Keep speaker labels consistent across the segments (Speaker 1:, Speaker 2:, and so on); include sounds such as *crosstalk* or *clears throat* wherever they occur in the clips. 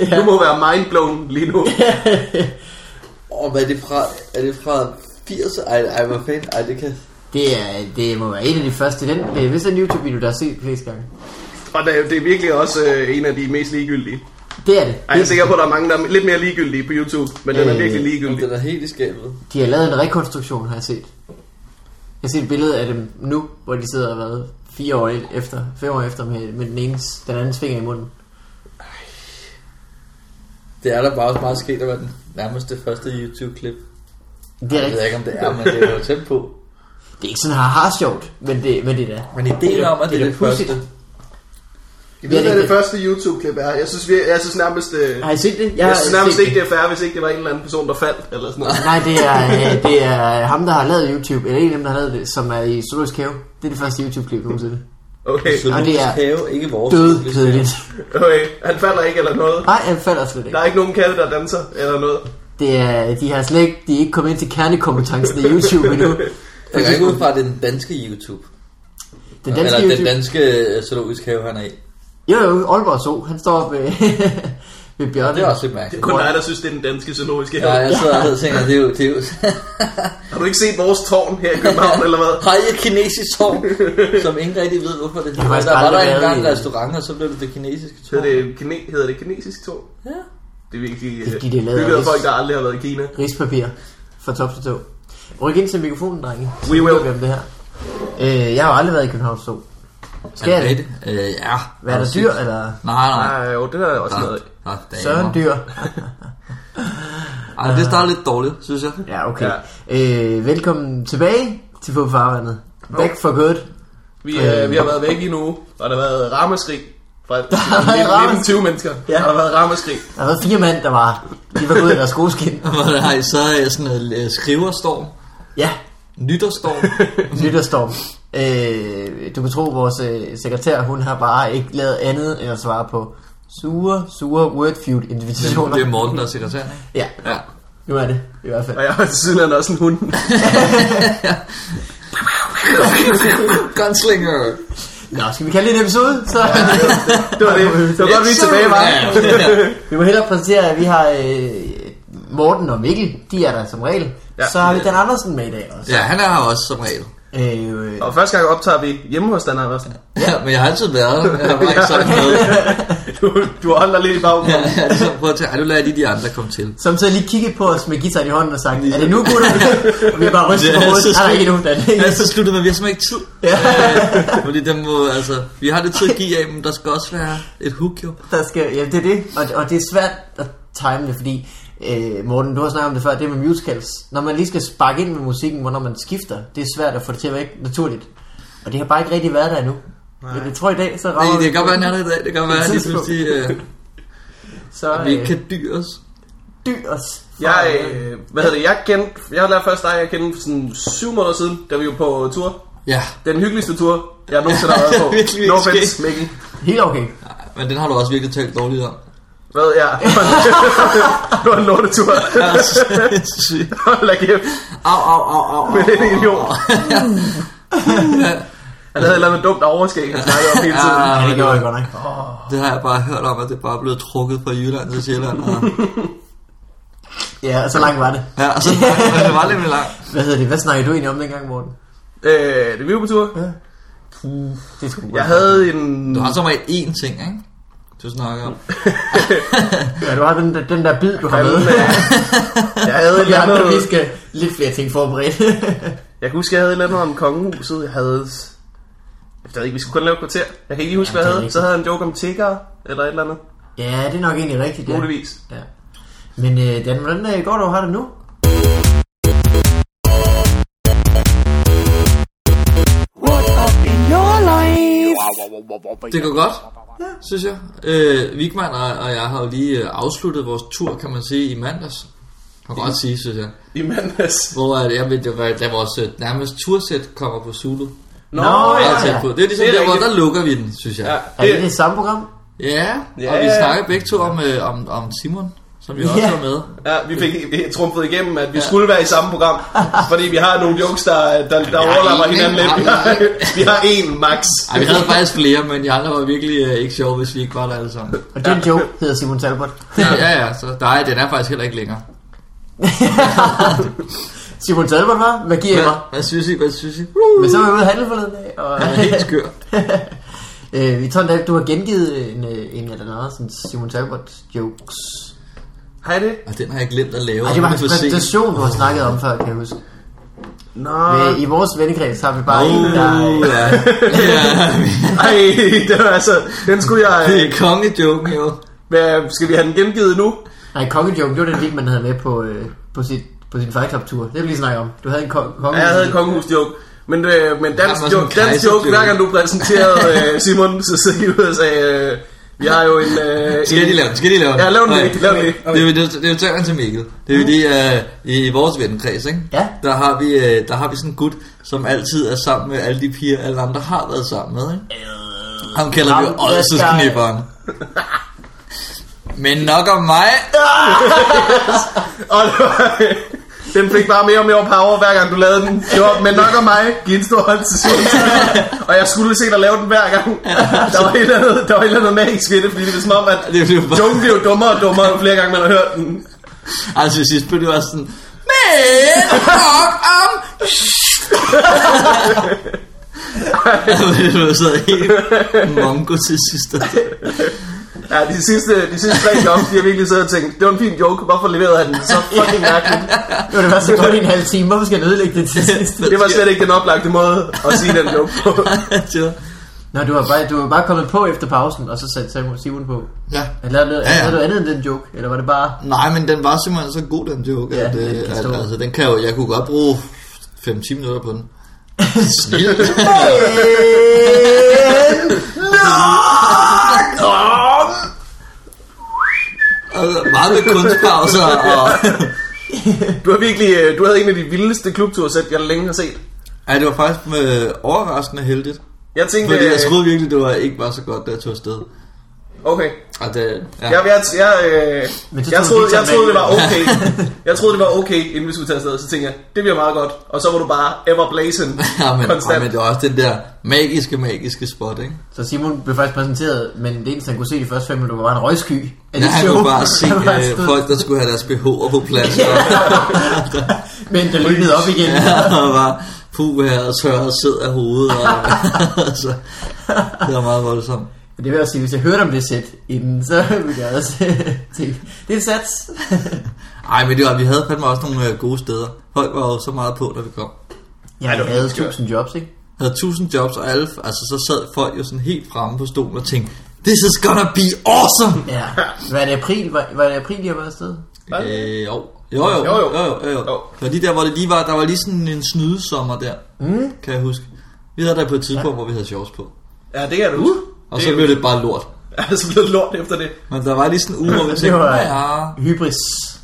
Speaker 1: Ja. Du må være mindblown lige nu.
Speaker 2: Åh, oh, hvad er det fra? Er det fra 80? Ej, ej, hvad fanden? Ej, det kan...
Speaker 3: *laughs* Det, er, det må være en af de første. Den, det er vist en YouTube-video, der er set flest gange.
Speaker 1: Og det, er- det er virkelig også øh, en af de mest ligegyldige.
Speaker 3: Det er det.
Speaker 1: Ej, jeg er sikker på, at der er mange, der er lidt mere ligegyldige på YouTube, men den er
Speaker 3: Øh,
Speaker 1: virkelig
Speaker 2: Jamen,
Speaker 1: ligegyldig.
Speaker 2: den er helt i skabet.
Speaker 3: De har lavet en rekonstruktion, har jeg set. Jeg har set et billede af dem nu, hvor de sidder og har været fire år efter, fem år efter med, med den, enes, den andens finger i munden.
Speaker 2: Det er da bare også meget sket at være den nærmest det første YouTube-klip.
Speaker 3: Det er,
Speaker 2: Jeg ved
Speaker 3: ikke,
Speaker 2: ikke, om det er, men det er jo tæt på.
Speaker 3: det er ikke sådan har har sjovt, men det, men det er da.
Speaker 2: Men ideen om, at det er det
Speaker 3: pudsigt.
Speaker 2: første...
Speaker 1: Jeg ved,
Speaker 3: Ja, det er
Speaker 1: hvad det
Speaker 3: det.
Speaker 1: første YouTube-klip er. Jeg synes, vi, jeg synes nærmest, øh,
Speaker 3: Har I set det?
Speaker 1: jeg synes nærmest
Speaker 3: set
Speaker 1: ikke, det er fair, hvis ikke det var en eller anden person, der faldt. Eller sådan noget.
Speaker 3: Nej, det er, øh, det er ham, der har lavet YouTube, eller en af dem, der har lavet det, som er i Zoologisk Have. Det er det første YouTube-klip nogensinde.
Speaker 1: Okay,
Speaker 2: Så
Speaker 3: Og det er
Speaker 2: have, ikke vores
Speaker 3: Død kedeligt.
Speaker 1: okay. Han falder ikke eller noget.
Speaker 3: Nej, han falder slet
Speaker 1: Der
Speaker 3: ikke.
Speaker 1: er ikke nogen katte, der danser eller noget.
Speaker 3: Det er, de har slet ikke, de er ikke kommet ind til kernekompetencen i YouTube
Speaker 2: *laughs*
Speaker 3: endnu.
Speaker 2: Jeg kan ikke ud fra, at det er den danske YouTube.
Speaker 3: Den
Speaker 2: Eller
Speaker 3: danske
Speaker 2: den
Speaker 3: YouTube...
Speaker 2: danske øh, zoologiske have, han er i.
Speaker 3: Jo, jo, Aalborg Zoo, han står ved, *laughs* ved bjørnen.
Speaker 2: Det er også lidt
Speaker 1: Det er
Speaker 2: mærkeligt.
Speaker 1: kun dig, der synes, det er den danske zoologiske
Speaker 2: Ja,
Speaker 1: have.
Speaker 2: jeg sidder og tænker, det er jo... Det er jo
Speaker 1: Har du ikke set vores tårn her i
Speaker 3: *laughs*
Speaker 1: København eller hvad?
Speaker 2: Har I et kinesisk tårn, som ingen rigtig ved, hvorfor det
Speaker 3: har
Speaker 2: er.
Speaker 3: faktisk
Speaker 2: Der var
Speaker 3: aldrig
Speaker 2: der
Speaker 3: været
Speaker 2: engang
Speaker 3: i-
Speaker 2: en restaurant, og så blev det det kinesiske tårn.
Speaker 1: Hedder det, kine, hedder det kinesisk tårn?
Speaker 2: Ja.
Speaker 1: Det er virkelig
Speaker 3: Det er
Speaker 1: øh,
Speaker 3: fordi, det er lavet
Speaker 1: bygget af
Speaker 3: af-
Speaker 1: folk, der aldrig har været i Kina.
Speaker 3: Rispapir fra top til tå. Ryk ind til mikrofonen, drenge. Så
Speaker 1: We
Speaker 3: ved
Speaker 1: will.
Speaker 3: vi om det her. Øh, jeg har jo aldrig været i København Zoo. Skal
Speaker 2: Er
Speaker 3: jeg
Speaker 2: det
Speaker 3: det?
Speaker 2: rigtigt? Øh, ja.
Speaker 3: Hvad er der dyr, eller
Speaker 2: Nej, nej.
Speaker 1: Nej, jo, det er også
Speaker 2: Nå,
Speaker 1: noget. af.
Speaker 2: nå, damer.
Speaker 3: søren dyr?
Speaker 2: Ej, det starter lidt dårligt, synes jeg. *laughs*
Speaker 3: Ja, okay. Øh, velkommen tilbage til Fup Farvandet. Back for good.
Speaker 1: Vi, øh,
Speaker 3: Øh.
Speaker 1: vi har været væk i en uge, og der har været ramaskrig. Fra
Speaker 3: været
Speaker 1: 19- 19 20 mennesker. Ja.
Speaker 3: Ja.
Speaker 1: Der har været ramaskrig.
Speaker 3: Der har været fire mand, der var. De var gået i deres skoleskin.
Speaker 2: Hvor der er så øh, sådan en øh, skriverstorm,
Speaker 3: Ja, *laughs*
Speaker 2: nytårsstorm.
Speaker 3: lytterstorm. Øh, du kan tro, at vores øh, sekretær, hun har bare ikke lavet andet end at svare på sure, sure wordfeud invitationer.
Speaker 2: det er Morten, der er
Speaker 3: *laughs*
Speaker 2: sekretær. ikke?
Speaker 3: Ja,
Speaker 2: Ja.
Speaker 3: nu er det i hvert fald.
Speaker 1: Og jeg har siden også en hund.
Speaker 2: Gunslinger.
Speaker 3: Nå, skal vi kalde det en episode? Så
Speaker 1: Det var det. *laughs* Det var godt, vi er tilbage, var.
Speaker 3: *laughs* vi må hellere præsentere, at vi har øh, Morten og Mikkel. De er der som regel.
Speaker 1: Ja.
Speaker 3: Ja. Så har vi Dan Andersen med i dag også.
Speaker 2: Ja, han er her også som regel.
Speaker 3: Øh,
Speaker 1: Og første gang optager vi hjemme hos Dan Andersen.
Speaker 2: Ja, men jeg har altid været her. Jeg har bare ikke
Speaker 3: *laughs*
Speaker 2: sagt noget.
Speaker 1: *laughs* Du, du holder lidt i baggrunden.
Speaker 2: Ja, jeg har ligesom prøvet at tænke, "Ej, nu lader jeg lige de andre komme til.
Speaker 3: som så lige kigget på os med gitaren i hånden og sagt, er det nu, gutter?
Speaker 2: *laughs*
Speaker 3: og vi har bare rystet
Speaker 2: Ja,
Speaker 3: på hovedet. Nej, der
Speaker 2: så
Speaker 3: er
Speaker 2: skulle-
Speaker 3: ikke nogen, der er
Speaker 2: Ja,
Speaker 3: det.
Speaker 2: så sluttede man, vi har simpelthen ikke tid.
Speaker 3: Ja.
Speaker 2: Øh, fordi dem må, altså, vi har det tid at give af, men der skal også være et hook jo.
Speaker 3: Der skal, ja, det er det. Og, og det er svært at time det, fordi... Øh, Morten, du har snakket om det før, det med musicals. Når man lige skal sparke ind med musikken, hvornår man skifter, det er svært at få det til at være naturligt. Og det har bare ikke rigtig været der endnu. Nej. Men jeg tror i dag, så rammer
Speaker 2: Nej, det
Speaker 3: vi-
Speaker 2: kan godt være, han er der i dag. Det kan godt være, at de synes, de, øh,
Speaker 3: så,
Speaker 2: at vi ikke kan dyre os.
Speaker 3: dyrs.
Speaker 1: øh, Jeg, øh, hvad hedder det, jeg kendte, jeg lærte først dig at kende for sådan syv måneder siden, da vi var på tur.
Speaker 2: Ja,
Speaker 1: Den hyggeligste tur, jeg nogensinde har været *laughs* på.
Speaker 2: Virkelig
Speaker 1: no
Speaker 2: ikke
Speaker 1: offense, Mikkel.
Speaker 3: Helt okay.
Speaker 2: men den har du også virkelig talt dårligt om.
Speaker 1: Hvad, ja. *laughs* det var en lortetur.
Speaker 2: Sygt.
Speaker 1: *laughs* Hold da kæft.
Speaker 2: *laughs* Au, au, au,
Speaker 1: *laughs*
Speaker 2: au, au.
Speaker 1: Men det er en idiot. Han havde et eller andet dumt overskæg, han snakkede om hele
Speaker 2: Ah,
Speaker 1: tiden.
Speaker 3: Ja, det gjorde jeg godt nok.
Speaker 2: Det har jeg bare hørt om, at det bare er blevet trukket fra Jylland til Sjælland. Og,
Speaker 3: Ja, og så langt var det.
Speaker 2: ja, og så men det var lidt langt.
Speaker 3: Hvad hedder det? Hvad snakkede du egentlig om dengang, Morten?
Speaker 1: Øh, det vi var på tur.
Speaker 3: Det skulle
Speaker 1: Jeg havde en...
Speaker 2: Du har som regel én ting, ikke? Du snakker om.
Speaker 3: Ja, du har den, der- den der bid, du har med. *laughs*
Speaker 1: Jeg havde et
Speaker 3: Vi
Speaker 1: eller
Speaker 3: andre, vi
Speaker 1: andet...
Speaker 3: skal lidt flere ting forberedt. *laughs*
Speaker 1: Jeg kan huske, jeg havde et eller andet om kongehuset. Jeg havde... Jeg ved ikke, vi skulle kun lave et kvarter. Jeg kan ikke lige huske, hvad
Speaker 3: Ja, det
Speaker 1: jeg
Speaker 3: er
Speaker 1: havde.
Speaker 3: rigtigt.
Speaker 1: Så havde jeg en joke om tigger eller et eller andet.
Speaker 3: ja, det er nok egentlig rigtigt. Ja.
Speaker 1: Muligvis.
Speaker 3: Ja. Men øh, Dan, hvordan øh, går du har det nu?
Speaker 2: Det går godt, synes jeg. Øh, Vigman og, og jeg har jo lige øh, afsluttet vores tur, kan man sige, i mandags. Kan godt sige, synes jeg.
Speaker 1: I mandags.
Speaker 2: Hvor at, jeg ved, det var, da vores øh, nærmest tursæt kommer på Zulu.
Speaker 1: Nå,
Speaker 3: Nå,
Speaker 2: Ja,
Speaker 1: ja.
Speaker 3: ja.
Speaker 2: ja. På. Det er ligesom
Speaker 1: Det er
Speaker 2: det der, hvor
Speaker 1: rigtigt.
Speaker 2: der lukker vi den, synes jeg.
Speaker 1: ja.
Speaker 3: Er det det samme program?
Speaker 2: Ja, ja og
Speaker 1: Ja.
Speaker 2: vi snakker begge to om, øh, om, om Simon. som vi også
Speaker 3: Ja.
Speaker 2: var med.
Speaker 1: Ja, vi fik vi trumfet igennem, at vi
Speaker 2: Ja.
Speaker 1: ja. skulle være i samme program, fordi vi har nogle jokes, der, der, der overlapper
Speaker 2: en,
Speaker 1: hinanden lidt.
Speaker 2: ikke?
Speaker 1: Vi har, vi har én max.
Speaker 2: Ej, vi havde faktisk flere, men de andre var virkelig øh, ikke sjove, hvis vi ikke var der alle sammen.
Speaker 3: Og den joke hedder Simon Talbot.
Speaker 2: Ja, ja, ja så nej, den er faktisk heller ikke længere.
Speaker 3: Simon Talbot, hva'? Hvad giver I mig?
Speaker 2: Hvad, hvad synes I? Hvad synes I?
Speaker 3: Men så var jeg ude at handle forleden dag, og...
Speaker 2: Han er helt skør.
Speaker 3: *laughs* øh, vi tror endda, du har gengivet en, øh, en eller anden sådan Simon Talbot jokes.
Speaker 1: Har I det?
Speaker 2: Og den har jeg glemt at lave.
Speaker 3: Ej, det var
Speaker 2: og nu
Speaker 3: hans
Speaker 2: er for sent.
Speaker 3: præsentation, du har snakket om før, kan jeg huske.
Speaker 1: Nå.
Speaker 3: Men I vores vennekreds har vi bare en, der...
Speaker 2: Uh, ja. ja.
Speaker 1: Ej, det var altså, den skulle
Speaker 2: Det
Speaker 1: jeg...
Speaker 2: er kongejoken jo.
Speaker 1: Hvad, skal vi have den gengivet nu?
Speaker 3: Nej, kongejoken, det var den lille, man havde med på, øh, på, sit, på sin Fight Club-tur. Det vil vi lige snakke om. Du havde en kong-
Speaker 1: Ja,
Speaker 3: konge.
Speaker 1: Jeg havde en kongehusjoke. Men, øh, men
Speaker 2: var
Speaker 1: dansk
Speaker 2: sådan
Speaker 1: joke,
Speaker 2: en
Speaker 1: dansk joke,
Speaker 2: kejserjoke.
Speaker 1: hver gang du
Speaker 2: *laughs*
Speaker 1: præsenterede øh, Simon, så sidder I ud og sagde, øh, vi har jo en... Øh,
Speaker 2: Skal de lave den? Skal de lave den?
Speaker 1: Ja, lav den
Speaker 2: Nej.
Speaker 1: lige, lav den lige.
Speaker 2: Det er jo det, det, er jo tøren til Mikkel. Det er jo fordi, uh, i vores vennekreds, ikke?
Speaker 3: Mm. Ja.
Speaker 2: Der har vi, uh, der har vi sådan en gut, som altid er sammen med alle de piger, alle andre har været sammen med, ikke? Ham kalder vi jo
Speaker 3: Øh, Ham, der skal-
Speaker 2: Oddsensknipperen. Men nok om mig.
Speaker 1: Og det var- *laughs* den fik bare mere og mere power, hver gang du lavede den. Det var, men nok om mig, giv en stor hånd til
Speaker 2: *laughs*
Speaker 1: Simon. Og jeg skulle se dig lave den hver gang. Der var et eller andet, der var et eller andet magisk ved det, fordi det er som om, at
Speaker 2: Det blev bare...
Speaker 1: Joken bliver jo dummere og dummere, jo flere gange man har hørt den.
Speaker 2: Altså til sidst blev det også sådan Men nok om *laughs* Altså, Jeg var så helt mongo til sidst
Speaker 3: *laughs*
Speaker 1: Ja, de sidste, de sidste tre jokes, de har virkelig siddet og tænkt, det var en fin joke, hvorfor leverede han den så fucking mærkeligt?
Speaker 3: Det var det værste kun i en halv time. Hvorfor skal jeg ødelægge det til sidst?
Speaker 1: Det var slet ikke den oplagte måde at sige den joke på.
Speaker 2: Det var-
Speaker 3: Nå, du var, bare, du var bare kommet på efter pausen, og så satte Simon, Simon på.
Speaker 2: Ja
Speaker 3: Eller lavede,
Speaker 2: Ja,
Speaker 3: ja,
Speaker 2: ja.
Speaker 3: ja. lavede du andet end den joke? Eller var det bare...
Speaker 2: Nej men den var simpelthen så god den joke
Speaker 3: Ja,
Speaker 2: at,
Speaker 3: den
Speaker 2: øh,
Speaker 3: kan
Speaker 2: at,
Speaker 3: stå.
Speaker 2: altså, den kan jo, Jeg kunne godt bruge 5-10 minutter på den Snil *laughs*
Speaker 3: *laughs*
Speaker 2: Og Altså, Meget med kunstpauser og,
Speaker 3: *laughs*
Speaker 1: Du har virkelig, øh, du havde en af de vildeste klubtursæt, jeg længe har set.
Speaker 2: ja, det var faktisk med, overraskende heldigt
Speaker 1: Jeg tænkte,
Speaker 2: Fordi jeg
Speaker 1: øh,
Speaker 2: troede virkelig, det var ikke var så godt, da jeg tog afsted.
Speaker 1: okay,
Speaker 2: Og det, ja.
Speaker 1: Jeg, jeg, jeg, øh,
Speaker 3: Men det
Speaker 1: jeg,
Speaker 3: tog
Speaker 1: troede,
Speaker 3: Victor
Speaker 1: jeg troede, det var
Speaker 3: med.
Speaker 1: okay. Jeg troede, det var okay, inden vi skulle tage afsted. Så tænkte jeg, det bliver meget godt. Og så var du bare ever blazing.
Speaker 2: *laughs* Ja, men, ja,
Speaker 1: konstant.
Speaker 2: men det var også den der magiske, magiske spot, ikke?
Speaker 3: Så Simon blev faktisk præsenteret, men det eneste, han kunne se de første fem minutter, var bare en røgsky. af
Speaker 2: Ja,
Speaker 3: det
Speaker 2: han
Speaker 3: show.
Speaker 2: kunne bare
Speaker 3: *laughs*
Speaker 2: se
Speaker 3: Han var bare
Speaker 2: øh,
Speaker 3: stod-
Speaker 2: folk, der skulle have deres BH'er på plads. Og,
Speaker 3: Men der lykkede op igen.
Speaker 2: ja, og var puh her og tør og sød af hovedet. Og, altså, det var meget voldsomt.
Speaker 3: Men Det vil jeg sige, hvis jeg hørte om det sæt inden, så *laughs* ville jeg også tænke, det er et sats. *laughs*
Speaker 2: Ej, men det var, vi havde fandme også nogle øh, gode steder. Folk var jo så meget på, da vi kom.
Speaker 3: Jeg
Speaker 1: det var
Speaker 3: havde
Speaker 1: helt skørt.
Speaker 3: tusind jobs, ikke?
Speaker 2: Havde tusind jobs, og alle, altså, så sad folk jo sådan helt fremme på stolen og tænkte, This is gonna be awesome!
Speaker 3: Ja. Var det april, var, var det april, jeg var afsted?
Speaker 1: Hvad?
Speaker 2: Øh, jo. Jo, jo,
Speaker 1: Jo, jo.
Speaker 2: jo, jo, jo.
Speaker 1: Jo.
Speaker 2: Det var lige der, hvor det lige var, der var lige sådan en snydesommer der, mm. kan jeg huske. Vi havde der på et tidspunkt, ja. hvor vi havde shorts på.
Speaker 1: Ja, det kan du. Uh,
Speaker 2: Og så blev det bare lort.
Speaker 1: *laughs* Ja, så blev det lort efter det.
Speaker 2: Men der var lige sådan en *laughs* uge, hvor vi
Speaker 3: Det
Speaker 2: tænkte,
Speaker 3: var
Speaker 2: ja,
Speaker 3: hybris.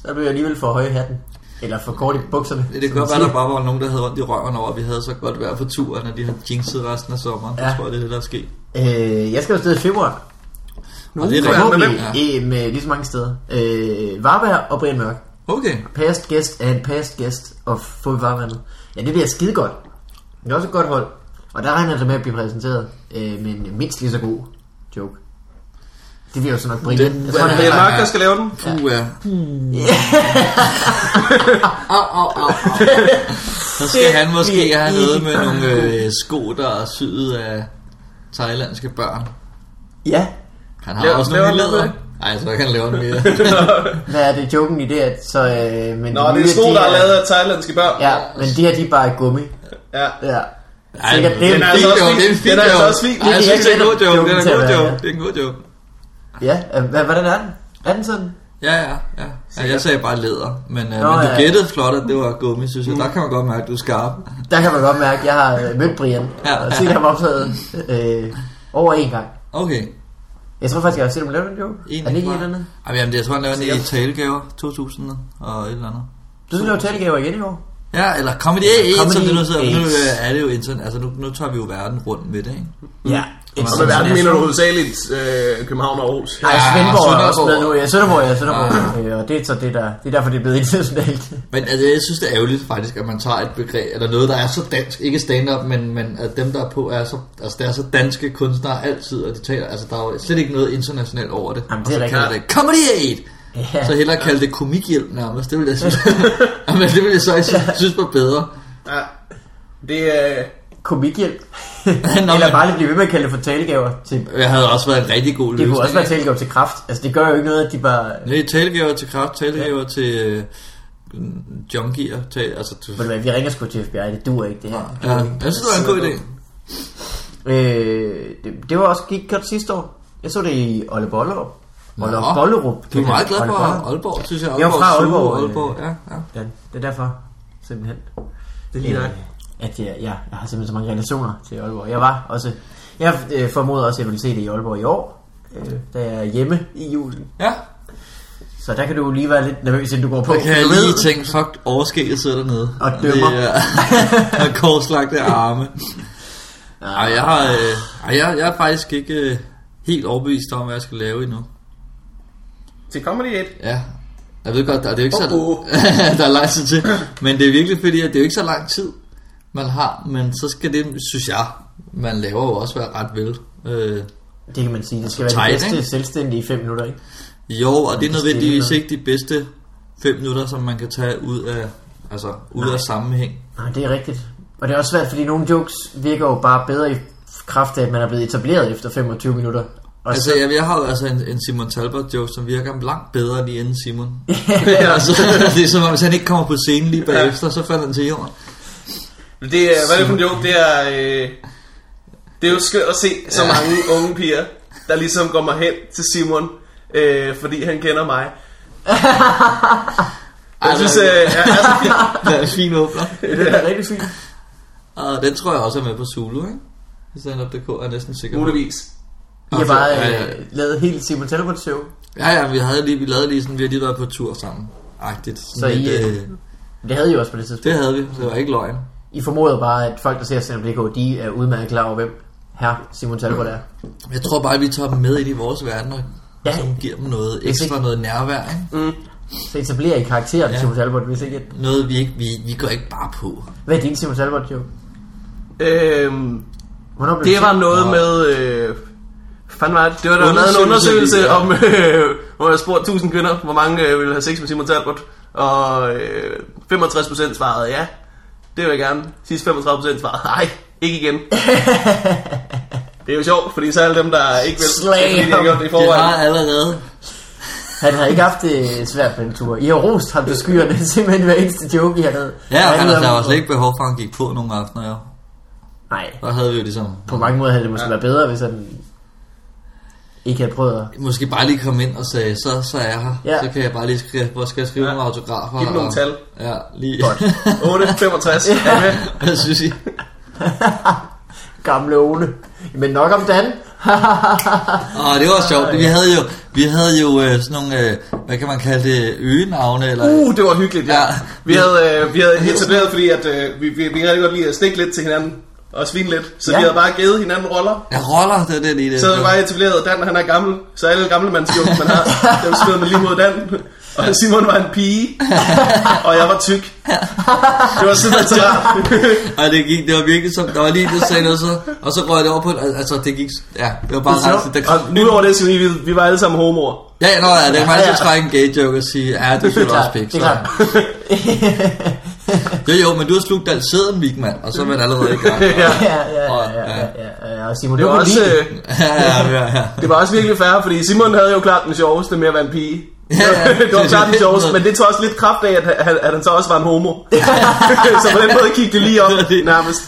Speaker 3: Der blev jeg alligevel for høj i hatten. Eller for kort i bukserne.
Speaker 2: det kan
Speaker 3: som
Speaker 2: godt
Speaker 3: man
Speaker 2: være, der
Speaker 3: siger.
Speaker 2: bare var nogen, der havde ondt i røven over, at vi havde så godt vejr på turen, at de havde jinxet resten af sommeren. Ja.
Speaker 3: Ja.
Speaker 2: Det tror jeg, det er det, der er sket.
Speaker 3: Øh, jeg skal afsted i februar.
Speaker 2: Og det er
Speaker 1: Hvad med
Speaker 3: Forhåbentlig
Speaker 2: rigtigt. Ja.
Speaker 3: ja. med lige så mange steder. Øh, Varberg og Brian Mørk.
Speaker 2: Okay.
Speaker 3: Past guest er en past guest og få i farvandet. Ja, det bliver skide godt. Det er også et godt hold. Og der regner jeg da med at blive præsenteret øh, med en mindst lige så god joke. Det bliver jo så nok Brian.
Speaker 2: Det-
Speaker 3: jeg tror,
Speaker 1: Det
Speaker 3: det
Speaker 1: er
Speaker 3: er
Speaker 1: Mark, der skal lave den.
Speaker 2: Puh, ja.
Speaker 3: Hmm.
Speaker 2: Au, au, au, au. Så skal
Speaker 3: Det
Speaker 2: han måske
Speaker 3: bliver
Speaker 2: have
Speaker 3: ikke
Speaker 2: noget med nogle øh, sko, der er syet af thailandske børn.
Speaker 3: Ja.
Speaker 2: Han har
Speaker 1: Laver-
Speaker 2: også
Speaker 1: laver
Speaker 2: nogle
Speaker 1: han
Speaker 2: leder.
Speaker 1: noget
Speaker 2: Nej, så kan han lave en mere.
Speaker 3: Hvad er det joken i det, at så... Øh, men
Speaker 1: Nå,
Speaker 3: de
Speaker 1: det er
Speaker 3: nye,
Speaker 1: sko,
Speaker 3: de
Speaker 1: der er lavet af thailandske børn.
Speaker 3: Ja, men de her, de er bare i gummi.
Speaker 1: ja.
Speaker 3: Ja.
Speaker 2: Ej,
Speaker 3: Sikkert, det er
Speaker 2: den
Speaker 1: fin
Speaker 3: en
Speaker 2: altså også
Speaker 1: joke.
Speaker 2: fin- det er en fin
Speaker 1: Den er altså
Speaker 2: joke.
Speaker 1: også fin.
Speaker 2: Ej, jeg
Speaker 3: Det er
Speaker 2: synes, det er en
Speaker 3: ikke
Speaker 2: god joke.
Speaker 3: joken
Speaker 2: Det er en god
Speaker 3: til at
Speaker 2: joke.
Speaker 3: være.
Speaker 2: Det er en god joke.
Speaker 3: Ja, øh, hvad, hvordan er den? Er den sådan?
Speaker 2: Ja, ja, ja. ja jeg sagde bare læder, men, øh,
Speaker 3: Nå,
Speaker 2: men du
Speaker 3: ja.
Speaker 2: gættede flot, at det var gummi, synes jeg. Der kan man godt mærke, at du er skarp.
Speaker 3: Der kan man godt mærke, at jeg har øh, mødt Brian.
Speaker 2: Ja.
Speaker 3: Ja. Og set ham optaget øh, over en gang.
Speaker 2: Okay.
Speaker 3: Jeg tror faktisk, jeg har set ham lave den joke.
Speaker 2: En
Speaker 3: er det ikke
Speaker 2: fra-
Speaker 3: en eller anden?
Speaker 2: Jamen, jeg tror, han lavede en i talegaver 2000 og et eller andet.
Speaker 3: Du skal lave talegaver igen i år.
Speaker 2: Ja, eller Comedy A1, som
Speaker 3: Comedy
Speaker 2: det nu sidder. Nu
Speaker 3: AIDS.
Speaker 2: øh, er det jo intern, altså nu, nu tager vi jo verden rundt med det, ikke?
Speaker 3: Ja.
Speaker 1: Og med verden mener du hovedsageligt øh, København og Aarhus.
Speaker 3: Nej,
Speaker 2: Ja,
Speaker 3: Svendborg er også
Speaker 2: Sønderborg.
Speaker 3: med nu. Ja, Sønderborg, ja, Sønderborg. Ja. Og det er så det, der, det er derfor, det er blevet *laughs* internationalt.
Speaker 2: Men altså, jeg synes, det er ærgerligt faktisk, at man tager et begreb, eller noget, der er så dansk, ikke stand-up, men, men at dem, der er på, er så, altså, der er så danske kunstnere altid, og de taler, altså, der er jo slet ikke noget internationalt over det.
Speaker 3: Jamen, det
Speaker 2: og så
Speaker 3: er
Speaker 2: kalder det Comedy Aid!
Speaker 3: Ja.
Speaker 2: Så hellere kalde det komikhjælp nærmest, det vil jeg synes. *laughs* Jamen, det vil jeg så jeg synes, synes var bedre.
Speaker 1: Ja. Det er... Øh,
Speaker 3: Komikhjælp.
Speaker 2: *laughs* Nå,
Speaker 3: Eller
Speaker 2: men-
Speaker 3: bare lige blive ved med at kalde det for talegaver. Til, det
Speaker 2: Jeg havde også været en rigtig god løsning.
Speaker 3: kunne også være talegaver til kraft. Altså, det gør jo ikke noget, at de bare...
Speaker 2: Nej, talegaver til kraft, talegaver ja. til øh, junkier, tal, altså... Til,
Speaker 3: Ved du hvad, vi ringer sgu til FBI, det duer ikke det her.
Speaker 2: ja, jeg synes, det var en god idé.
Speaker 3: Øh, det, det var også gik godt sidste år. Jeg så det i Olle Bollerup. Olle
Speaker 2: Nå.
Speaker 3: Bollerup.
Speaker 2: Du er meget glad for
Speaker 3: Olle Bollerup.
Speaker 2: Aalborg, synes jeg.
Speaker 3: Jeg er fra
Speaker 2: suger,
Speaker 3: Aalborg, øh.
Speaker 2: Aalborg, ja, ja.
Speaker 3: Ja, det er derfor, simpelthen.
Speaker 1: det ligner
Speaker 3: øh,
Speaker 1: ikke.
Speaker 3: at jeg, ja, jeg har simpelthen så mange relationer til Aalborg. Jeg var også... Jeg øh, formoder også, at jeg ville se det i Aalborg i år, øh, da jeg er hjemme i julen.
Speaker 2: Ja,
Speaker 3: Så der kan du lige være lidt nervøs, inden du går på.
Speaker 2: der kan jeg
Speaker 3: Du
Speaker 2: lige
Speaker 3: ved-
Speaker 2: tænke, fuck, overskægget sidder dernede.
Speaker 3: Og dømmer.
Speaker 2: Det er- *laughs* Og korslagte arme. Ej, jeg, har, øh, ej, jeg, jeg er faktisk ikke øh, helt overbevist om, hvad jeg skal lave endnu.
Speaker 1: til Comedy 8.
Speaker 2: Ja. Jeg ved godt, der, det er jo ikke så,
Speaker 1: Oh, oh.
Speaker 2: *laughs* der er lang tid til. Men det er virkelig fordi, at det er jo ikke så lang tid, man har. Men så skal det, synes jeg, man laver jo også være ret vel. Øh,
Speaker 3: Det kan man sige. Det skal være
Speaker 2: Tight,
Speaker 3: det bedste
Speaker 2: ikke?
Speaker 3: selvstændige i fem minutter, ikke?
Speaker 2: jo, og det
Speaker 3: det
Speaker 2: er nødvendigvis
Speaker 3: stiller.
Speaker 2: ikke de bedste fem minutter, som man kan tage ud af, altså, ud af sammenhæng.
Speaker 3: Nej, det er rigtigt. Og det er også svært, fordi nogle jokes virker jo bare bedre i kraft af, at man er blevet etableret efter 25 minutter. Og
Speaker 2: Altså, jeg, jeg har jo altså en, en Simon Talbot joke, som virker langt bedre lige inden
Speaker 3: *laughs*
Speaker 2: Simon. *laughs* altså, det er som om, hvis han ikke kommer på scenen lige bagefter, så falder han til jorden.
Speaker 1: Det er, hvad er det for en joke? Det er, øh, det er jo skønt at se så mange unge piger, der ligesom går mig hen til Simon, øh, fordi han kender mig. Jeg synes, øh, jeg, altså,
Speaker 2: det er en fin åbner.
Speaker 3: *laughs* det er rigtig fint.
Speaker 2: Og den tror jeg også er med på Zulu, ikke? Stand-up.dk er jeg næsten sikker på. Altså,
Speaker 1: muligvis.
Speaker 3: Jeg har bare
Speaker 2: Ja, ja,
Speaker 3: øh, lavet helt Simon Talbot show.
Speaker 2: ja, ja, vi, havde lige, vi lavede lige sådan, vi har lige været på tur sammen. Agtigt. Sådan
Speaker 3: Så I,
Speaker 2: lidt,
Speaker 3: øh, Det havde I jo også på det tidspunkt.
Speaker 2: det havde vi, det var ikke løgn.
Speaker 3: I formodede bare, at folk, der ser Stand de er udmærket klar over, hvem her Simon Talbot er.
Speaker 2: Jeg tror bare, at vi tager dem med ind i vores verden, og
Speaker 3: Ja.
Speaker 2: ja. som giver dem noget
Speaker 3: Hvis
Speaker 2: ekstra,
Speaker 3: ikke- Mm.
Speaker 2: noget nærvær, ikke?
Speaker 3: Så etablerer I karakteren ja. Simon Talbot, hvis ikke... at-
Speaker 2: Noget, vi ikke, vi, vi går ikke bare på.
Speaker 3: Hvad er din Simon Talbot joke?
Speaker 1: Øhm,
Speaker 3: Hvornår blev
Speaker 1: det
Speaker 3: du
Speaker 1: var
Speaker 3: set?
Speaker 1: noget med... Øh, fanden var det? Det var der lavet en
Speaker 2: Undersøgelse,
Speaker 1: undersøgelse
Speaker 2: ja.
Speaker 1: om, *laughs* øh, hvor jeg spurgte 1000 kvinder, hvor mange øh, ville have sex med Simon Talbot. Og øh, 65% svarede ja. Det vil jeg gerne. Sidste 35% svarede nej, ikke igen. det er jo sjovt, fordi så er alle dem, der ikke vil,
Speaker 3: Slam.
Speaker 1: det er, fordi de har gjort det i
Speaker 2: Det har
Speaker 1: forvejen.
Speaker 2: allerede.
Speaker 3: Han har ikke haft det svært på den tur. I har rost ham til skyerne, *laughs* simpelthen hver eneste joke, I har lavet.
Speaker 2: Ja, og han,
Speaker 3: havde-
Speaker 2: der var slet ikke behov for, at han gik på nogle aftener, jo.
Speaker 3: Nej,
Speaker 2: Der havde vi jo ligesom...
Speaker 3: på mange måder havde det måske ja. været bedre, hvis han ikke havde prøvet at...
Speaker 2: Måske bare lige komme ind og sagde, så, så er jeg her.
Speaker 3: Ja.
Speaker 2: Ja. Så kan jeg bare lige skrive, hvor skal jeg skrive
Speaker 1: Ja.
Speaker 2: ja. nogle autografer?
Speaker 1: Giv dem nogle
Speaker 2: og-
Speaker 1: tal.
Speaker 2: Ja, lige. *laughs*
Speaker 3: Godt.
Speaker 1: 8, 65. Er I med?
Speaker 2: Hvad synes I?
Speaker 3: Gamle Ole. Men nok om Dan.
Speaker 2: Åh, det var sjovt. Vi havde jo, vi havde jo øh, sådan nogle, øh, hvad kan man kalde det, øgenavne? Eller,
Speaker 1: Uh, det var hyggeligt, ja.
Speaker 2: Ja.
Speaker 1: Vi havde, øh, vi havde etableret, fordi at, øh, vi, vi, vi kan rigtig godt lide at stikke lidt til hinanden og svine lidt. Så
Speaker 3: Ja.
Speaker 1: ja. vi havde bare givet hinanden roller.
Speaker 2: Ja, roller, det er det lige det.
Speaker 1: Så havde vi bare etableret, at Dan han er gammel, så alle gamle mandsjoke, man har, dem skød man lige mod Dan. Og Simon var en pige, og jeg var tyk. Det var simpelthen så rart.
Speaker 2: Ej, det gik, det var virkelig som, der var lige det, sagde noget, så, og så røg det over på, al- altså det gik, ja, det var bare
Speaker 3: Det er
Speaker 2: rejse. Der,
Speaker 1: Og nu over det, så vi, vi- vi var alle sammen homoer.
Speaker 2: ja, nå, ja, det er faktisk
Speaker 3: Ja,
Speaker 2: at
Speaker 3: ja.
Speaker 2: trække en gay joke og sige, ja,
Speaker 3: Det
Speaker 2: du
Speaker 3: er
Speaker 2: skulle også
Speaker 3: klart,
Speaker 2: pik.
Speaker 3: det er
Speaker 2: så-
Speaker 3: klart.
Speaker 2: Jo, jo, men du har slugt al sæden, Vigman, og så er man allerede i gang.
Speaker 1: Ja.
Speaker 3: *laughs* ja, ja, ja, ja, ja, ja. Og Simon,
Speaker 1: Det var, også,
Speaker 3: lide det.
Speaker 1: øh,
Speaker 2: Ja, ja, ja, ja.
Speaker 1: det var også virkelig fair, fordi Simon havde jo klart den sjoveste med at være en pige.
Speaker 2: Ja, ja.
Speaker 1: *laughs* det var klart den sjoveste, men det tog også lidt kraft af, at han, at han så også var en homo. så på den måde gik det lige op nærmest.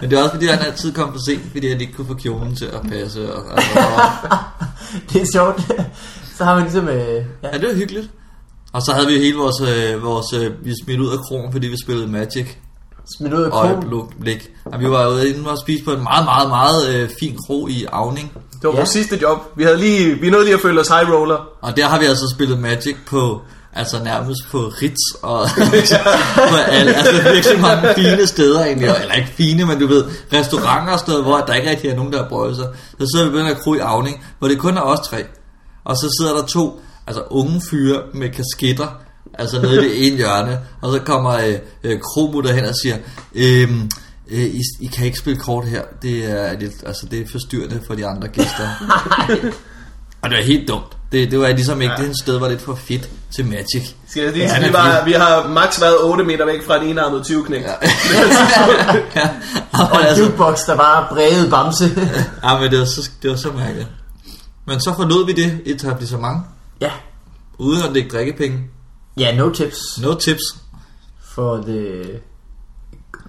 Speaker 2: Men det er også fordi, han altid kom for sent, fordi han ikke kunne få kjolen til at passe. Og, altså, og,
Speaker 3: *laughs* det er sjovt. Så har man ligesom... Øh, ja.
Speaker 2: Ja, det var hyggeligt. Og så havde vi jo hele vores, øh, vores øh, vi smidt ud af krogen, fordi vi spillede Magic
Speaker 3: smidt ud af krogen.
Speaker 2: øjeblik. Og vi var jo inde og spise på en meget, meget, meget øh, fin kro i Avning.
Speaker 1: Det var
Speaker 3: Ja.
Speaker 1: vores sidste job. Vi havde lige, vi nåede lige at føle os high roller.
Speaker 2: Og der har vi altså spillet Magic på Altså nærmest på Ritz og *laughs* altså, på alle, altså virkelig mange fine steder egentlig, og- eller ikke fine, men du ved, restauranter og sådan noget, hvor der ikke rigtig er nogen, der har brøjet sig. Så sidder vi på den her kro i Avning, hvor det kun er os tre, og så sidder der to, altså unge fyre med kasketter, altså nede i det ene hjørne, og så kommer øh, øh, Kromutter hen og siger, øhm, øh, I, I kan ikke spille kort her, det er, lidt, altså, det er forstyrrende for de andre gæster. Og det var helt dumt. Det, det var ligesom ikke, ja. det sted var lidt for fedt til
Speaker 1: *laughs*
Speaker 2: Magic.
Speaker 1: Skal jeg lige
Speaker 2: Ja,
Speaker 1: sige, vi,
Speaker 2: det-
Speaker 1: var, vi har max været 8 meter væk fra en enarmet 20 knæk. Ja.
Speaker 2: ja,
Speaker 3: Og
Speaker 2: og
Speaker 3: en
Speaker 2: altså,
Speaker 3: jukebox, der bare brede bamse.
Speaker 2: ja, men det var, så, det var så mærkeligt. Men så forlod vi det etablissement,
Speaker 3: *laughs* ja.
Speaker 2: uden at lægge drikkepenge.
Speaker 3: Ja, no tips
Speaker 2: No tips.
Speaker 3: for øh, the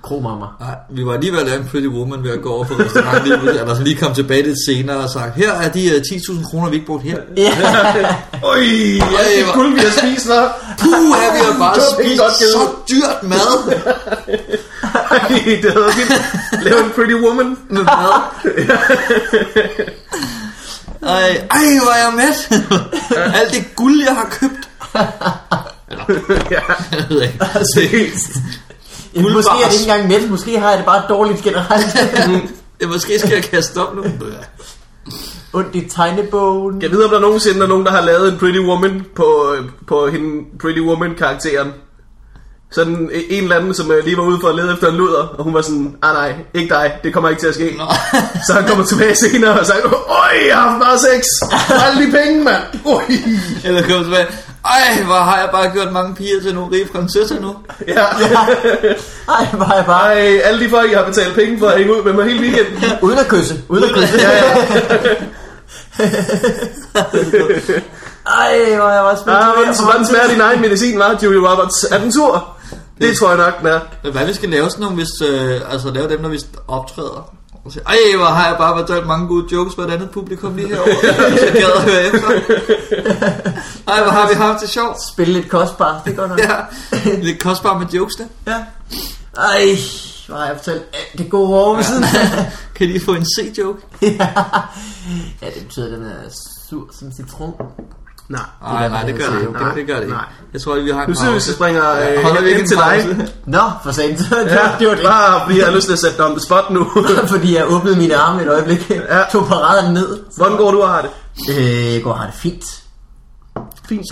Speaker 3: kromammer.
Speaker 2: Nej, vi var lige ved at lave en pretty woman ved at gå over på restaurant lige pludselig, eller sådan lige komme tilbage lidt senere og sagt, her er de øh, 10.000 kroner, vi ikke brugt her.
Speaker 1: Øj, ja, det er guld, vi har spist der.
Speaker 2: Puh, er vi har
Speaker 1: *laughs*
Speaker 2: bare
Speaker 1: Det var penge godt
Speaker 2: spist
Speaker 1: givet.
Speaker 2: så dyrt mad.
Speaker 1: det hedder ikke lave en pretty woman.
Speaker 2: Ej, ej, hvor er jeg
Speaker 1: *laughs*
Speaker 2: mæt. Alt det guld, jeg har købt.
Speaker 1: ja, Altså,
Speaker 2: Jeg
Speaker 1: *laughs*
Speaker 2: ved ikke.
Speaker 1: seriøst.
Speaker 3: Ja, måske er det
Speaker 2: Guldbars.
Speaker 3: ikke engang mæt, måske har jeg det bare dårligt generelt. *laughs*
Speaker 2: Det, måske skal jeg kaste op nu.
Speaker 3: Ondt i tegnebogen.
Speaker 1: Jeg ved, om der nogensinde er nogen, der har lavet en pretty woman på, øh, på hende pretty woman-karakteren. Sådan en eller anden, som øh, lige var ude for at lede efter en luder, og hun var sådan, ah nej, ikke dig, det kommer ikke til at ske.
Speaker 2: Nå.
Speaker 1: Så han kommer tilbage senere og sagde, Øj, jeg har haft bare sex. Alle de penge, mand. Øj.
Speaker 2: Eller kom tilbage. Ej, hvor har jeg bare gjort mange piger til nogle rige prinsesser nu.
Speaker 1: Ja.
Speaker 3: Ej, var jeg bare
Speaker 1: Ej, alle de folk, jeg har betalt penge for at hænge ud med mig hele weekenden.
Speaker 3: uden at kysse. Uden at kysse.
Speaker 1: Ja, ja.
Speaker 3: *laughs* Ej, hvor jeg var spændt.
Speaker 1: Ah, hvordan, hvordan smager din egen medicin, var Julie Roberts? Er den sur? Det tror jeg nok, den er.
Speaker 2: Men Hvad vi skal lave sådan nogle, hvis, øh, altså lave dem, når vi optræder. Og sige, Ej, hvor har jeg bare fortalt mange gode jokes for et andet publikum lige *laughs* herovre. Så jeg gad at høre efter. Ej, hvor har vi haft det sjovt.
Speaker 3: Spille lidt kostbart, det går nok.
Speaker 2: Ja, lidt kostbart med jokes der.
Speaker 3: ja. Ej, hvor har jeg fortalt alt det gode over ved siden.
Speaker 2: Kan de få en C-joke?
Speaker 3: ja. *laughs* ja, det betyder, at den er sur som citron.
Speaker 1: Nej.
Speaker 2: Nej, nej, det gør det ikke. Det, det gør det ikke.
Speaker 1: Nej.
Speaker 2: Jeg tror, vi har en
Speaker 1: Nu synes jeg, vi springer
Speaker 2: Ja,
Speaker 1: øh,
Speaker 2: holder vi ikke
Speaker 1: ind til
Speaker 2: en
Speaker 1: dig.
Speaker 2: pause?
Speaker 3: Nå, for sent. *laughs* det,
Speaker 1: Ja,
Speaker 3: var- det var det.
Speaker 1: bare fordi jeg har lyst til at sætte dig on the spot nu. *laughs*
Speaker 3: Fordi jeg åbnede mine arme et øjeblik.
Speaker 1: Ja.
Speaker 3: Tog paraderne ned.
Speaker 1: Hvordan går du og har det?
Speaker 3: Øh, går har det fint.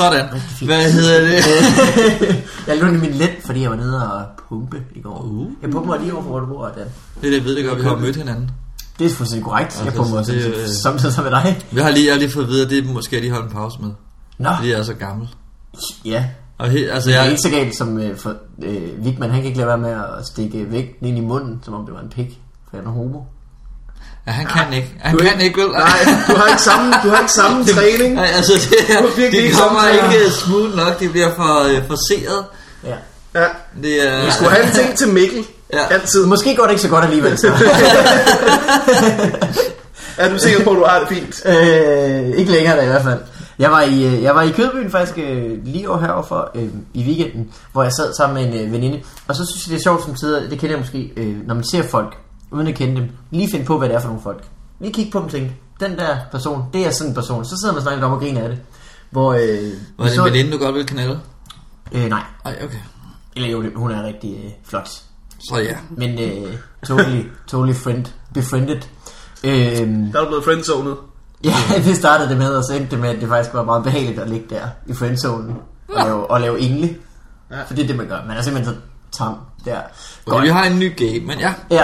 Speaker 2: Sådan. Hvad hedder det?
Speaker 3: Jeg lå i min lænd, fordi jeg var nede og pumpe i går. Uh. Jeg pumper lige over for vores bord, Dan.
Speaker 2: Det er det, jeg ved det godt, vi har mødt hinanden.
Speaker 3: Det er fuldstændig korrekt. Jeg
Speaker 2: Altså,
Speaker 3: pumper også
Speaker 2: så det, øh,
Speaker 3: samtidig som med dig.
Speaker 2: Vi har lige, jeg har lige fået at vide, at det er måske, jeg lige holdt en pause med.
Speaker 3: Nå,
Speaker 2: Fordi jeg er så gammel.
Speaker 3: ja.
Speaker 2: Og he, altså,
Speaker 3: Det er
Speaker 2: jeg,
Speaker 3: ikke så galt som øh, for, øh, Vigman, han kan ikke lade være med at stikke vægten ind i munden, som om det var en pik, for han er homo.
Speaker 2: ja, han kan ikke. Han kan ikke, vel?
Speaker 1: Nej, *laughs*
Speaker 2: *laughs*
Speaker 1: du har ikke samme, du har ikke samme træning.
Speaker 2: Nej, altså, det,
Speaker 1: Du er virkelig
Speaker 2: det
Speaker 1: ikke
Speaker 2: kommer
Speaker 1: samtaler.
Speaker 2: ikke smooth nok. Det bliver for øh, forseret.
Speaker 3: Ja.
Speaker 1: Ja.
Speaker 2: Det er...
Speaker 1: Du skulle have en ting til Mikkel.
Speaker 2: Ja.
Speaker 1: Altid.
Speaker 3: Måske går det ikke så godt alligevel, så.
Speaker 1: Er du sikker på, at du har det fint?
Speaker 3: øh, ikke længere da i hvert fald. Jeg var i, øh, jeg var i Kødbyen faktisk øh, lige over herovre for, øh, i weekenden, hvor jeg sad sammen med en øh, veninde. Og så synes jeg, det er sjovt som tider, det kender jeg måske, øh, når man ser folk, uden at kende dem, lige finde på, hvad det er for nogle folk. Lige kigge på dem og tænke, den der person, det er sådan en person. Så sidder man og snakker lidt om og griner af det. Hvor, øh, vi
Speaker 2: Var det
Speaker 3: så-
Speaker 2: en veninde, du godt ville knalde?
Speaker 3: Øh, nej,
Speaker 2: Ej, okay.
Speaker 3: eller jo, det- hun er rigtig øh, flot.
Speaker 2: Så ja.
Speaker 3: Men øh, totally, totally friend, befriended. Øh,
Speaker 1: Der er du blevet friendzonet.
Speaker 3: Ja, *laughs* det startede det med, og så endte det med, at det faktisk var meget behageligt at ligge der i friendzonen og lave, og lave engle.
Speaker 1: Ja.
Speaker 3: Ja. For det er det, man gør. Man er simpelthen så tam der.
Speaker 2: Okay, vi har en ny game, men ja.
Speaker 3: Ja.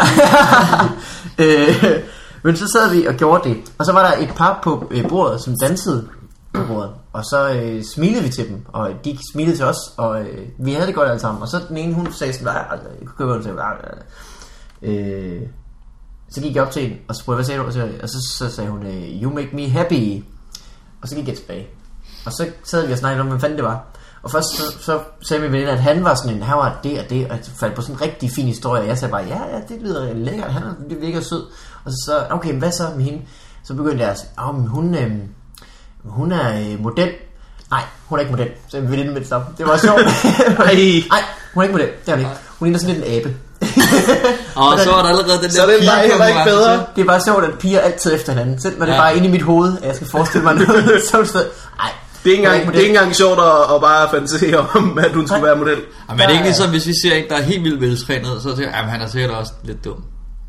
Speaker 3: *laughs* øh, men så sad vi og gjorde det, og så var der et par på øh, bordet, som dansede på bordet. Og så øh, smilede vi til dem, og de smilede til os, og øh, vi havde det godt alle sammen. Og så den ene, hun sagde sådan, nej, jeg kunne købe til, øh, så gik jeg op til hende, og så spurgte, hvad sagde du? Og så, og så, så sagde hun, øh, you make me happy. Og så gik jeg tilbage. Og så sad vi og snakkede om, hvem fanden det var. Og først så, så sagde min veninde, at han var sådan en, han var det og det, og jeg faldt på sådan en rigtig fin historie. Og jeg sagde bare, ja, ja, det lyder lækkert, han er- det virker sød. Og så, så okay, men hvad så med hende? Så begyndte jeg at sige, oh, men hun, øh, hun er øh, model. Nej, hun er ikke model. Så jeg veninde med det samme. Det var sjovt. Nej, hun er ikke model. Det er hun ikke. Hun ligner sådan lidt en abe. *laughs*
Speaker 2: Og så var der allerede den der
Speaker 1: Så er den bare heller ikke
Speaker 2: pigekonkurrence.
Speaker 1: bedre.
Speaker 3: Det er bare sjovt, at piger altid er efter hinanden. Selv når det
Speaker 2: Ja. *laughs*
Speaker 3: bare er inde i mit hoved, at jeg skal forestille mig noget. så er det sådan, ej,
Speaker 1: Det er ikke engang,
Speaker 3: Hvordan-
Speaker 1: det er ikke engang sjovt at, at bare fantasere om, at hun skulle være model.
Speaker 2: Jamen, er det ikke
Speaker 3: Nej.
Speaker 2: ligesom, hvis vi ser en, der er helt vildt veltrænet, så tænker jeg, jamen, han er sikkert også lidt dum.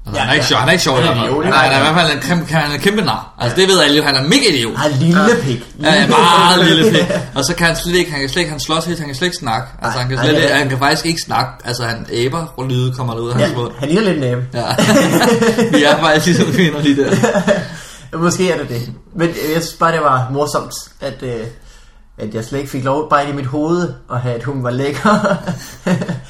Speaker 2: Altså,
Speaker 3: Ja,
Speaker 2: ja, han er ikke
Speaker 3: ja.
Speaker 2: sjov, han er ikke sjov.
Speaker 3: Han er
Speaker 2: eller noget.
Speaker 3: idiot, ikke?
Speaker 2: Nej, han er i hvert fald en kæmpe, han er en kæmpe nar. Altså, det ved alle jo, han er mega idiot.
Speaker 3: Har lille pik.
Speaker 2: Ja,
Speaker 3: *laughs*
Speaker 2: meget lille pik. Og så kan han slet ikke, han kan slet ikke, han slås helt, han kan slet ikke snakke. Altså, han kan,
Speaker 3: Ej,
Speaker 2: slet,
Speaker 3: ej,
Speaker 2: ikke,
Speaker 3: ja.
Speaker 2: han kan faktisk ikke snakke. Altså, han æber, og lyde kommer der ud af hans mund.
Speaker 3: Ja, han ligner lidt en abe.
Speaker 2: Ja. *laughs* Vi er faktisk ligesom kvinder lige der.
Speaker 3: Måske er det det. Men øh, jeg synes bare, det var morsomt, at, øh, at jeg slet ikke fik lov bare ind i mit hoved at have, at hun var
Speaker 2: *laughs*
Speaker 3: lækker.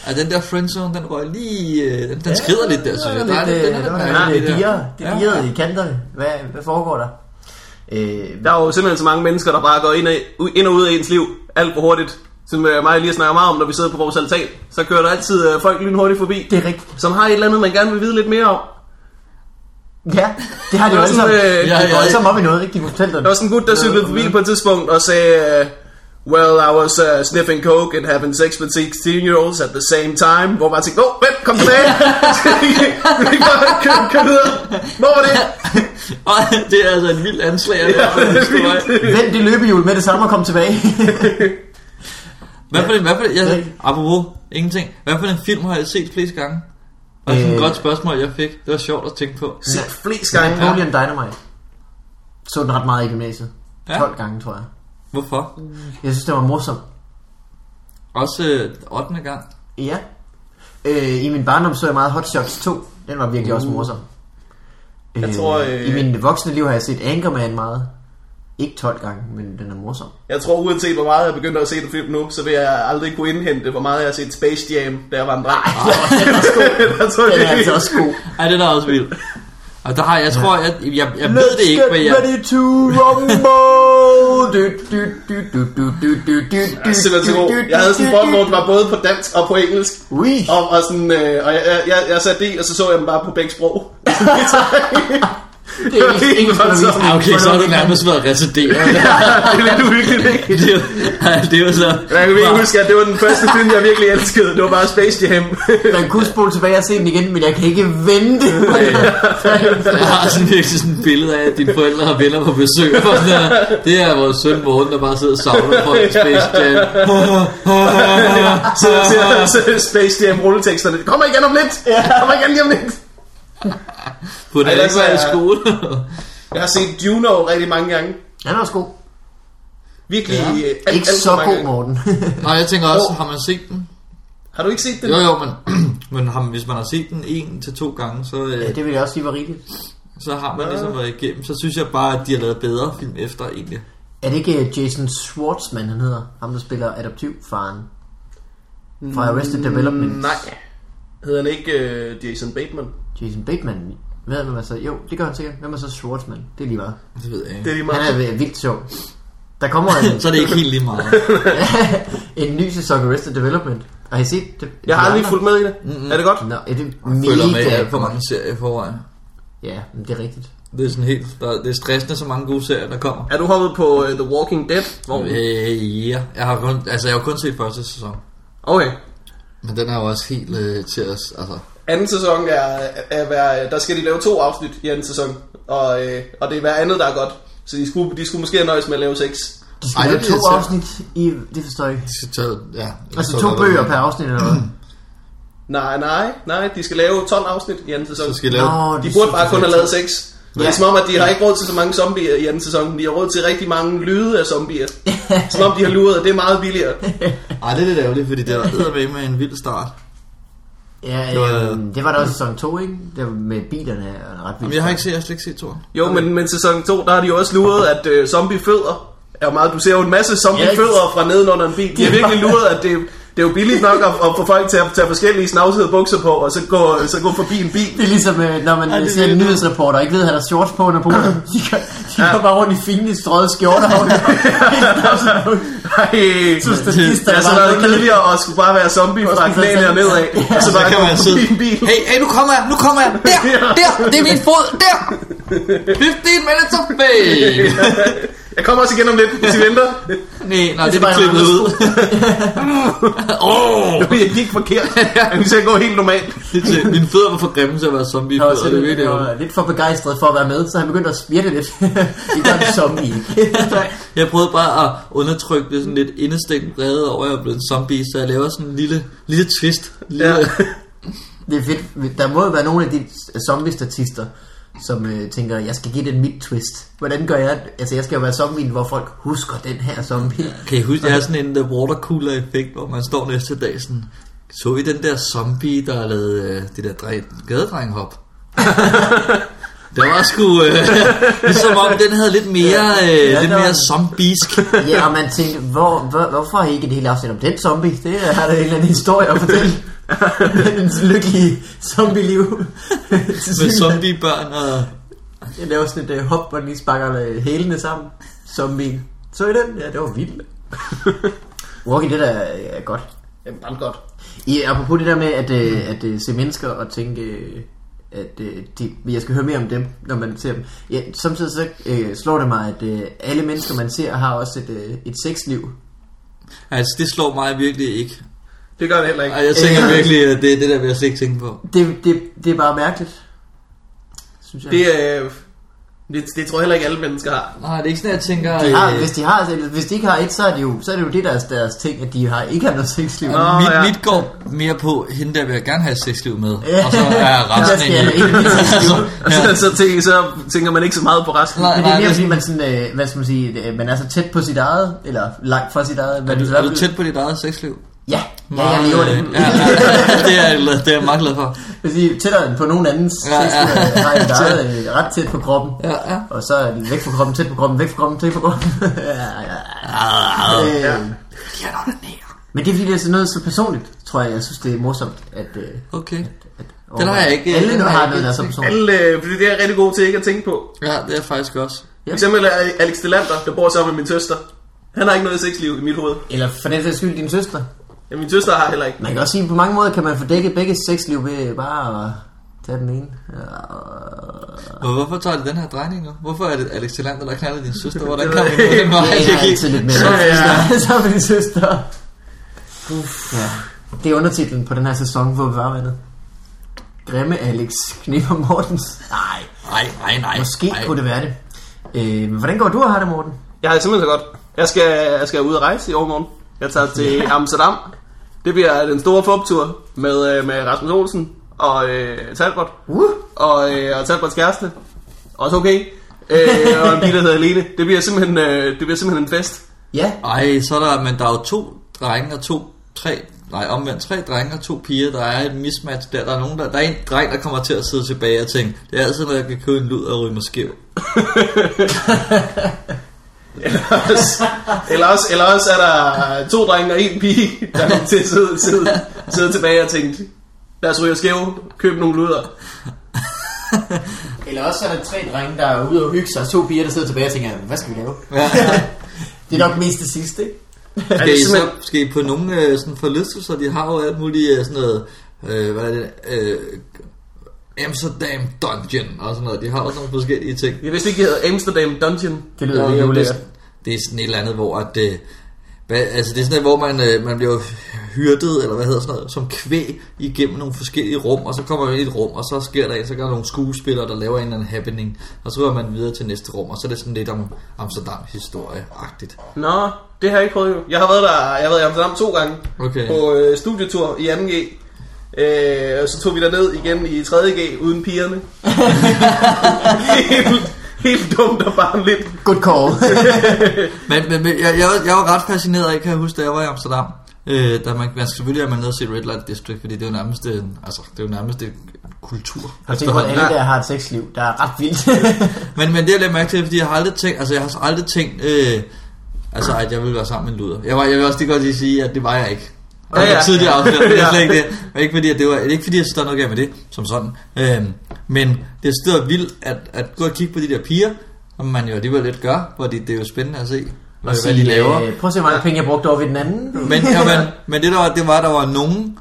Speaker 2: Og den der friendzone, den røg lige... øh, Den, den skrider lidt der, synes jeg. Der
Speaker 3: *laughs*
Speaker 2: er
Speaker 3: det,
Speaker 2: lidt-
Speaker 3: det,
Speaker 2: den er
Speaker 3: det,
Speaker 2: lidt
Speaker 3: det,
Speaker 2: mærkelig,
Speaker 3: var lidt øh,
Speaker 2: der.
Speaker 3: diger. Det
Speaker 2: Ja,
Speaker 3: diger
Speaker 2: ja.
Speaker 3: i kanterne. Hvad, hvad foregår der? Øh,
Speaker 1: Der er jo simpelthen så mange mennesker, der bare går ind og, ind og ud af ens liv alt for hurtigt. Som øh, mig lige snakker meget om, når vi sidder på vores altan, så kører der altid øh, folk lynhurtigt forbi.
Speaker 3: det er rigtigt.
Speaker 1: Som har et eller andet, man gerne vil vide lidt mere om.
Speaker 3: Ja, det har de jo
Speaker 1: Der var
Speaker 3: alle sammen.
Speaker 1: sådan, øh,
Speaker 3: De
Speaker 2: ja,
Speaker 3: går
Speaker 2: ja.
Speaker 3: alle sammen op i noget, ikke? De kunne fortælle dig.
Speaker 1: Der var sådan en gut, der cyklede forbi på et tidspunkt og sagde, øh, Well, I was uh, sniffing coke and having sex with 16-year-olds at the same time. Hvor man tænkte, åh, oh, vent, kom tilbage. Vil du ikke bare køre- køre videre? Hvor var det?
Speaker 2: Og det er altså en vild anslag. af det her,
Speaker 1: det er
Speaker 2: historie.
Speaker 1: vildt.
Speaker 3: Vend det løbehjul med det samme og kom tilbage.
Speaker 2: Hvad for en, hvad for en, jeg,
Speaker 3: Ja.
Speaker 2: apropos, ingenting. Hvad for en film har jeg set flest gange? Og det er sådan et
Speaker 3: Øh.
Speaker 2: godt spørgsmål, jeg fik. Det var sjovt at tænke på.
Speaker 1: Se flest gange.
Speaker 3: Napoleon Dynamite. Så den ret meget i gymnasiet.
Speaker 2: Ja.
Speaker 3: 12 gange, tror jeg.
Speaker 2: Hvorfor?
Speaker 3: Jeg synes, det var morsomt.
Speaker 2: Også øh, 8. gang.
Speaker 3: Ja. Øh, I min barndom så jeg meget Hot Shots 2. Den var virkelig uh. også morsom. Jeg
Speaker 1: tror, øh,
Speaker 3: I min voksne liv har jeg set Anchorman meget. Ikke 12 gange, men den er morsom.
Speaker 1: Jeg tror, uanset hvor meget jeg begynder at se den film nu, så vil jeg aldrig kunne indhente, hvor meget jeg har set Space Jam, da jeg var en dreng. *laughs* Der tror jeg
Speaker 3: Den er
Speaker 1: virkelig-
Speaker 3: altså også god.
Speaker 2: Ej, den er også vild. Og der har jeg, tror, jeg, jeg, jeg, jeg ved det ikke, men
Speaker 3: Let's get
Speaker 2: jeg...
Speaker 3: ready to rumble. Du, du, du, du, du, du, du, du,
Speaker 1: Jeg er simpelthen så god. Jeg havde sådan en bånd, hvor den var både på dansk og på engelsk.
Speaker 3: Ui.
Speaker 1: Og, og, sådan, øh, og jeg, jeg, jeg, jeg satte det, i, og så så jeg dem bare på begge sprog.
Speaker 3: *laughs* Det er engelsk-
Speaker 1: *laughs*
Speaker 3: engelsk undervisning.
Speaker 2: Ah, okay, så har du nærmest været *laughs* resideret.
Speaker 1: det er lidt uhyggeligt, ikke?
Speaker 2: det, er jo- ej, det var så...
Speaker 1: Jeg kan virkelig huske, at det var den første film, jeg virkelig elskede. Det var bare Space Jam. *laughs*
Speaker 3: *laughs* Man kunne spole tilbage og se den igen, men jeg kan ikke vente.
Speaker 2: Jeg har sådan virkelig sådan et billede af, at dine forældre har venner på besøg. *laughs* Og sådan her. det er vores søn Morten, der bare sidder og savner på en space *laughs* jam.
Speaker 1: Så jeg ser så Space Jam rulleteksterne. Det kommer igen om lidt. Kommer igen lige om lidt.
Speaker 2: På den
Speaker 1: Ej,
Speaker 2: anden
Speaker 1: det er-
Speaker 2: side i skole.
Speaker 1: Jeg har set Juno rigtig mange gange.
Speaker 3: Han er også god.
Speaker 1: Virkelig.
Speaker 2: Ja.
Speaker 1: øh, alt-
Speaker 3: Ikke
Speaker 1: alt for
Speaker 3: så
Speaker 1: mange
Speaker 3: god,
Speaker 1: gange. *laughs*
Speaker 3: Morten.
Speaker 2: Nej, jeg tænker også, har man set den?
Speaker 1: Har du ikke set den?
Speaker 2: Jo, jo, men, *clears throat* men ham, hvis man har set den en til to gange, så, øh,
Speaker 3: Ja, det vil jeg også sige var rigeligt.
Speaker 2: så har man ligesom været igennem. Så synes jeg bare, at de har lavet bedre film efter egentlig.
Speaker 3: Er det ikke øh, Jason Schwartzman, han hedder? Ham, der spiller adoptivfaren
Speaker 1: Mm.
Speaker 3: fra Arrested Development.
Speaker 1: Nej. Hedder han ikke øh, Jason Bateman?
Speaker 3: Jason Bateman. Hvad er man så? Jo, det gør han sikkert. Hvem er så Schwartzman? Det er lige meget.
Speaker 2: Det ved jeg
Speaker 1: Det er
Speaker 2: ikke.
Speaker 1: lige
Speaker 3: Han
Speaker 1: meget.
Speaker 3: er øh, vildt sjov. Der kommer
Speaker 1: *laughs*
Speaker 3: en,
Speaker 2: Så er det ikke helt lige *laughs* meget.
Speaker 3: en ny sæson Arrested Development. Har I set det?
Speaker 1: Jeg har
Speaker 3: De
Speaker 1: aldrig
Speaker 3: andre?
Speaker 1: fulgt med i det. Mm-hmm. Er det godt?
Speaker 3: Nå, er det
Speaker 2: Følger med i
Speaker 3: mega
Speaker 2: alt for mange serier i forvejen.
Speaker 3: Ja, men det er rigtigt.
Speaker 2: Det er sådan helt, der, det er stressende, så mange gode serier, der kommer.
Speaker 1: Er du hoppet på øh, The Walking Dead? Hvor...
Speaker 2: Øh, ja, jeg har kun, altså jeg har kun set første sæson.
Speaker 1: Okay.
Speaker 2: Men den er jo også helt øh, til os, altså.
Speaker 1: Anden sæson er, er hver, der skal de lave to afsnit i anden sæson, og, øh, og det er hver andet, der er godt. Så de skulle, de skulle måske nøjes med at lave seks.
Speaker 3: De skal Ej,
Speaker 2: Ej, det
Speaker 3: lave
Speaker 2: bliver
Speaker 3: to
Speaker 2: irriterende.
Speaker 3: afsnit i... Det forstår jeg ikke.
Speaker 2: Så, ja, jeg
Speaker 3: Altså
Speaker 2: forstår
Speaker 3: to
Speaker 2: godt,
Speaker 3: bøger
Speaker 2: hvad
Speaker 3: per afsnit eller hvad?
Speaker 1: Nej, nej, nej, de skal lave 12 afsnit i anden
Speaker 2: du mener.
Speaker 1: sæson.
Speaker 2: Så skal jeg lave...
Speaker 3: Nå,
Speaker 1: De burde bare
Speaker 3: synes
Speaker 1: kun
Speaker 3: jeg
Speaker 1: have lavet seks. Ja. Det
Speaker 3: Ja.
Speaker 1: er som om, at de har ikke råd til så mange zombier i anden sæson. De har råd til rigtig mange lyde af zombier. som om de har luret, og det er meget billigere.
Speaker 2: Ej, det er lidt ærgerligt, fordi det var med med en vild start.
Speaker 3: Ja,
Speaker 2: Det var-
Speaker 3: øhm, det var der også i sæson 2, ikke? Det var med bilerne og ret vildt.
Speaker 2: Jamen, jeg har ikke set, jeg har slet ikke set *laughs* Thor.
Speaker 1: Jo, men, men sæson 2, der har de jo også luret, at øh, zombiefødder er jo meget... Du ser jo en masse zombiefødder fra nedenunder en bil. De har virkelig luret, at det, det er jo billigt nok at, at få folk til at tage forskellige snavsede bukser på, og så gå, så gå forbi en bil.
Speaker 3: *laughs* Det er ligesom, øh, når man
Speaker 2: det
Speaker 3: ser
Speaker 2: er-
Speaker 3: en nyhedsreporter og ikke ved, at han har shorts på
Speaker 2: *coughs*
Speaker 3: under polen. De går, de går bare rundt i fine strøget
Speaker 2: *laughs*
Speaker 3: skjorter. og-
Speaker 1: Ej,
Speaker 3: synes, det
Speaker 1: det
Speaker 3: sidste er
Speaker 1: har så
Speaker 3: bare
Speaker 1: været
Speaker 3: lidt
Speaker 1: kedeligere at skulle bare være zombie fra
Speaker 3: Også spise
Speaker 1: knæene og
Speaker 3: sig selv.
Speaker 1: nedad. Og så
Speaker 2: Så
Speaker 1: bare
Speaker 2: Altså, kan
Speaker 1: gå
Speaker 2: man sidde...
Speaker 1: forbi en bil.
Speaker 2: Hey, hey, nu kommer jeg, nu kommer jeg! *laughs* Der, *laughs* der, det er min fod, der! 15 minutes of fame!
Speaker 1: Jeg kommer også igen om lidt, hvis I venter.
Speaker 2: Nej, nej,
Speaker 3: Det er
Speaker 2: det er
Speaker 3: bare
Speaker 2: klippet
Speaker 3: en
Speaker 2: ud. *laughs* Åh!
Speaker 1: Nu jeg gik forkert. Jeg skal gå helt normalt.
Speaker 2: Det er til- Mine fødder var for grimme til at være
Speaker 3: Jeg var,
Speaker 2: zombiefødder.
Speaker 3: selv,
Speaker 2: Det ved
Speaker 3: jeg
Speaker 2: jeg
Speaker 3: var lidt for begejstret for at være med, så han begyndte at smirte lidt. *laughs* det gør en zombie ikke.
Speaker 2: Jeg prøvede bare at undertrykke det sådan lidt indestængt vrede over, at jeg er blevet en zombie, så jeg laver sådan en lille, lille twist. Lille,
Speaker 1: Ja.
Speaker 2: ja.
Speaker 3: *laughs* Det er fedt. Der må jo være nogle af de zombie-statister, som øh, tænker, jeg skal give den mit twist. Hvordan gør jeg? Altså, jeg skal jo være zombien, hvor folk husker den her zombie.
Speaker 2: Kan I huske, jeg har sådan en der watercooler-effekt, hvor man står næste dag sådan... Så I den der zombie, der lavede øh, det der dre- gadedrenghop? *laughs* Det var sgu... Øh, *laughs* ligesom om den havde lidt mere, øh,
Speaker 3: der
Speaker 2: ja, lidt
Speaker 3: var-
Speaker 2: mere zombiesk.
Speaker 3: Ja, og man tænkte, hvor, hvor, hvorfor har I ikke et helt afsnit om den zombie? Det er- har der en eller anden historie at fortælle. Den lykkelige zombie-liv.
Speaker 2: Med zombiebørn og...
Speaker 3: Jeg laver sådan et uh, hop, hvor den lige sparker øh, hælene sammen. Zombie. Så I den? Ja, det var vildt. Walking Dead er, er godt.
Speaker 1: Jamen, bare godt.
Speaker 3: I, apropos det der med at, øh, at øh, se mennesker og tænke, øh, at øh, de, jeg skal høre mere om dem, når man ser dem. Ja, samtidig så øh, slår det mig, at øh, alle mennesker, man ser, har også et, øh, et sexliv.
Speaker 2: Altså, det slår mig virkelig ikke.
Speaker 1: Det gør det heller ikke.
Speaker 2: Ej, jeg tænker virkelig, at det er det der, vil jeg slet ikke tænke på.
Speaker 3: Det, det, det er bare mærkeligt, synes jeg.
Speaker 1: Det, øh, det, det tror jeg heller ikke alle mennesker har.
Speaker 2: Nej, Ah, det er ikke sådan, at jeg tænker...
Speaker 3: de har,
Speaker 2: øh,
Speaker 3: hvis, de har, hvis de ikke har et, så er det jo, så er det jo det deres, deres ting, at de har, ikke har noget sexliv.
Speaker 1: Nå,
Speaker 2: mit,
Speaker 1: ja.
Speaker 2: mit går mere på, hende der vil jeg gerne have et sexliv med.
Speaker 3: Ja.
Speaker 2: Og så er
Speaker 3: *laughs* Der
Speaker 2: resten
Speaker 3: skal jeg
Speaker 2: egentlig-
Speaker 3: ind i mit sexliv.
Speaker 2: *laughs* Altså,
Speaker 1: Ja. *laughs* så, tænker, så tænker man ikke så meget på resten.
Speaker 2: Nej,
Speaker 3: Men det er
Speaker 2: nej,
Speaker 3: mere
Speaker 2: det-
Speaker 3: fordi man sådan, øh, hvad skal man sige, øh, man er så tæt på sit eget, eller langt fra sit eget.
Speaker 2: Er
Speaker 3: men
Speaker 2: du,
Speaker 3: i
Speaker 2: er
Speaker 3: hvert
Speaker 2: du
Speaker 3: fald-
Speaker 2: tæt på dit eget sexliv? øh,
Speaker 3: Ja, ja, jeg lever det. *laughs*
Speaker 2: Ja, ja, *laughs* det, er, jeg glad- det er jeg meget glad for.
Speaker 3: Hvis I er tættere end på nogen andens
Speaker 2: Ja,
Speaker 3: ja,
Speaker 2: ja.
Speaker 3: ja. har I
Speaker 2: *laughs*
Speaker 3: et eget, øh, ret tæt på kroppen.
Speaker 2: Ja, ja.
Speaker 3: Og så er den væk fra kroppen, tæt på kroppen, væk fra kroppen, tæt på kroppen. *laughs* ja, ja.
Speaker 2: Ah.
Speaker 3: Øh, Men det er fordi, det er sådan noget så personligt, tror jeg. Jeg synes, det er morsomt, at... Øh,
Speaker 2: Okay.
Speaker 3: at
Speaker 2: Den har jeg ikke-
Speaker 3: Alle
Speaker 2: den
Speaker 3: nu
Speaker 2: har
Speaker 3: har
Speaker 2: jeg
Speaker 3: noget,
Speaker 2: ikke
Speaker 3: der er så
Speaker 2: tænkt.
Speaker 3: personligt.
Speaker 1: Alle, øh, fordi det er jeg rigtig god til ikke at tænke på.
Speaker 2: Ja, det er jeg faktisk også.
Speaker 1: For eksempel er Alex Delander, der bor sammen med min søster. Han har ikke noget sexliv i mit hoved.
Speaker 3: Eller for den sags skyld, din søster.
Speaker 1: Ja, min søster har heller ikke.
Speaker 3: Man kan også sige, at på mange måder kan man få dækket begge sexliv ved bare at tage den ene. Og-
Speaker 2: Og hvorfor tager det den her drejning nu? Hvorfor er det Alex Tillander, der knaldede din søster? Hvordan
Speaker 1: Det
Speaker 2: kom
Speaker 1: ved
Speaker 2: vi
Speaker 1: jeg
Speaker 2: på *laughs* den
Speaker 1: ikke.
Speaker 2: vej?
Speaker 3: Ja, jeg er altid lidt mere.
Speaker 2: Så-
Speaker 1: Ja, ja.
Speaker 3: *laughs* Så er din søster. Ja. Det er undertitlen på den her sæson, hvor vi var vandet. Grimme Alex Knipper Mortens. Nej,
Speaker 2: Nej, nej, nej.
Speaker 3: måske
Speaker 2: nej.
Speaker 3: kunne det være det. Øh, men hvordan går du og har det, Morten?
Speaker 1: Jeg har det simpelthen så godt. Jeg skal, jeg skal ud og rejse i overmorgen. Jeg tager til Amsterdam. Det bliver den store fuptur med, øh, med Rasmus Olsen og øh, Talbot.
Speaker 3: Uh,
Speaker 1: og, øh, og Talbots kæreste. Også okay. Øh, og en pige, der hedder Lene. Det bliver simpelthen, øh, det bliver simpelthen en fest.
Speaker 3: ja.
Speaker 2: Ej, så er der, men der er jo to drenge og to, tre, nej omvendt, tre drenge og to piger, der er et mismatch der. Der er, nogen, der, der er en dreng, der kommer til at sidde tilbage og tænke, det er altid, når jeg kan købe en lud og ryge mig skæv.
Speaker 1: eller, også, eller også er der to drenge og en pige, der kommer til at sidde, sidde, sidde tilbage og tænke, lad os ryge os skæve, køb nogle luder.
Speaker 3: Eller også er der tre drenge, der er ude og hygge sig, og to piger, der sidder tilbage og tænker, hvad skal vi lave?
Speaker 2: Ja, *laughs* ja.
Speaker 3: Det er nok mest det sidste, Altså, ikke?
Speaker 1: Er det
Speaker 2: Skal I så
Speaker 1: simpelthen,
Speaker 2: skal I på nogle øh, sådan forlystelser? De har jo alt muligt øh, sådan noget, øh, hvad er det, øh, Amsterdam Dungeon og sådan noget. De har også nogle forskellige ting.
Speaker 1: jeg vidste ikke, det hedder Amsterdam Dungeon.
Speaker 3: Det lyder
Speaker 2: det,
Speaker 3: mega
Speaker 2: er, det,
Speaker 3: ulækkert.
Speaker 2: er- det er sådan et eller andet, hvor at, øh, hvad, altså det er sådan et, hvor man, øh, man bliver hyrdet, eller hvad hedder sådan noget, som kvæg igennem nogle forskellige rum, og så kommer man ind i et rum, og så sker der en, så gør der nogle skuespillere, der laver en eller anden happening, og så går man videre til næste rum, og så er det sådan lidt om Amsterdam-historie-agtigt.
Speaker 1: Nå, det har jeg ikke prøvet jo. Jeg har været der, jeg har været i Amsterdam to gange
Speaker 2: Okay.
Speaker 1: på øh, studietur i 2G. Øh, og så tog vi derned igen i 3.G uden pigerne. *laughs* helt, helt dumt og bare lidt
Speaker 3: Good
Speaker 2: *laughs*
Speaker 3: call.
Speaker 2: Men, men, men jeg, jeg, var- jeg var ret fascineret af, kan jeg huske, da jeg var i Amsterdam. Øh, der man, man selvfølgelig er man nede og se Red Light District, fordi det er jo nærmest, en- altså, det er jo nærmest en kultur.
Speaker 3: Jeg tænker, at alle der har et sexliv, der er ret
Speaker 2: *laughs*
Speaker 3: vildt.
Speaker 2: Men, men det har jeg lagt mærke til, fordi jeg har aldrig tænkt, altså jeg har aldrig tænkt, øh, altså at jeg ville være sammen med en luder. Jeg, var, jeg vil også lige godt lige sige, at det var jeg ikke. Og
Speaker 1: Ja,
Speaker 2: det
Speaker 1: ja.
Speaker 2: var tidligere afsløret, men det er
Speaker 1: Ja.
Speaker 2: slet ikke det. Men ikke fordi, at det var, ikke fordi, at der er noget galt med det, som sådan. Øhm, men det er stadig vildt at, at gå og kigge på de der piger, som man jo alligevel lidt gør, fordi det er jo spændende at se, hvad, hvad de laver. Mm.
Speaker 3: Øh, prøv at se, hvor mange penge jeg brugte over ved den anden.
Speaker 2: Men, ja, men, men det der var, det var, at der var nogen,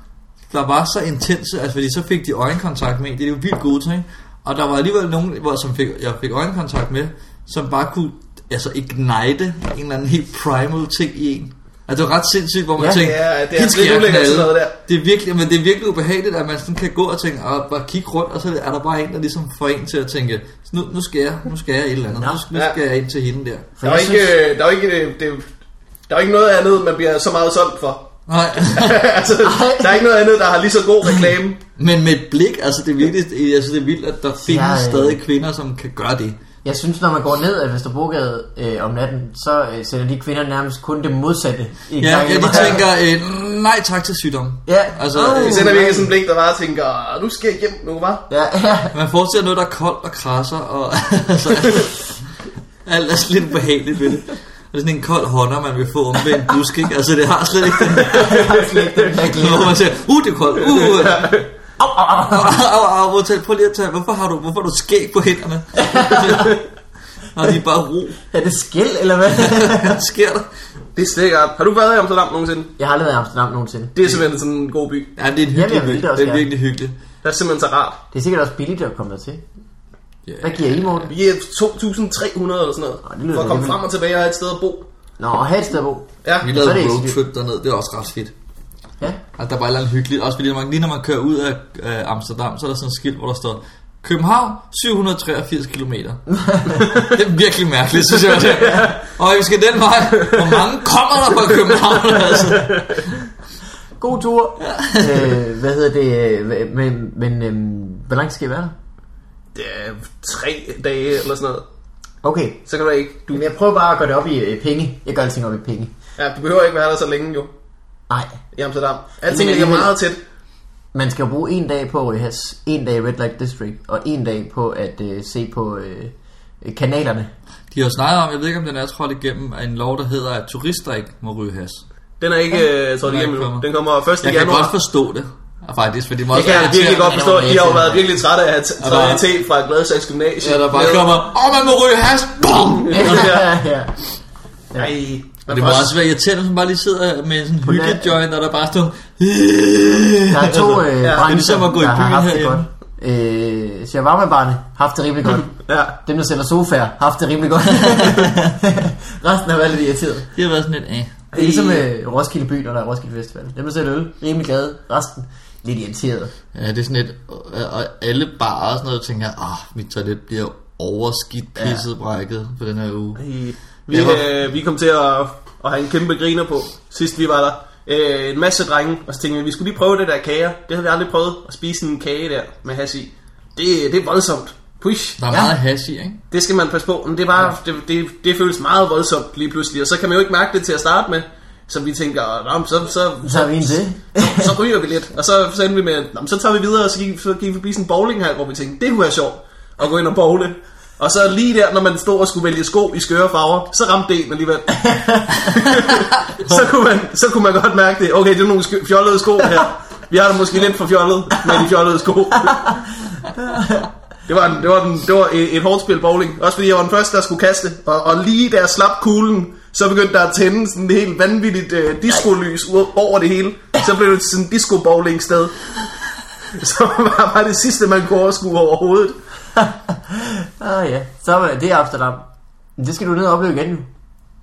Speaker 2: der var så intense, altså fordi så fik de øjenkontakt med en, det er jo vildt gode ting, og der var alligevel nogen, hvor, som fik, jeg fik øjenkontakt med, som bare kunne altså ignite en eller anden helt primal ting i en. Altså det er ret sindssygt, hvor man
Speaker 3: Ja,
Speaker 2: tænker,
Speaker 1: ja, det er altså
Speaker 2: "Hende skal
Speaker 1: lidt
Speaker 2: jeg
Speaker 1: ulækkert sådan
Speaker 2: knalde."
Speaker 1: noget der.
Speaker 2: Det er virkelig, men det er virkelig ubehageligt, at man sådan kan gå og tænke, og bare kigge rundt, og så er der bare en, der ligesom får en til at tænke, nu, nu skal jeg, nu skal jeg et eller andet, nu, nu
Speaker 1: Ja.
Speaker 2: skal jeg ind til hende der.
Speaker 1: Der er jo
Speaker 3: jeg
Speaker 1: ikke, øh, der er jo ikke, øh, det, er jo- der er jo ikke noget andet, man bliver så meget solgt for. *laughs*
Speaker 2: Nej.
Speaker 1: altså,
Speaker 3: Ej.
Speaker 1: der er ikke noget andet, der har lige så god reklame.
Speaker 2: Men med et blik, altså det er virkelig, jeg synes det er vildt, at der findes
Speaker 3: Ja,
Speaker 2: ja,
Speaker 3: ja.
Speaker 2: stadig kvinder, som kan gøre det.
Speaker 3: Jeg synes, når man går ned ad Vesterbrogade øh, om natten, så øh, sætter de kvinder nærmest kun det modsatte. I
Speaker 2: Ja,
Speaker 3: gang.
Speaker 2: ja de tænker, øh, nej tak til sygdom.
Speaker 3: *laughs* Ja.
Speaker 2: Altså,
Speaker 3: Åh.
Speaker 2: øh,
Speaker 1: Det sender virkelig sådan en blik, der bare tænker, "Ah, nu skal jeg hjem nu, hva'?
Speaker 3: Ja, ja.
Speaker 2: man forestiller noget, der er koldt og krasser, og *laughs* altså, alt er sådan lidt ubehageligt ved det. Det er sådan en kold hånder, man vil få om ved en busk, ikke? Altså, det har slet ikke den der, hvor man siger, uh, det er koldt, uh, uh. Au, au, au, au, au, au, modtag, prøv lige at tage, hvorfor har du, hvorfor har du skæg på
Speaker 3: *laughs*
Speaker 2: hænderne? og de er bare ro. *laughs*
Speaker 3: Er det skæld, eller hvad?
Speaker 2: Hvad sker der?
Speaker 1: Det er sikkert. Har du været i Amsterdam nogensinde?
Speaker 3: jeg har aldrig været i Amsterdam nogensinde.
Speaker 1: Det er simpelthen sådan en god by.
Speaker 2: Ja, det er en
Speaker 3: Jamen,
Speaker 2: hyggelig
Speaker 3: jeg vil
Speaker 2: by.
Speaker 3: da også
Speaker 2: Det er
Speaker 3: gerne.
Speaker 2: virkelig hyggeligt.
Speaker 1: Det er simpelthen så rart.
Speaker 3: Det er sikkert også billigt at komme dertil.
Speaker 2: Ja.
Speaker 3: Hvad giver I, Morten?
Speaker 1: Vi er 2.300 eller sådan noget.
Speaker 3: det lyder
Speaker 1: for at komme
Speaker 3: rimelig.
Speaker 1: frem og tilbage og have et sted at bo.
Speaker 3: Nå, og have et sted at bo.
Speaker 1: Ja.
Speaker 2: Vi
Speaker 3: Så er det
Speaker 2: lavede
Speaker 3: ikke
Speaker 2: roadtrip derned, det er også ret fedt.
Speaker 3: Ja.
Speaker 2: Altså, der er bare et eller andet hyggeligt. Også fordi, når man, lige når man kører ud af øh, Amsterdam, så er der sådan et skilt, hvor der står København, 783 km.
Speaker 1: *laughs*
Speaker 2: det er virkelig mærkeligt, synes jeg. Det. Og vi skal den vej. Hvor mange kommer der fra København? Altså?
Speaker 3: God tur. *laughs* øh, hvad hedder det? øh, Men, men øhm, hvor langt skal I være der?
Speaker 1: Det er tre dage eller sådan noget.
Speaker 3: Okay.
Speaker 1: Så kan du ikke. Du,
Speaker 3: Jamen, jeg prøver bare at gøre det op i øh, penge. Jeg gør alting op i penge.
Speaker 1: ja, du behøver ikke være der så længe jo.
Speaker 3: Nej.
Speaker 1: I Amsterdam. Alting
Speaker 3: Men
Speaker 1: ligger
Speaker 3: alligevel-
Speaker 1: meget tæt.
Speaker 3: Man skal jo bruge en dag på at ryge has, en dag i Red Light District, og en dag på at øh, se på øh, øh, kanalerne.
Speaker 2: De har jo snakket om, jeg ved ikke om den er trådt igennem, af en lov, der hedder, at turister ikke må ryge has.
Speaker 1: Den er ikke øh, trådt
Speaker 2: Nej,
Speaker 1: igennem
Speaker 2: kommer.
Speaker 1: nu. Den kommer 1.
Speaker 2: Jeg kan
Speaker 1: januar.
Speaker 2: godt forstå det, faktisk, fordi man
Speaker 1: Det kan jeg virkelig godt forstå. I har jo været virkelig trætte af at t-
Speaker 2: Og
Speaker 1: 3.
Speaker 2: der-
Speaker 1: T fra Gladsaxe Gymnasium.
Speaker 2: Ja, der bare
Speaker 1: Ned.
Speaker 2: kommer, åh, man må ryge has,
Speaker 3: *laughs*
Speaker 2: bum!
Speaker 3: ja. ja.
Speaker 1: Ej,
Speaker 2: Og
Speaker 1: man
Speaker 2: det
Speaker 1: får
Speaker 2: må
Speaker 1: også-
Speaker 2: også være irriterende, hvis man bare lige sidder med sådan en
Speaker 3: På land.
Speaker 2: hyggejoint, og der bare står... Altså,
Speaker 3: Der er to øh,
Speaker 1: det er
Speaker 3: ja, brancher,
Speaker 2: ligesom at gå i
Speaker 3: der har
Speaker 2: byen
Speaker 3: haft det
Speaker 2: herhjemme.
Speaker 3: godt. Øh, shawarma-barne haft det rimelig
Speaker 2: *laughs*
Speaker 3: godt.
Speaker 1: Ja.
Speaker 3: Dem, der sælger sofaer, haft det rimelig godt. Resten har været lidt irriteret.
Speaker 2: Det har været sådan lidt af.
Speaker 3: Det er ligesom øh, Roskilde by, når der er Roskilde Festival. Dem, der sælger øl, rimelig glade. Resten, lidt irriteret.
Speaker 2: Ja, det er sådan lidt... og- Og alle bare og sådan noget, tænker, ah, mit toilet bliver overskidt, pisset, brækket på den her uge.
Speaker 1: I- Vi,
Speaker 2: Jeg var-
Speaker 1: øh, vi kom til at, at have en kæmpe griner på, sidst vi var der. Øh, en masse drenge, og så tænkte vi, vi skulle lige prøve det der kager. Det havde vi aldrig prøvet, at spise en kage der med has i. Det, det er voldsomt. Push.
Speaker 2: Der er
Speaker 3: Ja.
Speaker 2: meget hash i, ikke?
Speaker 1: Det skal man passe på. Men det, er bare, det, det, det føles meget voldsomt lige pludselig, og så kan man jo ikke mærke det til at starte med. Så vi tænker, "Nå, men så, så,
Speaker 3: Så har vi en til.
Speaker 1: så, så ryger vi lidt. Og så, så endte vi med, "Nå, men så tager vi videre, og så gik, så gik vi forbi sådan en bowlinghal, hvor vi tænkte, det kunne være sjovt at gå ind og bowle. Og så lige der, når man stod og skulle vælge sko i skøre farver, så ramte det en alligevel. så, kunne man, så kunne man godt mærke det. Okay, det er nogle skø- fjollede sko her. Vi har det måske lidt for fjollet med de fjollede sko. Det var, en, det var, en, det var et, et hårdt spil bowling. Også fordi jeg var den første, der skulle kaste. Og, og lige da jeg slap kuglen, så begyndte der at tænde sådan et helt vanvittigt øh, disco-lys ud- over det hele. Så blev det sådan et disco-bowling sted. *laughs* Så var, var det sidste, man kunne overskue overhovedet.
Speaker 3: ah ja, så er det Amsterdam. Men det skal du ned og opleve igen nu.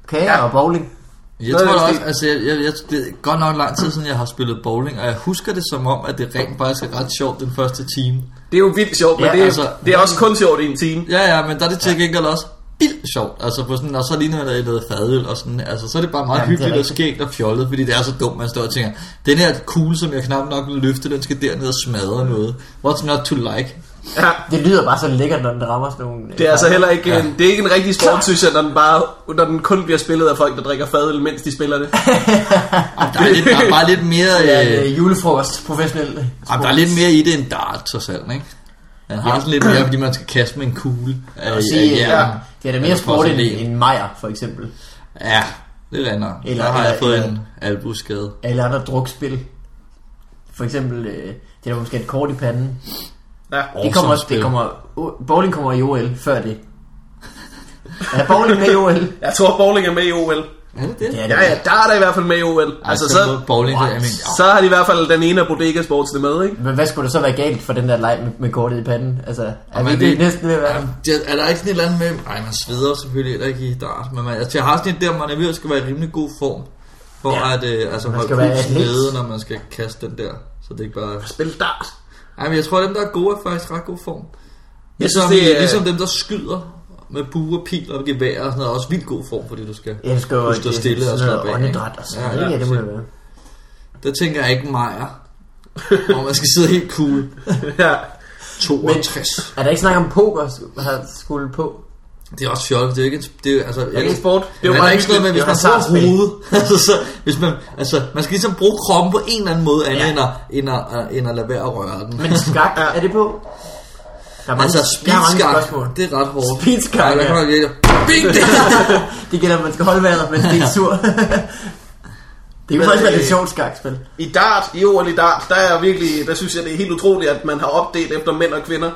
Speaker 3: Kager
Speaker 1: Ja.
Speaker 3: ja. og bowling.
Speaker 2: Jeg
Speaker 1: Noget
Speaker 2: tror
Speaker 1: i
Speaker 2: da
Speaker 1: den
Speaker 2: også,
Speaker 1: stil.
Speaker 2: altså jeg, jeg, jeg, det er godt nok lang tid siden, jeg har spillet bowling, og jeg husker det som om, at det rent faktisk er ret sjovt den første time.
Speaker 1: Det er jo vildt sjovt, men
Speaker 3: Ja,
Speaker 1: ja, det, er, altså,
Speaker 2: altså,
Speaker 1: det er også kun sjovt i en time.
Speaker 2: Ja, ja, men der er det til gengæld også vildt sjovt. Altså på sådan, og så lige når der er noget fadøl og sådan, altså så er det bare meget
Speaker 3: Jamen, det er
Speaker 2: hyggeligt og
Speaker 3: rigtigt.
Speaker 2: skægt og fjollet, fordi det er så dumt, man står og tænker, den her kugle, som jeg knap nok vil løfte, den skal derned og smadre noget. What's not to like?
Speaker 1: Ja,
Speaker 3: Det lyder bare så lækkert, når den rammer sådan nogle... øh,
Speaker 1: det er altså heller ikke
Speaker 2: Ja.
Speaker 1: en, det er ikke en rigtig sport, synes jeg, når den, bare, når den kun bliver spillet af folk, der drikker fadøl, mens de spiller det.
Speaker 2: Jamen, der, er lidt, der er bare lidt mere,
Speaker 3: Det er en
Speaker 2: øh,
Speaker 3: øh, julefrokost, professionel.
Speaker 2: jamen, der er lidt mere i det end dart, trods alt, ikke? Den har sådan lidt mere, fordi man skal kaste med en kugle. af-
Speaker 3: Og
Speaker 2: af
Speaker 3: sige, ja,
Speaker 2: hjernen.
Speaker 3: det er da mere
Speaker 2: øh, Eller
Speaker 3: sport end,
Speaker 2: porcelæn.
Speaker 3: end Meyer, for eksempel.
Speaker 2: Ja, det render.
Speaker 3: Eller-
Speaker 2: Eller, der har jeg
Speaker 3: eller-
Speaker 2: fået
Speaker 3: eller-
Speaker 2: en albuskade.
Speaker 3: Alle andre drukspil. For eksempel, øh, det er der måske et kort i panden.
Speaker 1: Ja.
Speaker 3: Det kommer, også,
Speaker 2: Awesome
Speaker 3: det kommer, uh, bowling kommer i OL før det. Er bowling med i OL?
Speaker 1: Jeg tror, bowling er med i OL.
Speaker 2: Er det det?
Speaker 3: Ja,
Speaker 1: Ja, ja, der er der i hvert fald med i OL.
Speaker 2: Ej,
Speaker 1: altså,
Speaker 2: så,
Speaker 1: så,
Speaker 2: så bowling, så,
Speaker 3: What?
Speaker 2: jeg mener,
Speaker 1: så har de i hvert fald den ene af Bodega Sportsene med, ikke?
Speaker 3: Men hvad skulle der så være galt for den der leg med, med kortet i panden? Altså, er
Speaker 2: Jamen,
Speaker 3: vi det, næsten ved at være...
Speaker 2: Ja, er der ikke sådan et eller andet med, nej, man sveder selvfølgelig heller ikke i dart, men man, altså, jeg har sådan et der, man er ved at skal være i rimelig god form, for ja. at øh, altså, holde
Speaker 3: skal være
Speaker 2: pulsen
Speaker 3: atlet.
Speaker 2: nede, når man skal kaste den der. Så det er ikke bare...
Speaker 1: Spil dart.
Speaker 2: Ej, men jeg tror, at dem, der er gode, er faktisk i ret god form.
Speaker 1: Jeg
Speaker 2: Ligesom,
Speaker 1: synes,
Speaker 2: jeg
Speaker 1: det
Speaker 2: synes,
Speaker 1: er-
Speaker 2: ligesom dem, der skyder med bue og pil og gevær og sådan noget, er også vildt god form, fordi du skal
Speaker 3: Jeg skal jo
Speaker 2: Du står stille og
Speaker 3: sådan noget
Speaker 2: slapper af, ikke?
Speaker 3: åndedræt og sådan
Speaker 2: Ja,
Speaker 3: noget.
Speaker 2: ja,
Speaker 3: Ja, det må det være.
Speaker 2: Der tænker jeg ikke Majer. Hvor man skal sidde helt cool.
Speaker 1: ja.
Speaker 2: 62.
Speaker 3: Er der ikke snak om poker sk- har skulle på?
Speaker 2: Men, det er også fjollet. Det er jo ikke en, det er, jo- altså,
Speaker 1: Er det en sport? Det
Speaker 2: Det er jo bare ikke sådan noget med,
Speaker 1: hyggeligt.
Speaker 2: hvis man
Speaker 3: Det er jo
Speaker 2: bruger hovedet. *laughs* altså, så, hvis man, altså, man skal ligesom bruge kroppen på en eller anden måde, andet ja. end, at, end, at, øh, end at lade være at røre den.
Speaker 3: Men skak, er det på? Der er mange,
Speaker 2: altså,
Speaker 3: der er mange
Speaker 2: speedskak,
Speaker 3: spørgsmål.
Speaker 2: det er ret hårdt.
Speaker 3: Speedskak,
Speaker 2: Ej, der
Speaker 3: ja.
Speaker 2: kommer lige et- *laughs* Bing! Det
Speaker 3: *laughs* Det gælder, at man skal holde vejret, men *laughs* det er sur. det kunne
Speaker 1: Men,
Speaker 3: faktisk være
Speaker 1: øh,
Speaker 3: lidt sjovt skakspil.
Speaker 1: I dart, i OL i dart, der er virkelig, der synes jeg, det er helt utroligt, at man har opdelt efter mænd og kvinder.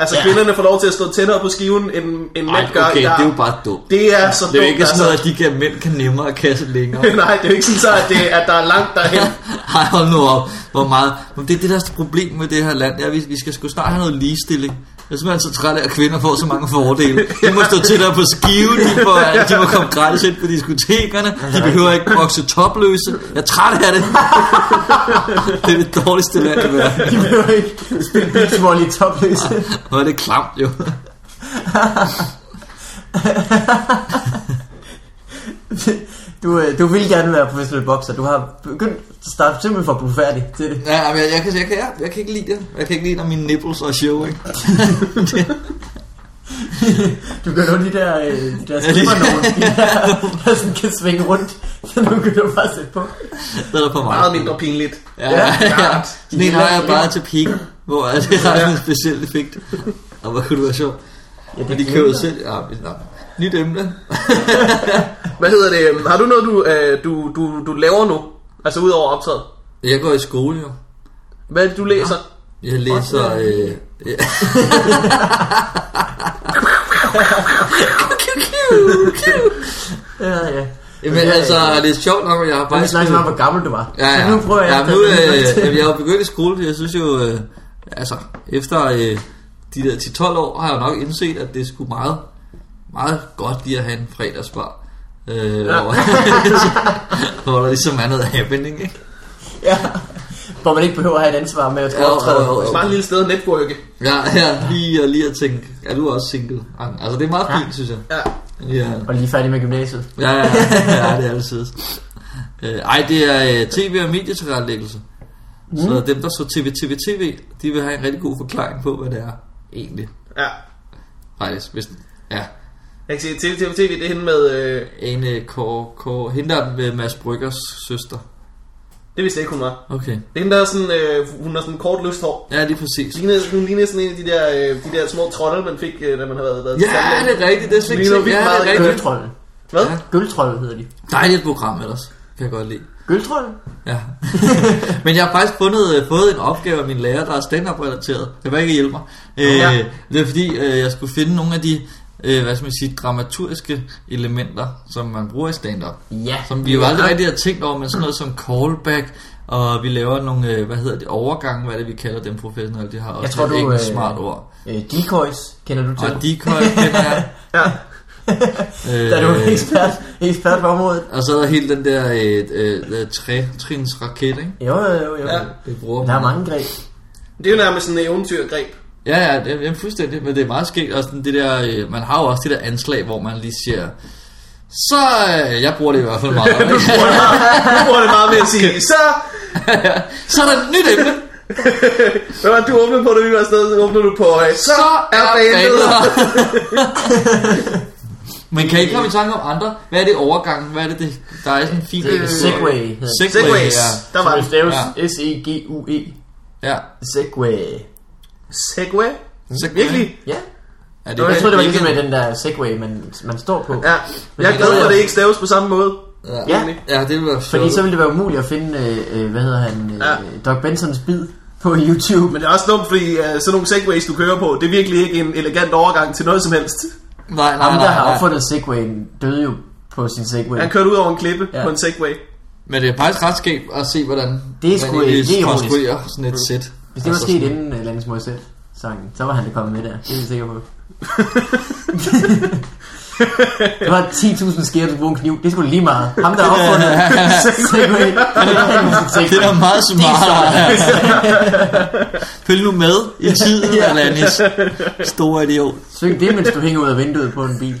Speaker 1: Altså,
Speaker 3: Ja.
Speaker 1: ja. kvinderne får lov til at stå tættere på skiven, end, end
Speaker 2: Ej,
Speaker 1: mænd gør
Speaker 2: okay,
Speaker 1: i dart.
Speaker 2: det er jo bare dumt.
Speaker 1: Det er så dumt,
Speaker 2: Det er jo ikke sådan
Speaker 1: altså.
Speaker 2: noget, at de kan, mænd kan nemmere kaste
Speaker 1: *laughs*
Speaker 2: længere.
Speaker 1: Nej, det er jo ikke sådan så, at, det, at der er langt derhen.
Speaker 2: Ej, hold nu op. Hvor meget. Men det er det, der er problem med det her land. Det er, at vi, vi skal sgu snart have noget ligestilling. Jeg er simpelthen så træt af, at kvinder får så mange fordele. De må stå til der på skiven, de, får, de må komme gratis ind på diskotekerne, de behøver ikke vokse topløse. Jeg er træt af det. Det er det dårligste land i verden.
Speaker 3: De behøver ikke spille beach volley i topløse. *laughs*
Speaker 2: Hvor er det klamt, jo.
Speaker 3: Du, øh, du vil gerne være professionel bokser. Du har begyndt at starte simpelthen for at blive færdig til det.
Speaker 2: Ja, men jeg, jeg, kan, jeg, kan, jeg, jeg kan ikke lide det. Jeg kan ikke lide, når mine nipples er show, ikke?
Speaker 3: Du gør nu de der, øh, de der
Speaker 2: Ja, de-
Speaker 3: slipper nogen, de
Speaker 2: *laughs*
Speaker 3: der, der sådan kan svinge rundt. Så nu kan du bare sætte på.
Speaker 2: Det er der for mig.
Speaker 1: Meget mindre pinligt.
Speaker 2: Ja, ja. Sådan en
Speaker 3: Ja,
Speaker 2: har jeg
Speaker 3: ja.
Speaker 2: bare til pigge, hvor er *laughs* det har sådan en speciel effekt. Og hvor kunne det være sjovt.
Speaker 3: Ja,
Speaker 2: Men de kører jo selv. Ja, vi snakker. Nyt emne.
Speaker 1: Hvad hedder det? Har du noget, du, øh, du, du, du laver nu? Altså, ud over optaget.
Speaker 2: Jeg går i skole jo.
Speaker 1: Hvad er det, du læser?
Speaker 2: Jeg læser... Øh, *laughs* ja.
Speaker 3: Ja, ja.
Speaker 2: Jamen altså, det er sjovt nok, at jeg har
Speaker 3: Jeg vil
Speaker 2: faktisk...
Speaker 3: snakke om, hvor gammel du var.
Speaker 2: Ja, ja.
Speaker 3: Så nu prøver jeg.
Speaker 2: ja,
Speaker 3: at-
Speaker 2: nu, øh, jamen, jeg er jo begyndt i skole, fordi jeg synes jo, øh, altså, efter øh, de der 10-12 år, har jeg jo nok indset, at det skulle meget, meget godt lige at have en fredagsbar. Øh, ja. hvor, *laughs* hvor der ligesom er noget happening, ikke?
Speaker 3: ja. Hvor man ikke behøver at have et ansvar med at
Speaker 2: Jo,
Speaker 3: optræde.
Speaker 2: jo, jo.
Speaker 1: Bare et lille sted at netværke.
Speaker 2: Ja, ja, lige, og lige at tænke, er du også single? Altså, det er meget fint, synes jeg.
Speaker 1: Ja.
Speaker 2: Ja,
Speaker 3: Og lige færdig med gymnasiet.
Speaker 2: ja, ja, ja det er altid. Øh, ej, det er øh, tv- og medietilrettelæggelse.
Speaker 1: Mm.
Speaker 2: Så dem, der så tv, tv, tv, de vil have en rigtig god forklaring på, hvad det er egentlig.
Speaker 1: ja.
Speaker 2: Faktisk, hvis Ja,
Speaker 1: Jeg kan se, TV, TV, TV, det er hende med... Øh,
Speaker 2: Ane Kåre, Kåre hende der med Mads Bryggers søster.
Speaker 1: det vidste jeg ikke, hun var.
Speaker 2: Okay.
Speaker 1: Det er hende, der er sådan, øh, hun har sådan kort lyst hår.
Speaker 2: Ja, lige præcis.
Speaker 1: Ligner- Hun ligner sådan en af de der, øh, de der små trolde, man fik, øh, da man havde været, været til
Speaker 2: Ja,
Speaker 1: tandlæge.
Speaker 2: det er rigtigt, det er slet ikke
Speaker 1: Ligner
Speaker 2: tænkt.
Speaker 1: vildt
Speaker 2: Ja,
Speaker 1: meget
Speaker 2: det er rigtigt.
Speaker 3: Gøltrollen.
Speaker 1: Hvad?
Speaker 2: Ja.
Speaker 3: Gøltrollen hedder de.
Speaker 2: Dejligt program ellers, kan jeg godt lide.
Speaker 3: Gøltrollen?
Speaker 2: Ja. *laughs* Men jeg har faktisk fundet, øh, fået en opgave af min lærer, der er stand-up relateret. Det var ikke hjælpe mig. Øh,
Speaker 1: Ja.
Speaker 2: Det er fordi, øh, jeg skulle finde nogle af de øh, hvad skal man sige, dramaturgiske elementer, som man bruger i stand-up.
Speaker 3: Ja.
Speaker 2: Som vi jo aldrig rigtig har tænkt over, men sådan noget som callback, og vi laver nogle, øh, hvad hedder det, overgange, hvad er det vi kalder dem professionelle, de har også
Speaker 3: Jeg tror,
Speaker 2: et
Speaker 3: du,
Speaker 2: engelsk
Speaker 3: øh,
Speaker 2: smart ord.
Speaker 3: Øh, decoys, kender du til?
Speaker 2: Og decoy, kender
Speaker 3: *laughs*
Speaker 2: jeg.
Speaker 1: Ja.
Speaker 2: Øh,
Speaker 3: Der er du ekspert, ekspert på området.
Speaker 2: og så er der hele den der øh, øh, tre-trins raket, ikke?
Speaker 3: Jo, jo, jo. jo.
Speaker 1: Ja.
Speaker 2: Det bruger
Speaker 3: Der
Speaker 2: man.
Speaker 3: er mange greb.
Speaker 1: Det er jo nærmest sådan et eventyrgreb.
Speaker 2: Ja, ja, det er jamen, fuldstændig, men det er meget skægt. Og sådan det der, øh, man har jo også det der anslag, hvor man lige siger, så øh, jeg bruger det i hvert fald
Speaker 3: *laughs*
Speaker 2: meget. ikke?
Speaker 1: Nu bruger det meget med *laughs* at sige, så...
Speaker 2: så er der et nyt emne,
Speaker 1: Hvad var det, du åbnede på, da vi var afsted? Så åbnede du på, øh, så,
Speaker 2: så
Speaker 1: er bandet...
Speaker 3: *laughs*
Speaker 2: Men kan I ikke komme i tanke om andre? Hvad er det overgangen? Hvad er det, det der er sådan en fin...
Speaker 3: Det er Segway, hedder det.
Speaker 2: Segway,
Speaker 1: Segways. Øh,
Speaker 2: ja.
Speaker 1: Der var
Speaker 3: Som
Speaker 1: det.
Speaker 3: det staves E
Speaker 2: Ja.
Speaker 3: S-E-G-U-E.
Speaker 2: ja.
Speaker 3: Segway.
Speaker 1: Segway?
Speaker 2: Segway.
Speaker 1: Virkelig?
Speaker 3: Ja.
Speaker 2: Er
Speaker 3: Det var, jeg troede, det var
Speaker 2: ikke-
Speaker 3: ligesom med den der Segway, man, man står på.
Speaker 1: Ja. Jeg er glad for, at det ikke staves på samme måde.
Speaker 2: Ja,
Speaker 3: Ja.
Speaker 2: ja det var sjovt.
Speaker 3: ligesom- Fordi så ville det være umuligt at finde, øh, øh, hvad hedder han, øh, ja. Doc Bensons bid på *laughs* YouTube.
Speaker 1: Men det er også dumt, fordi uh, sådan nogle segways, du kører på, det er virkelig ikke en elegant overgang til noget som helst.
Speaker 2: Nej, nej,
Speaker 3: Ham,
Speaker 2: nej,
Speaker 3: der har
Speaker 2: nej.
Speaker 3: opfundet Segwayen, døde jo på sin Segway.
Speaker 1: Han kørte ud over en klippe
Speaker 3: Ja.
Speaker 1: ja. på en Segway.
Speaker 2: Men det er faktisk ret skægt at se, hvordan
Speaker 3: Det er sgu-
Speaker 2: man egentlig
Speaker 3: det er ironisk.
Speaker 2: konstruerer sådan et sæt.
Speaker 3: Hvis det var
Speaker 2: Altså
Speaker 3: sket
Speaker 2: sådan-
Speaker 3: inden uh, Landis Morissette sangen, så var han da kommet med der. Det er vi sikre på. det var 10.000 skærer, du bruger en kniv. Det skulle lige meget. Ham, der har opfundet Segway. Han er en
Speaker 2: Det er da
Speaker 3: Segway.
Speaker 2: meget smart. Følg nu med i tiden, ja. Alanis. Stor idiot.
Speaker 3: Syng det, mens du hænger ud af vinduet på en bil. *laughs*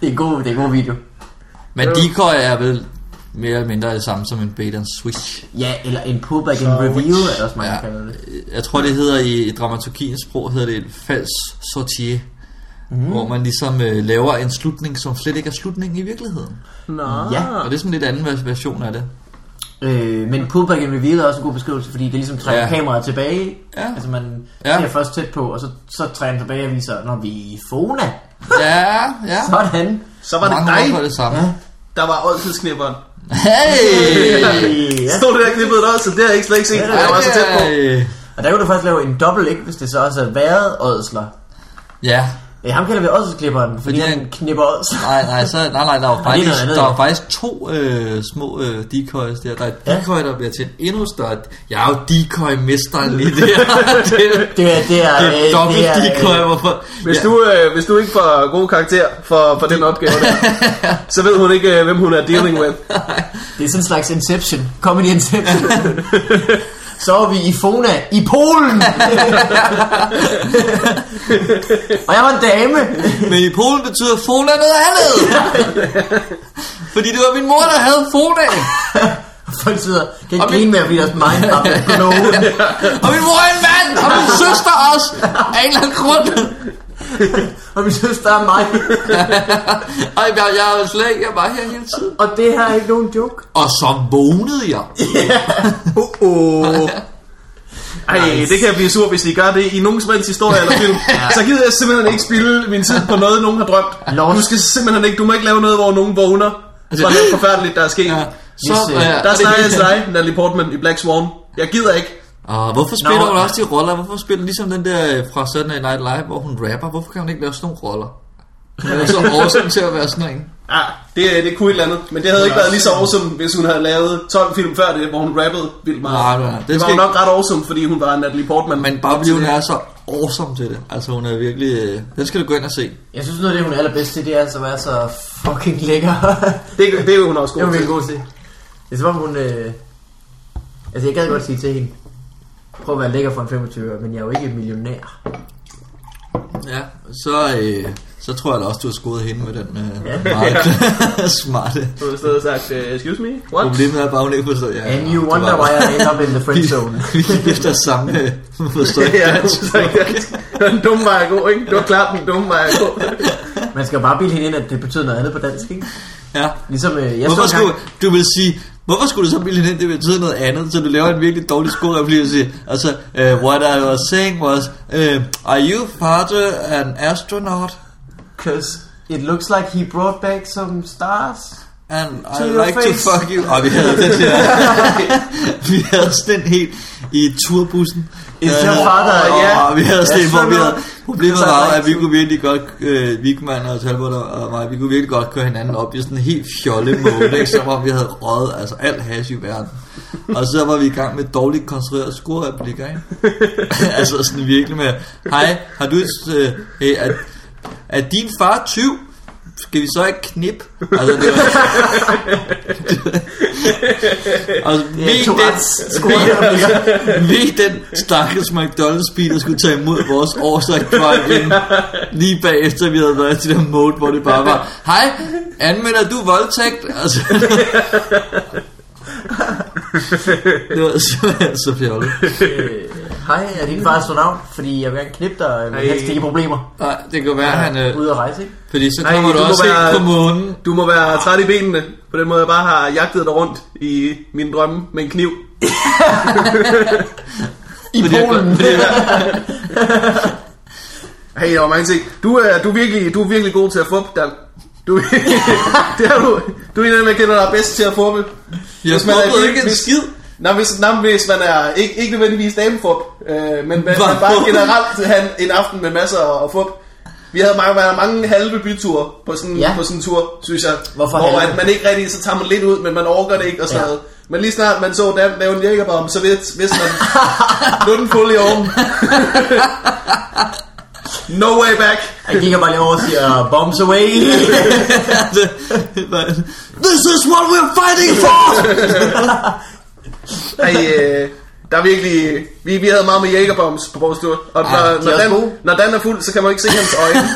Speaker 3: det er en god, det er en god video.
Speaker 2: Men decoy er vel mere eller mindre det samme som en bait and switch.
Speaker 3: Ja, eller en pullback in review, er der også mange, der
Speaker 2: Ja.
Speaker 3: kalder det.
Speaker 2: Jeg tror, det hedder i, i dramaturgiens sprog, hedder det et falsk sortier. Mm. Hvor man ligesom øh, laver en slutning, som slet ikke er slutningen i virkeligheden.
Speaker 1: Nå.
Speaker 3: Ja.
Speaker 2: Og det er sådan en lidt anden vers- version af det.
Speaker 3: Øh, men pullback in review er også en god beskrivelse, fordi det ligesom trækker
Speaker 2: Ja.
Speaker 3: ja. kameraet tilbage.
Speaker 2: Ja.
Speaker 3: Altså man
Speaker 2: Ja.
Speaker 3: ja. ser først tæt på, og så, så trækker den tilbage og viser, når vi er i Fona.
Speaker 2: Ja, ja.
Speaker 3: Sådan.
Speaker 1: Så var det
Speaker 2: Mange ord for
Speaker 1: dig,
Speaker 2: det samme.
Speaker 3: Ja.
Speaker 1: der var oldtidsknipperen.
Speaker 2: Hey!
Speaker 3: Øh, Ja.
Speaker 1: Stod det der knippet der også, det har jeg ikke slet ikke set.
Speaker 3: Ja,
Speaker 1: Jeg var så tæt på.
Speaker 2: Ej.
Speaker 3: Og der kunne du faktisk lave en dobbelt ikke, hvis det så også havde været ådsler.
Speaker 2: Ja,
Speaker 3: Ja, ham kalder vi også klipperen, fordi,
Speaker 2: Fordi
Speaker 3: fordi han,
Speaker 2: han-
Speaker 3: knipper ådsler.
Speaker 2: nej, nej, så, nej, nej, der var
Speaker 3: det er
Speaker 2: faktisk,
Speaker 3: noget andet,
Speaker 2: der var
Speaker 3: jo.
Speaker 2: faktisk to øh, små øh, decoys der. Der er et
Speaker 3: Ja.
Speaker 2: decoy, der bliver til et endnu større. Jeg er jo decoy-mesteren lige der. det,
Speaker 3: Det er, det er,
Speaker 2: det
Speaker 3: øh,
Speaker 2: er dobbelt
Speaker 3: øh,
Speaker 2: decoy, hvorfor?
Speaker 1: Hvis,
Speaker 2: Ja.
Speaker 1: ja. du, øh, hvis du ikke får god karakter for, for den opgave der, så ved hun ikke, øh, hvem hun er dealing with.
Speaker 3: Det er sådan en slags Inception. Comedy *laughs* Inception. Så er vi i Fona i Polen. og jeg var en dame.
Speaker 2: Men i Polen betyder Fona noget andet. Fordi det var min mor, der havde Fona.
Speaker 3: Folk sidder, kan ikke
Speaker 2: Og vi-
Speaker 3: grine mere, fordi deres mind er blown.
Speaker 2: Og min mor er en mand. Og min søster også. Af en eller anden grund.
Speaker 3: Og min søster er mig.
Speaker 2: Og jeg, jeg, er slet ikke, jeg er bare her hele tiden.
Speaker 3: Og det her er ikke nogen joke.
Speaker 2: Og så vågnede jeg.
Speaker 1: Uh -oh. Ej, nice. det kan jeg blive sur, hvis I gør det i nogen som helst historie eller film. Så gider jeg simpelthen ikke spille min tid på noget, nogen har drømt.
Speaker 3: Lord.
Speaker 1: Du skal simpelthen ikke, du må ikke lave noget, hvor nogen vågner. For det er forfærdeligt, der er sket.
Speaker 2: Ja. Så,
Speaker 3: Hvis, øh,
Speaker 2: ja.
Speaker 1: Der snakker jeg til dig, Natalie Portman i Black Swan. Jeg gider ikke.
Speaker 2: Og Ah, hvorfor spiller
Speaker 3: Nå.
Speaker 2: hun også de roller? Hvorfor spiller hun ligesom den der øh, fra Saturday Night Live, hvor hun rapper? Hvorfor kan hun ikke lave sådan nogle roller? Hun er jo
Speaker 3: *laughs*
Speaker 2: så awesome til at være sådan en.
Speaker 1: Ah, det, det kunne et eller andet. Men det havde ikke været lige så awesome, hvis hun havde lavet 12 film før det, hvor hun rappede vildt meget.
Speaker 2: Nej, nej, det
Speaker 1: det var
Speaker 2: skal
Speaker 1: hun
Speaker 2: ikke-
Speaker 1: nok ret awesome, fordi hun var Natalie Portman.
Speaker 2: Men bare fordi hun er så awesome til det. Altså hun er virkelig... øh, Den skal du gå ind og se.
Speaker 3: Jeg synes noget af det, hun er allerbedst til, det er altså at være så fucking *laughs* lækker.
Speaker 1: Det, det er hun også
Speaker 3: det
Speaker 1: god
Speaker 3: er
Speaker 1: til.
Speaker 3: hun virkelig god til. Det er som om hun... Øh... Altså jeg gad godt sige til hende, prøv at være lækker for en 25 men jeg er jo ikke millionær.
Speaker 2: Ja, så, øh, så tror jeg da også, du har skudt hende med den øh,
Speaker 3: Ja.
Speaker 2: meget *laughs* smarte.
Speaker 1: Hun har stået og sagt, øh, excuse me, what?
Speaker 2: Problemet er bare, hun ikke forstår. Ja,
Speaker 3: And you
Speaker 2: det
Speaker 3: wonder
Speaker 2: var-
Speaker 3: why I end up in the *laughs*
Speaker 2: *laughs*
Speaker 3: friend zone.
Speaker 2: Vi gik efter samme øh,
Speaker 3: *laughs*
Speaker 2: forstår ikke
Speaker 1: *laughs* Ja,
Speaker 2: dansk.
Speaker 1: så er den dumme vej at gå, ikke? Det var klart den dumme vej at gå.
Speaker 3: Man skal jo bare bilde hende ind, at det betyder noget andet på dansk, ikke?
Speaker 2: Ja.
Speaker 3: Ligesom øh, jeg
Speaker 2: Hvorfor
Speaker 3: så engang,
Speaker 2: skulle, du vil sige, hvorfor skulle du så bilde hende ind, det betyder noget andet, så du laver en virkelig dårlig skolreplik og siger, altså, uh, what I was saying was, uh, are you father an astronaut?
Speaker 3: Cause it looks like he brought back some stars.
Speaker 2: And I
Speaker 3: To your
Speaker 2: like to
Speaker 3: face.
Speaker 2: fuck you. Og vi havde den der. *laughs* vi havde sådan en helt i turbussen.
Speaker 3: It's
Speaker 2: Øh,
Speaker 3: your father,
Speaker 2: og-
Speaker 3: ja.
Speaker 2: Og vi havde sådan en, hvor vi havde...
Speaker 3: Astronaut.
Speaker 2: Problemet
Speaker 3: It's
Speaker 2: var,
Speaker 3: like
Speaker 2: at vi
Speaker 3: to-
Speaker 2: kunne virkelig godt... Øh, Vigman og Talbot og, og mig, vi kunne virkelig godt køre hinanden op i sådan en helt fjolle mode, ikke? Som om vi havde røget altså alt hash i verden. Og så var vi i gang med dårligt konstruerede skurreplikker, ikke? *laughs* altså sådan virkelig med... Hej, har du... et, Øh, hey, er, er din far 20? Skal vi så ikke knip? Altså, det var,
Speaker 3: *laughs*
Speaker 2: Altså,
Speaker 3: Det er
Speaker 2: ved
Speaker 3: to
Speaker 2: den,
Speaker 3: ret skolereplikker.
Speaker 2: ved den stakkels McDonald's bil, der skulle tage imod vores årsag
Speaker 3: *laughs*
Speaker 2: ind lige bagefter vi havde været til den mode, hvor det bare var, hej, anmelder du voldtægt? Altså, det var simpelthen så fjollet.
Speaker 3: Øh, Hej, er din far astronaut? Fordi jeg vil gerne knippe dig, øh, men
Speaker 1: Hej.
Speaker 3: helst ikke i problemer.
Speaker 2: Nej, det kan være, han... Øh,
Speaker 3: Ude at rejse, ikke?
Speaker 2: fordi så
Speaker 1: Nej,
Speaker 2: kommer du
Speaker 1: du må
Speaker 2: også
Speaker 1: være-
Speaker 2: ind på månen.
Speaker 1: Du må være træt i benene, på den måde jeg bare har jagtet dig rundt i mine drømme med en kniv.
Speaker 3: I
Speaker 2: Fordi jeg-
Speaker 3: Polen.
Speaker 2: fordi
Speaker 3: *laughs*
Speaker 1: Hey, der var mange ting. Du er, du er, virkelig, du er virkelig god til at fuppe, Dan. Du, *laughs* det er du. Du er en af dem, jeg kender, der er bedst til at fuppe.
Speaker 2: Jeg
Speaker 1: Hvis man er i
Speaker 2: smukkede
Speaker 1: byen,
Speaker 2: ikke en
Speaker 1: hvis-
Speaker 2: skid.
Speaker 1: Nå, hvis, nå, hvis man er ikke, ikke nødvendigvis damefup, øh, men man, man
Speaker 2: Hvorfor?
Speaker 1: bare generelt han en aften med masser af fup, Vi havde mange, været mange halve byture på sådan, ja.
Speaker 3: Ja.
Speaker 1: på sådan en tur, synes jeg.
Speaker 3: Hvorfor
Speaker 1: hvor
Speaker 3: halve?
Speaker 1: at man ikke rigtig, så tager man lidt ud, men man overgår det ikke og sådan
Speaker 3: Ja.
Speaker 1: ja. noget. Men lige snart man så Dan lave en jækkerbom, så vidste, vidste man, nu er den fuld i
Speaker 3: *laughs*
Speaker 1: oven. no way back.
Speaker 3: Jeg kigger bare lige over og siger, bombs
Speaker 2: *laughs*
Speaker 3: away.
Speaker 2: This is what we're fighting for!
Speaker 1: Ej, øh, der er virkelig... Vi, vi havde meget med jægerbombs på vores tur. Og når,
Speaker 3: de er
Speaker 1: når,
Speaker 3: også
Speaker 1: Dan,
Speaker 3: gode.
Speaker 1: når Dan er fuld, så kan man ikke se hans
Speaker 3: *laughs*
Speaker 1: øjne.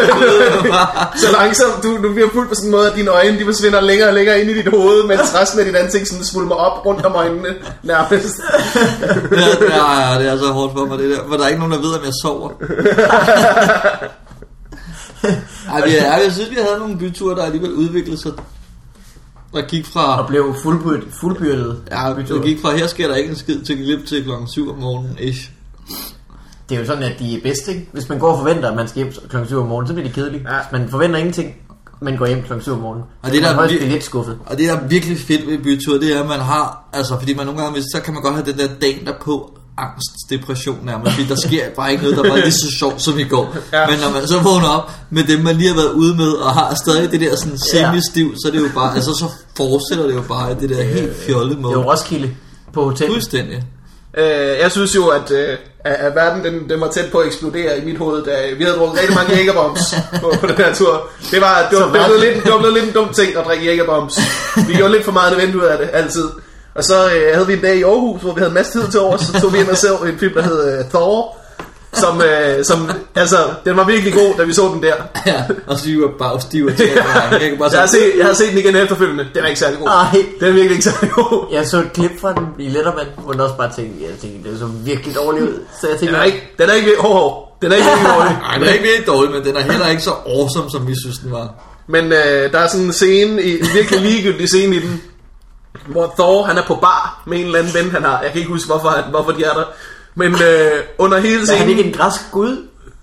Speaker 1: *laughs* så langsomt, du, du bliver fuld på sådan en måde, at dine øjne de forsvinder længere og længere ind i dit hoved, mens resten af dit ansigt sådan svulmer op rundt om øjnene nærmest.
Speaker 2: ja, ja, ja, det er så hårdt for mig, det der. For der er ikke nogen, der ved, om jeg sover. Ej, vi er, jeg synes, vi havde nogle byture, der alligevel udviklede sig. Der gik
Speaker 3: og
Speaker 2: fra...
Speaker 3: blev fuldbyrdet. fuldbyrdet
Speaker 2: Ja, der gik fra, her sker der ikke en skid, til glip til klokken 7 om morgenen, ish.
Speaker 3: Det er jo sådan, at de er bedst, ikke? Hvis man går og forventer, at man skal hjem kl. 7 om morgenen, så bliver det kedeligt.
Speaker 1: Ja.
Speaker 3: Ja. Hvis man forventer ingenting, men går hjem kl. 7 om morgenen,
Speaker 2: Og
Speaker 3: så
Speaker 2: det
Speaker 3: kan man
Speaker 2: der
Speaker 3: højst
Speaker 2: vir-
Speaker 3: blive lidt skuffet.
Speaker 2: Og det, der er virkelig fedt ved byture, det er, at man har... Altså, fordi man nogle gange, hvis, så kan man godt have den der dagen derpå angst, depression nærmest,
Speaker 1: *laughs*
Speaker 2: fordi der sker bare ikke noget, der var lige så sjovt som i går.
Speaker 1: Ja.
Speaker 2: Ja. Men når man så vågner op med dem, man lige har været ude med, og har stadig det der sådan semi-stiv, så er det jo bare, altså så fortsætter det jo bare i det der helt fjollede
Speaker 3: Det er jo
Speaker 2: måde.
Speaker 3: Roskilde på hotel.
Speaker 2: Fuldstændig.
Speaker 1: Øh, jeg synes jo, at, øh, at, at verden den, den var tæt på at eksplodere i mit hoved, da vi havde drukket rigtig mange jægerbombs på, på den her tur. Det var, det var, det
Speaker 3: Så
Speaker 1: var, blevet,
Speaker 3: verden-
Speaker 1: lidt, det var blevet lidt en dum ting at drikke jægerbombs. Vi gjorde lidt for meget nødvendigt ud af det, altid. Og så øh, havde vi en dag i Aarhus, hvor vi havde en masse tid til over, så tog vi ind og så en film, der hed øh, Thor. Som, øh, som, altså, den var virkelig god, da vi så den der.
Speaker 2: Ja, og så er vi jo bare stiv og tæt. Jeg kan bare
Speaker 1: Jeg har
Speaker 2: sige,
Speaker 1: set, jeg har set den igen efterfølgende. Den er ikke særlig god.
Speaker 3: Ej.
Speaker 1: Den er virkelig ikke særlig god.
Speaker 3: Jeg så et klip fra den i Letterman, hvor jeg også bare tænkte, jeg tænkte, det så virkelig dårligt ud. Så jeg
Speaker 1: Den
Speaker 3: tænkte,
Speaker 1: er ikke, den er ikke, hov, hov. Den er ikke virkelig dårlig.
Speaker 2: nej, den er ikke virkelig dårlig, men den er heller ikke så awesome, som vi synes, den var.
Speaker 1: Men øh, der er sådan en scene, i, en virkelig ligegyldig scene i den, hvor Thor han er på bar med en eller anden ven, han har. Jeg kan ikke huske, hvorfor, han, hvorfor de er der. Men øh, under hele
Speaker 3: er han
Speaker 1: scenen...
Speaker 3: ikke en græsk gud?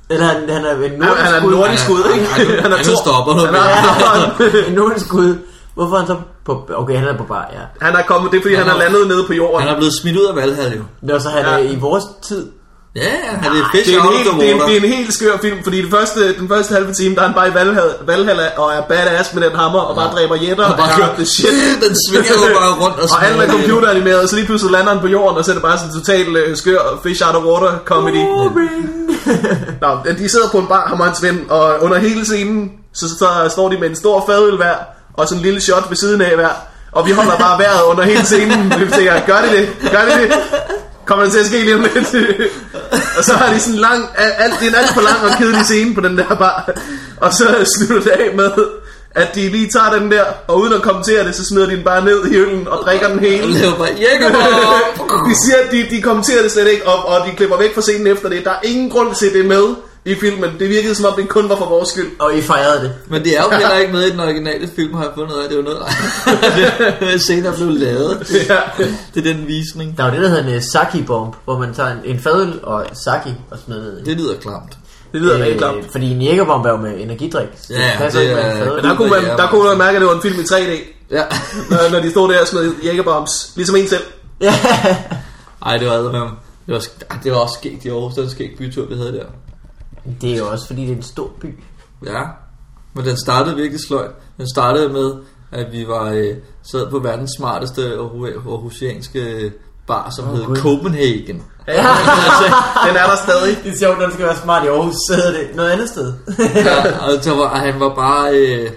Speaker 3: Eller han, han er en nordisk
Speaker 1: han er
Speaker 3: gud? *laughs*
Speaker 1: nordisk gud, ikke?
Speaker 2: Han er- han er
Speaker 1: Thor.
Speaker 2: stopper
Speaker 1: *laughs*
Speaker 2: nu.
Speaker 1: Han er, han, er,
Speaker 3: en nordisk gud. Hvorfor er han så på... Okay, han er på bar, ja.
Speaker 1: han er kommet, det er fordi, han
Speaker 2: Han
Speaker 1: er
Speaker 2: er-
Speaker 1: landet nede på jorden.
Speaker 2: Han er blevet smidt ud af Valhall jo.
Speaker 3: Nå, så han
Speaker 1: Ja.
Speaker 3: er i vores tid.
Speaker 2: Ja, han er fish
Speaker 1: Det er, en
Speaker 2: out of
Speaker 1: helt,
Speaker 2: the
Speaker 1: det, er en,
Speaker 2: water.
Speaker 1: det er en helt skør film, fordi den første, den første halve time, der er han bare i Valhalla, Valhalla og er badass med den hammer, og bare dræber jætter, og,
Speaker 2: Og bare
Speaker 1: bare
Speaker 2: kører,
Speaker 1: det shit.
Speaker 2: *laughs* den svinger
Speaker 1: *laughs*
Speaker 2: jo bare rundt og
Speaker 1: Og
Speaker 2: smadrer
Speaker 1: alt er
Speaker 2: det hele.
Speaker 1: computeranimeret, så lige pludselig lander han på jorden, og så er det bare sådan en total øh, skør fish out of water comedy. Nå, de sidder på en bar, ham og hans ven, og under hele scenen, så, så, så står de med en stor fadøl hver, og sådan en lille shot ved siden af hver. Og vi holder bare vejret under hele scenen. Vi tænker, gør det det? Gør det det? Kommer det til at ske lige om lidt? *laughs* og så har de sådan en lang, al- alt, det er en alt for lang og kedelig scene på den der bar. Og så slutter det af med, at de lige tager den der, og uden at kommentere det, så smider de den bare ned i hylden og drikker den
Speaker 2: Han
Speaker 1: hele.
Speaker 2: laver bare jækkerbomb.
Speaker 1: de siger, at de, de kommenterer det slet ikke, og, og de klipper væk fra scenen efter det. Der er ingen grund til at det er med i filmen. Det virkede som om, det kun var for vores skyld.
Speaker 3: Og I fejrede det.
Speaker 2: *laughs* Men det er jo heller ikke med i den originale film, har jeg fundet ud af. Det er jo noget, der *laughs* senere blev *laughs* lavet.
Speaker 1: Ja.
Speaker 2: Det er den visning.
Speaker 3: Der er jo det, der hedder en øh, sake-bomb, hvor man tager en, en fadøl og sake og smider ned. i.
Speaker 2: Det lyder klamt.
Speaker 1: Det lyder øh, rigtig klamt.
Speaker 3: Fordi en jækkerbomb er jo med energidrik. så
Speaker 2: Ja,
Speaker 3: passer
Speaker 2: det
Speaker 3: ikke med
Speaker 2: er-
Speaker 3: en fadøl.
Speaker 1: Men der kunne man, der kunne man mærke, at det var en film i 3D,
Speaker 2: Ja.
Speaker 1: når, når de stod der og smed jækkerbombs. Ligesom en selv.
Speaker 3: *laughs* Ja.
Speaker 2: Ej, det var advendt. Det var, sk- ej, det var også skægt i Aarhus, den skægt bytur, vi havde der.
Speaker 3: Det er jo også, fordi det er en stor by.
Speaker 2: Ja, men den startede virkelig sløjt. Den startede med, at vi var øh, sad på verdens smarteste aarhu- aarhusianske bar, som oh, hed
Speaker 3: Gud.
Speaker 2: Copenhagen.
Speaker 1: Ja. Den er der stadig.
Speaker 3: Det er sjovt, når du skal være smart i Aarhus, så hedder det noget andet sted.
Speaker 2: Ja, og så var, og han var bare... Øh,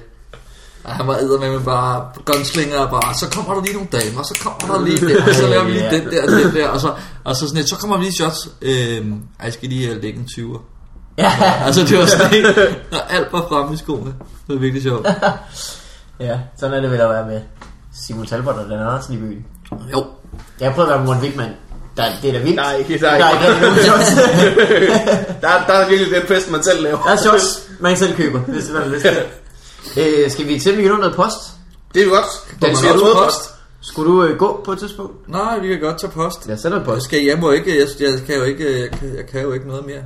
Speaker 2: og han var æder med bare gunslinger og bare, så kommer der lige nogle damer, så kommer der lige det, og så laver vi lige
Speaker 3: Ja.
Speaker 2: den der og den der, og så, og så sådan et, så kommer vi lige shots, øhm, ej, jeg skal lige øh, lægge en 20'er.
Speaker 3: ja.
Speaker 2: Altså det var sådan helt, og alt var fremme i skoene. Det var virkelig sjovt.
Speaker 3: ja, sådan er det vel at være med Simon Talbot og den Andersen i byen.
Speaker 2: Jo,
Speaker 3: Jeg har prøvet at være med Morten Wigman. Der, det er da vildt.
Speaker 1: Der er ikke- der
Speaker 3: der
Speaker 1: er
Speaker 3: er ikke rigtig nogen shots.
Speaker 1: Der, der er virkelig den fest, man selv laver.
Speaker 3: Der er
Speaker 2: Altså-
Speaker 3: shots, man selv køber, hvis man har lyst til. Øh, skal vi til, at vi kan nå noget post?
Speaker 1: Det er jo godt.
Speaker 2: Den
Speaker 1: Vi har
Speaker 2: er
Speaker 1: fået
Speaker 2: god
Speaker 1: post.
Speaker 3: Skulle du øh, gå på et tidspunkt?
Speaker 2: nej, vi kan godt tage post.
Speaker 3: Jeg sender en
Speaker 2: Jeg,
Speaker 3: post.
Speaker 2: skal, jeg må ikke, jeg, jeg kan jo ikke, jeg kan, jeg kan jo ikke noget mere.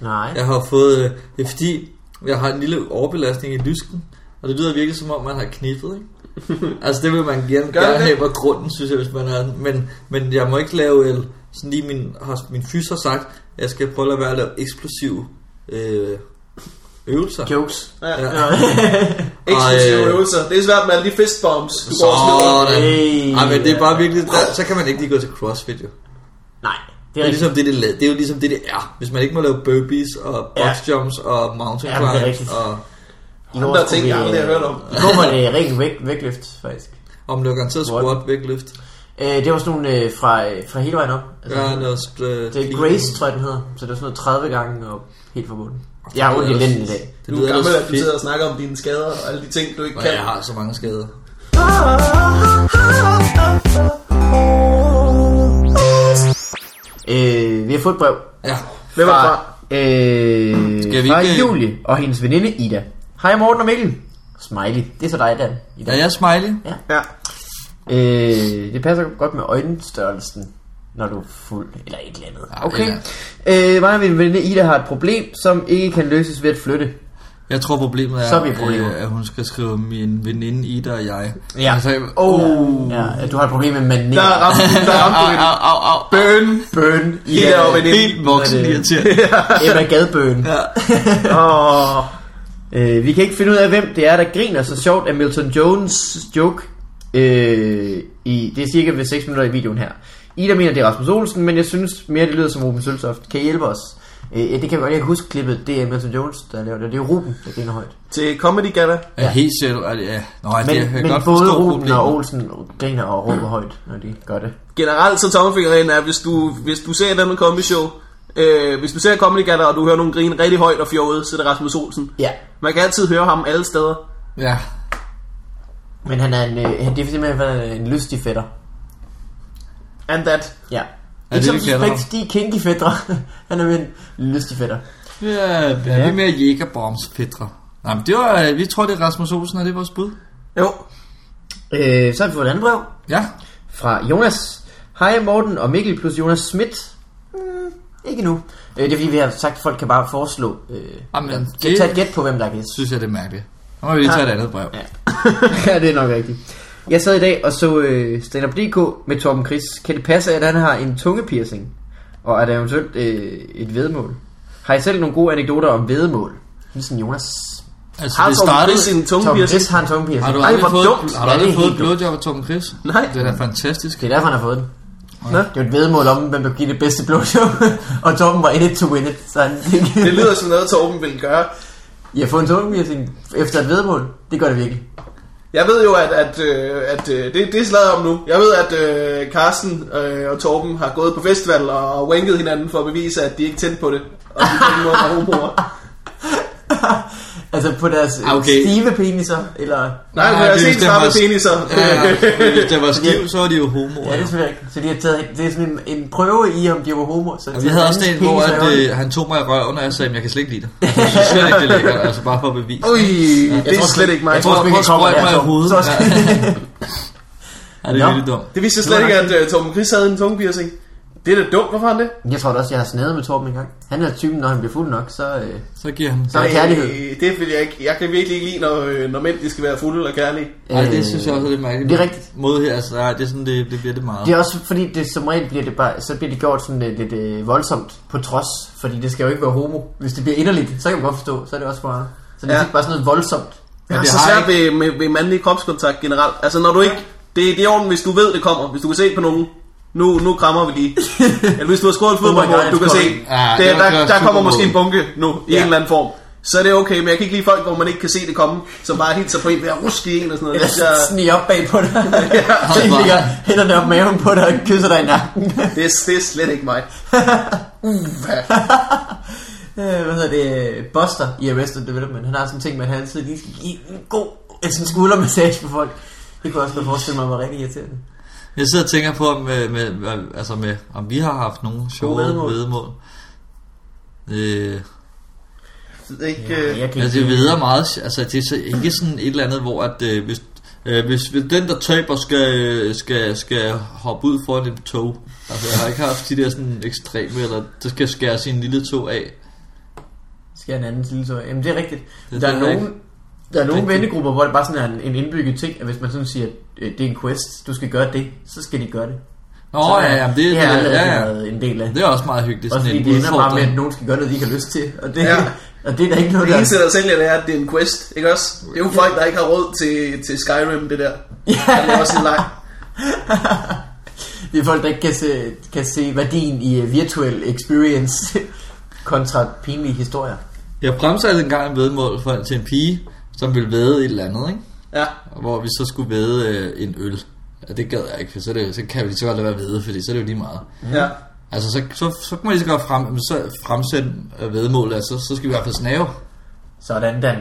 Speaker 3: Nej.
Speaker 2: Jeg har fået, øh, det er fordi, jeg har en lille overbelastning i lysken, og det lyder virkelig som om, man har knippet, ikke?
Speaker 1: *laughs*
Speaker 2: altså det vil man gerne,
Speaker 1: Gør det?
Speaker 2: gerne have, hvor grunden synes jeg, hvis man er, men, men jeg øh, må ikke lave, el, sådan lige min, har min fys har sagt, jeg skal prøve at lade være at lave eksplosive øh, øvelser.
Speaker 3: Jokes.
Speaker 1: Ja.
Speaker 2: Ja.
Speaker 1: Eksplosive
Speaker 2: Og, øh,
Speaker 1: øvelser. Det er svært med alle de fistbombs. Du går og smider.
Speaker 2: Sådan.
Speaker 3: Hey.
Speaker 2: Ej, men det er bare virkelig... Der, så kan man ikke lige gå til crossfit, jo.
Speaker 3: *laughs* Nej, det
Speaker 2: Det
Speaker 3: er
Speaker 2: er,
Speaker 3: rigtigt.
Speaker 2: ligesom det, det, la- det er jo ligesom det, det er. Hvis man ikke må lave burpees og
Speaker 3: Ja.
Speaker 2: box jumps og mountain
Speaker 3: Ja, men det er
Speaker 2: climbs
Speaker 3: rigtigt.
Speaker 2: og...
Speaker 3: I
Speaker 1: Nogle
Speaker 3: år
Speaker 1: der
Speaker 3: skulle
Speaker 1: ting,
Speaker 3: vi,
Speaker 1: jeg aldrig har
Speaker 3: øh,
Speaker 1: hørt om.
Speaker 3: I går var det rigtig væk, vægtløft, faktisk.
Speaker 2: Om det var garanteret
Speaker 3: What?
Speaker 2: squat, vægtløft.
Speaker 3: Øh, det var sådan nogle øh, fra, øh, fra hele vejen op. Altså,
Speaker 2: Ja, noget... Øh,
Speaker 3: det er Grace, tror jeg, den hedder. Så det var sådan noget 30 gange og helt fra bunden. Jeg har ondt i lænden i dag.
Speaker 1: Du
Speaker 2: Det
Speaker 1: er
Speaker 2: lyder
Speaker 1: gammel, at
Speaker 2: ellers
Speaker 1: du sidder og
Speaker 2: fedt,
Speaker 1: snakker om dine skader og alle de ting, du ikke
Speaker 2: og
Speaker 1: kan.
Speaker 2: jeg har så mange skader.
Speaker 3: Øh, vi har fået et brev
Speaker 2: Ja.
Speaker 1: Hvem er det fra?
Speaker 3: Øh,
Speaker 2: Skal vi
Speaker 3: fra
Speaker 2: ikke-
Speaker 3: Julie og hendes veninde Ida. Hej Morten og Mikkel. Smiley. Det er så dig, Dan. Ida.
Speaker 2: Ja, jeg er smiley.
Speaker 1: Ja.
Speaker 3: Øh, det passer godt med øjenstørrelsen, når du er fuld eller et eller andet.
Speaker 2: Ja,
Speaker 3: Okay. Øh, mig og min veninde Ida har et problem, som ikke kan løses ved at flytte.
Speaker 2: Jeg tror problemet er,
Speaker 3: Så er vi i problemer.
Speaker 2: øh, at hun skal skrive min veninde Ida og jeg.
Speaker 3: Ja.
Speaker 2: Altså,
Speaker 3: Oh. Ja, du har et problem med manet.
Speaker 1: Der er ramt, der ramte du
Speaker 2: Au,
Speaker 1: det.
Speaker 2: au, au, au.
Speaker 1: Burn.
Speaker 3: Bøn.
Speaker 1: Ida og veninde.
Speaker 2: Helt voksen
Speaker 3: Hvad er det?
Speaker 2: irriterende.
Speaker 3: Emma Gadbøn. Ja. *laughs*
Speaker 1: Åh.
Speaker 3: Øh, vi kan ikke finde ud af, hvem det er, der griner så sjovt af Milton Jones' joke. Øh, i, det er cirka ved 6 minutter i videoen her. Ida mener, det er Rasmus Olsen, men jeg synes mere, det lyder som Ruben Søltoft. Kan I hjælpe os? Øh, ja, det kan jeg godt. Jeg kan huske klippet. Det er Milton Jones, der laver det. Det er jo Ruben, der griner højt.
Speaker 1: Til Comedy Gala.
Speaker 2: Ja, helt sikkert. og det- Ja. Nå, men, det, jeg
Speaker 3: Men,
Speaker 2: kan
Speaker 3: men
Speaker 2: godt
Speaker 3: både
Speaker 2: forstå
Speaker 3: Ruben
Speaker 2: problemet.
Speaker 3: og Olsen griner og råber højt, når de gør det.
Speaker 1: Generelt så tommelfingeren er, hvis du, hvis du ser et andet comedy show, øh, hvis du ser Comedy Gala, og du hører nogen grine rigtig højt og fjollet, så er det Rasmus Olsen.
Speaker 3: Ja,
Speaker 1: Man kan altid høre ham alle steder.
Speaker 2: Ja.
Speaker 3: men han er en, øh, han- det er simpelthen han er en lystig fætter.
Speaker 1: And that.
Speaker 3: Ja.
Speaker 2: det
Speaker 3: Ikke som
Speaker 2: det klæder ham.
Speaker 3: suspekt, de er kinky fætter. *laughs* han er en lystig fætter.
Speaker 2: Ja, ja. vi er mere jægerbombsfædre. Nej, men det var, øh, vi tror, det er Rasmus Olsen, og det er vores bud.
Speaker 1: Jo.
Speaker 3: Øh, så har vi fået et andet brev.
Speaker 2: Ja.
Speaker 3: fra Jonas. Hej Morten og Mikkel plus Jonas Schmidt. Mm, ikke nu. Øh, det er fordi, vi har sagt, at folk kan bare foreslå. Øh,
Speaker 2: Jamen,
Speaker 3: det...
Speaker 2: det-
Speaker 3: Tag et gæt på, hvem der kan.
Speaker 2: Synes jeg, det er mærkeligt. Nu må vi lige tage et andet brev.
Speaker 3: Ja. *laughs* ja, det er nok rigtigt. Jeg sad i dag og så øh, Stand Up DK med Torben Chris. Kan det passe, at han har en tungepiercing? Og er der eventuelt øh, et vedmål? Har I selv nogle gode anekdoter om vedmål? Ligesom Jonas.
Speaker 2: Altså,
Speaker 1: Har
Speaker 2: det
Speaker 1: Torben
Speaker 2: startede...
Speaker 1: Chris sin
Speaker 3: Torben
Speaker 1: tungepiercing?
Speaker 3: Chris har en tungepiercing.
Speaker 2: Har du
Speaker 1: Ej,
Speaker 2: aldrig
Speaker 1: hvor
Speaker 2: fået,
Speaker 1: dumt.
Speaker 2: har du
Speaker 3: Ja, det
Speaker 2: aldrig
Speaker 3: er
Speaker 2: fået et
Speaker 3: helt dumt.
Speaker 2: blowjob af Torben Chris?
Speaker 1: Nej.
Speaker 2: Det er da fantastisk.
Speaker 3: Det er derfor, han har fået den.
Speaker 1: Nå.
Speaker 3: Det var et vedmål om, hvem der kunne give det bedste blowjob. *laughs* og Torben var in it to win it. Så han
Speaker 1: Det lyder som noget, Torben ville gøre.
Speaker 3: Jeg får en tungepiercing efter et vedmål. Det gør det virkelig. *laughs*
Speaker 1: Jeg ved jo, at, at, øh, at øh, det, det er slaget om nu. Jeg ved, at øh, Carsten øh, og Torben har gået på festival og, og wanket hinanden for at bevise, at de ikke tændte på det. Og de på den måde var
Speaker 2: *laughs*
Speaker 1: homoer.
Speaker 3: Altså på deres
Speaker 2: Ah,
Speaker 3: ah,
Speaker 2: okay.
Speaker 3: okay. stive peniser, eller...
Speaker 1: Nej,
Speaker 2: Nej,
Speaker 1: men jeg har
Speaker 2: det er
Speaker 1: set
Speaker 2: bestemt
Speaker 1: stramme
Speaker 2: også-
Speaker 1: peniser.
Speaker 2: Ja, men hvis det var stiv, så var de jo homoer.
Speaker 3: Ja, det er selvfølgelig rigtigt. Så de har taget, det er sådan en, en prøve i, om de var homo. Så
Speaker 2: Og vi havde også en, hvor at, øh, han tog mig i røven, og jeg sagde, at jeg kan slet ikke lide det. Jeg synes slet ikke, det er lækkert, altså bare for at
Speaker 1: *laughs*
Speaker 2: bevise.
Speaker 1: Ui, det er slet ikke mig.
Speaker 2: Jeg tror,
Speaker 3: vi
Speaker 2: at
Speaker 3: kan
Speaker 2: jeg
Speaker 3: komme
Speaker 2: sprøjte mig i
Speaker 3: dertil.
Speaker 2: hovedet.
Speaker 3: Så
Speaker 2: Ja,
Speaker 3: skal-
Speaker 2: Ja, det er
Speaker 3: Nå.
Speaker 2: virkelig dumt.
Speaker 1: Det vidste jeg slet ikke, at uh, Torben Chris havde en tungepiercing. Det er da dumt, hvorfor har han det?
Speaker 3: Jeg tror da også, jeg har snedet med Torben engang. Han er typen, når han bliver fuld nok, så... Øh,
Speaker 2: Så giver han
Speaker 3: Så- er kærlighed.
Speaker 1: Øh, det vil jeg ikke. Jeg kan virkelig ikke lide, når, øh, når mænd de skal være fulde og kærlige.
Speaker 2: Ej, det synes jeg også er lidt mærkeligt.
Speaker 3: Øh, Det er rigtigt.
Speaker 2: Måde her, altså, nej, det er sådan, det, det bliver det meget.
Speaker 3: Det er også fordi, det som regel bliver det bare, så bliver det gjort sådan lidt, lidt øh, voldsomt på trods, fordi det skal jo ikke være homo. Hvis det bliver inderligt, så kan man godt forstå, så er det også for meget. Så det er
Speaker 1: Ja.
Speaker 3: ikke bare sådan noget voldsomt.
Speaker 1: Jeg
Speaker 2: Men
Speaker 1: har
Speaker 2: det
Speaker 1: så
Speaker 2: har
Speaker 1: svært ved, med, ved mandlig kropskontakt generelt. Altså når du ikke... Det, det er ordentligt, hvis du ved, det kommer. Hvis du kan se på nogen. Nu, nu krammer vi lige. Eller hvis du har skåret et fodboldmål,
Speaker 3: God,
Speaker 1: du kan
Speaker 3: jeg
Speaker 1: se.
Speaker 2: tror- Ja,
Speaker 1: det,
Speaker 2: det var-
Speaker 1: der,
Speaker 2: det var
Speaker 1: der kommer
Speaker 2: supermål.
Speaker 1: måske en bunke nu, i en eller anden form. Så er det okay, men jeg kan ikke lide folk, hvor man ikke kan se det komme. Som bare hilser på en ved at ruske i en og sådan noget.
Speaker 3: Eller
Speaker 1: Det, er,
Speaker 3: snige op bag på *laughs* dig. Så I ligger hænderne op maven på dig og kysser dig i nakken.
Speaker 1: det, er, det er slet ikke mig.
Speaker 3: *laughs* Øh, Hvad hedder det? Buster i Arrested Development. Han har sådan en ting med, at han altid lige skal give en god en sådan skuldermassage på folk. Det kunne jeg også godt forestille mig var rigtig irriterende.
Speaker 2: Jeg sidder og tænker på, om, med, med, med, altså med, om vi har haft nogle sjove
Speaker 3: vedmål.
Speaker 2: vedmål. vedmål. Øh,
Speaker 1: Det er Ikke, øh,
Speaker 3: Jeg kan
Speaker 2: altså
Speaker 3: ikke-
Speaker 2: det veder meget, altså det er så, ikke sådan et eller andet, hvor at, øh, hvis, øh, hvis, hvis den der taber skal, øh, skal, skal hoppe ud foran et tog, altså jeg har ikke haft de der sådan ekstreme, eller der skal skære sin lille tog af.
Speaker 3: Skal en anden lille tøj. Jamen det er rigtigt.
Speaker 2: Det-
Speaker 3: der er
Speaker 2: det er
Speaker 3: nogen, der er nogle
Speaker 2: Rigtigt.
Speaker 3: vennegrupper, hvor det bare sådan er en, en indbygget ting, at hvis man sådan siger, øh, det er en quest, du skal gøre det, så skal de gøre det.
Speaker 2: Nå, ja, ja, det, det,
Speaker 3: det har jeg
Speaker 2: det,
Speaker 3: aldrig
Speaker 2: ja,
Speaker 3: rigtig
Speaker 2: ja.
Speaker 3: været en del af.
Speaker 2: det er også meget hyggeligt.
Speaker 3: Også
Speaker 2: Sådan
Speaker 3: fordi
Speaker 2: en
Speaker 3: det ender bare med,
Speaker 2: udfordring.
Speaker 3: at nogen skal gøre noget, de ikke har lyst til. Og det,
Speaker 1: Ja.
Speaker 3: ja. *laughs* og det er der ikke noget,
Speaker 1: Det
Speaker 3: der...
Speaker 1: eneste, der sælger det er, at det er en quest, ikke også? Det er jo folk, der ikke har råd til, til Skyrim, det der. Der laver sin leg.
Speaker 3: Det er folk, der ikke kan se, kan se værdien i øh, virtuel experience *laughs* kontra pinlige historier.
Speaker 2: Jeg fremsatte engang en vedmål for, til en pige, som ville væde et eller andet, ikke?
Speaker 1: Ja.
Speaker 2: Og Hvor vi så skulle væde øh, en øl. Og det gad jeg ikke, for så, er det, så kan vi lige så godt lade være væde, fordi så er det jo lige meget.
Speaker 1: ja.
Speaker 2: Altså, så, så, så kan man lige så godt frem, så fremsætte øh, vedmål, altså, så skal vi i hvert fald snave.
Speaker 3: Sådan, Dan.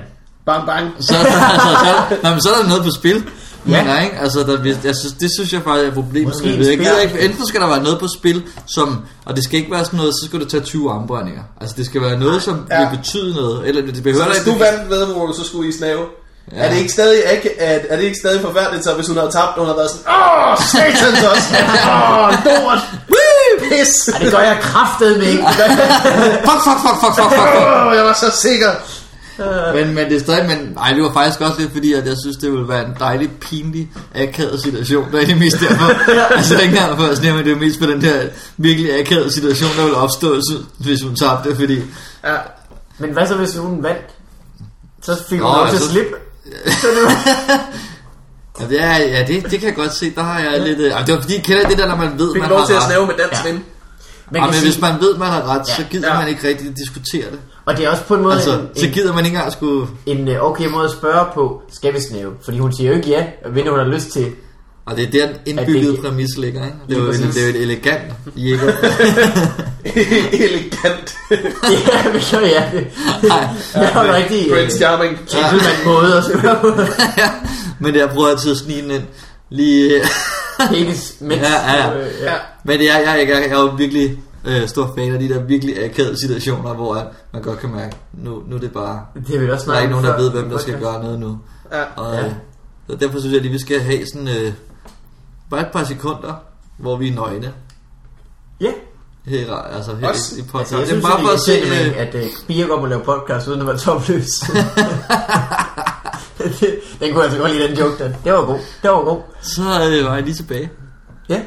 Speaker 1: Bang, bang.
Speaker 2: Så, *laughs* altså, så, nej, men så er der noget på spil.
Speaker 3: Ja.
Speaker 2: Ja. Nej, ikke? Altså, der, hvis- jeg synes, det synes jeg faktisk er et problem.
Speaker 3: Måske
Speaker 2: Måske jeg
Speaker 3: en
Speaker 2: gider
Speaker 3: spiller.
Speaker 2: ikke, enten skal der være noget på spil, som, og det skal ikke være sådan noget, så skal du tage 20 armbrændinger. Altså, det skal være noget, som
Speaker 1: Ja.
Speaker 2: ja. vil betyde noget. Eller det behøver
Speaker 1: Så hvis
Speaker 2: ikke...
Speaker 1: du vandt vedmålet, så skulle I snave. Ja.
Speaker 2: Ja.
Speaker 1: Er, det ikke stadig, er, er, er det ikke stadig forfærdeligt, så hvis hun havde tabt, hun havde været sådan, Åh,
Speaker 2: *laughs*
Speaker 1: satans også! Åh, lort! Woo, Pis!
Speaker 3: Ej, det gør jeg kraftet med
Speaker 2: *laughs*
Speaker 3: ikke.
Speaker 2: Fuck, fuck, fuck, fuck, fuck, fuck, fuck.
Speaker 1: Åh, jeg var så sikker!
Speaker 2: Men, men det er stadig, men nej, det var faktisk også lidt fordi, at jeg synes, det ville være en dejlig, pinlig, akavet situation. Det er egentlig mest derfor. *laughs* altså, det er ikke engang for at snære, men det er mest for den der virkelig akavede situation, der ville opstå, sy- hvis hun tabte, fordi...
Speaker 1: Ja.
Speaker 3: Men hvad så, hvis hun vandt? Så fik hun
Speaker 2: Nå,
Speaker 3: lov til at
Speaker 2: altså-
Speaker 3: slippe.
Speaker 2: Ja, ja det, det kan jeg godt se. Der har jeg lidt... Øh, ah, det var fordi, kender I det der, når man ved,
Speaker 1: Fik
Speaker 2: man
Speaker 1: lov
Speaker 2: har
Speaker 1: til at
Speaker 2: ret.
Speaker 1: snave med dansk
Speaker 3: Ja.
Speaker 1: vind. *laughs*
Speaker 3: Man
Speaker 2: Ah,
Speaker 3: kan
Speaker 2: men
Speaker 3: sige,
Speaker 2: hvis man ved, man har ret, så gider
Speaker 1: Ja.
Speaker 2: man ikke rigtig diskutere det.
Speaker 3: Og det er også på en måde
Speaker 2: Altså,
Speaker 3: en,
Speaker 2: så gider man ikke engang skulle...
Speaker 3: en, en øh, okay måde at spørge på, skal vi snæve? Fordi hun siger jo ikke ja, hvad hun har lyst til. *laughs*
Speaker 2: Og det er der, den
Speaker 3: At
Speaker 2: indbyggede
Speaker 3: det-
Speaker 2: præmis ligger, ikke? Det
Speaker 3: Lige
Speaker 2: er jo, en-
Speaker 3: præcis.
Speaker 2: det er jo et elegant jæger.
Speaker 1: Elegant.
Speaker 3: ja, men så ja. Det, *laughs* det er jo en rigtig øh,
Speaker 1: Prince Charming.
Speaker 3: gentleman måde at spørge på. *laughs*
Speaker 2: Men jeg prøver altid at snige den ind. Lige...
Speaker 3: Penis, mens,
Speaker 2: Ja, ja, ja.
Speaker 3: øh,
Speaker 1: Ja.
Speaker 2: Men det er, jeg, jeg, jeg er jo virkelig øh, stor fan af de der virkelig akavede situationer, hvor at man godt kan mærke, nu, nu er det bare...
Speaker 3: Det er vi også
Speaker 2: Der er ikke nogen, der
Speaker 3: før.
Speaker 2: ved, hvem der skal gøre noget nu.
Speaker 1: Ja.
Speaker 2: Og,
Speaker 3: Ja.
Speaker 2: ja. Så derfor synes jeg lige, vi skal have sådan øh, bare et par sekunder, hvor vi er nøgne.
Speaker 3: Ja.
Speaker 2: Her, i ra- altså her
Speaker 1: Også-
Speaker 2: i
Speaker 3: Altså,
Speaker 2: podcasten.
Speaker 3: jeg
Speaker 2: det er
Speaker 3: synes,
Speaker 2: bare for at se...
Speaker 3: det er
Speaker 2: Øh,
Speaker 3: at øh, Spire går om at lave podcast uden at være
Speaker 2: *laughs*
Speaker 3: topløs. *laughs* Det- den kunne jeg altså godt lide, den joke, den. Det var god. Det var god.
Speaker 2: så øh, var jeg lige tilbage.
Speaker 3: Ja.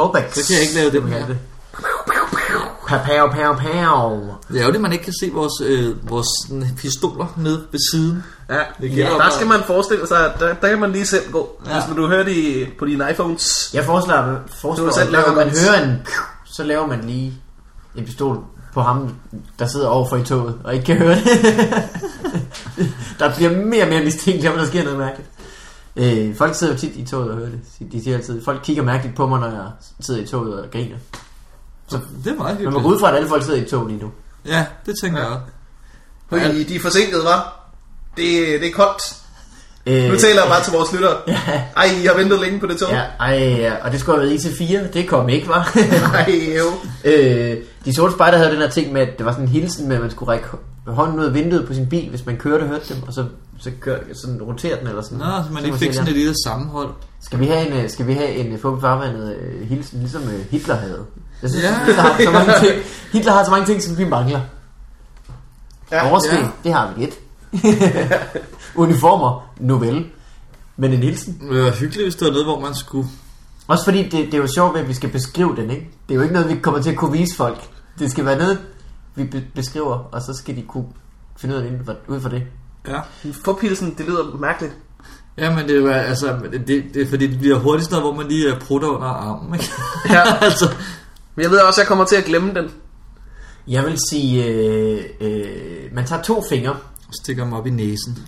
Speaker 3: Callbacks.
Speaker 2: Så kan jeg ikke lave det
Speaker 3: Man
Speaker 2: mere.
Speaker 3: kan det. Pow, pow, pow, pow.
Speaker 2: Det er jo det, man ikke kan se vores, øh, vores sådan, pistoler nede ved siden.
Speaker 1: Ja.
Speaker 2: Det
Speaker 1: ja,
Speaker 2: gælder
Speaker 1: der
Speaker 2: bare-
Speaker 1: skal man forestille sig, at der, der kan man lige selv gå.
Speaker 2: Ja.
Speaker 1: Hvis du hører det i- på dine iPhones.
Speaker 3: Jeg foreslår, foreslår
Speaker 1: Du
Speaker 3: at
Speaker 1: selv
Speaker 3: når
Speaker 1: laver
Speaker 3: man
Speaker 1: den.
Speaker 3: hører en... Så laver man lige en pistol på ham, der sidder overfor i toget og ikke kan høre det. *laughs* der bliver mere og mere mistænkt, om der sker noget mærkeligt. Øh, folk sidder jo tit i toget og hører det. De siger altid, folk kigger mærkeligt på mig, når jeg sidder i toget og griner.
Speaker 2: Så det er meget
Speaker 3: Men man
Speaker 2: hyggeligt.
Speaker 3: går ud fra, at alle folk sidder i et tog lige nu.
Speaker 2: Ja, det tænker
Speaker 1: Ja.
Speaker 2: jeg også.
Speaker 1: Fordi de er forsinkede, var. Det, det er koldt.
Speaker 3: Øh,
Speaker 1: Nu taler jeg bare til vores lyttere.
Speaker 3: Ja.
Speaker 1: Ej, I har ventet længe på det tog.
Speaker 3: Ja, ej, ja, og det skulle have været IC4, det kom ikke, var.
Speaker 1: *laughs*
Speaker 3: *laughs*
Speaker 1: Ej, jo.
Speaker 3: øh, de sorte spejder havde den her ting med, at det var sådan en hilsen med, at man skulle række hå- hånden ud af vinduet på sin bil, hvis man kørte og hørte dem, og så, så kør, sådan rotere den eller sådan.
Speaker 2: Nå, så man lige fik
Speaker 3: siger,
Speaker 2: sådan et lille sammenhold.
Speaker 3: "Ja, Skal vi have en, øh, skal vi have en øh, fup i farvandet øh, hilsen, ligesom øh, Hitler havde? Jeg synes,
Speaker 2: *laughs* Ja.
Speaker 3: ja. Hitler, har så mange ting, Hitler har så mange ting, som vi mangler.
Speaker 1: Ja.
Speaker 3: Overskud,
Speaker 2: ja.
Speaker 3: det har vi lidt. *laughs* Uniformer, nu vel. Men en hilsen.
Speaker 2: Det var hyggeligt, hvis det var noget, hvor man skulle...
Speaker 3: Også fordi det, det er jo sjovt ved, at vi skal beskrive den, ikke? Det er jo ikke noget, vi kommer til at kunne vise folk. Det skal være noget, vi be- beskriver, og så skal de kunne finde ud af det inden for- ud fra det.
Speaker 2: Ja.
Speaker 1: Forpilsen, det lyder mærkeligt.
Speaker 2: Ja, men det er jo, altså, det, det, det, er fordi det bliver hurtigt sådan noget, hvor man lige øh, prutter under armen, ikke? *laughs*
Speaker 1: Ja.
Speaker 2: altså,
Speaker 1: Men jeg ved også, at jeg kommer til at glemme den.
Speaker 3: Jeg vil sige, øh, øh, man tager to fingre.
Speaker 2: stikker dem op i næsen.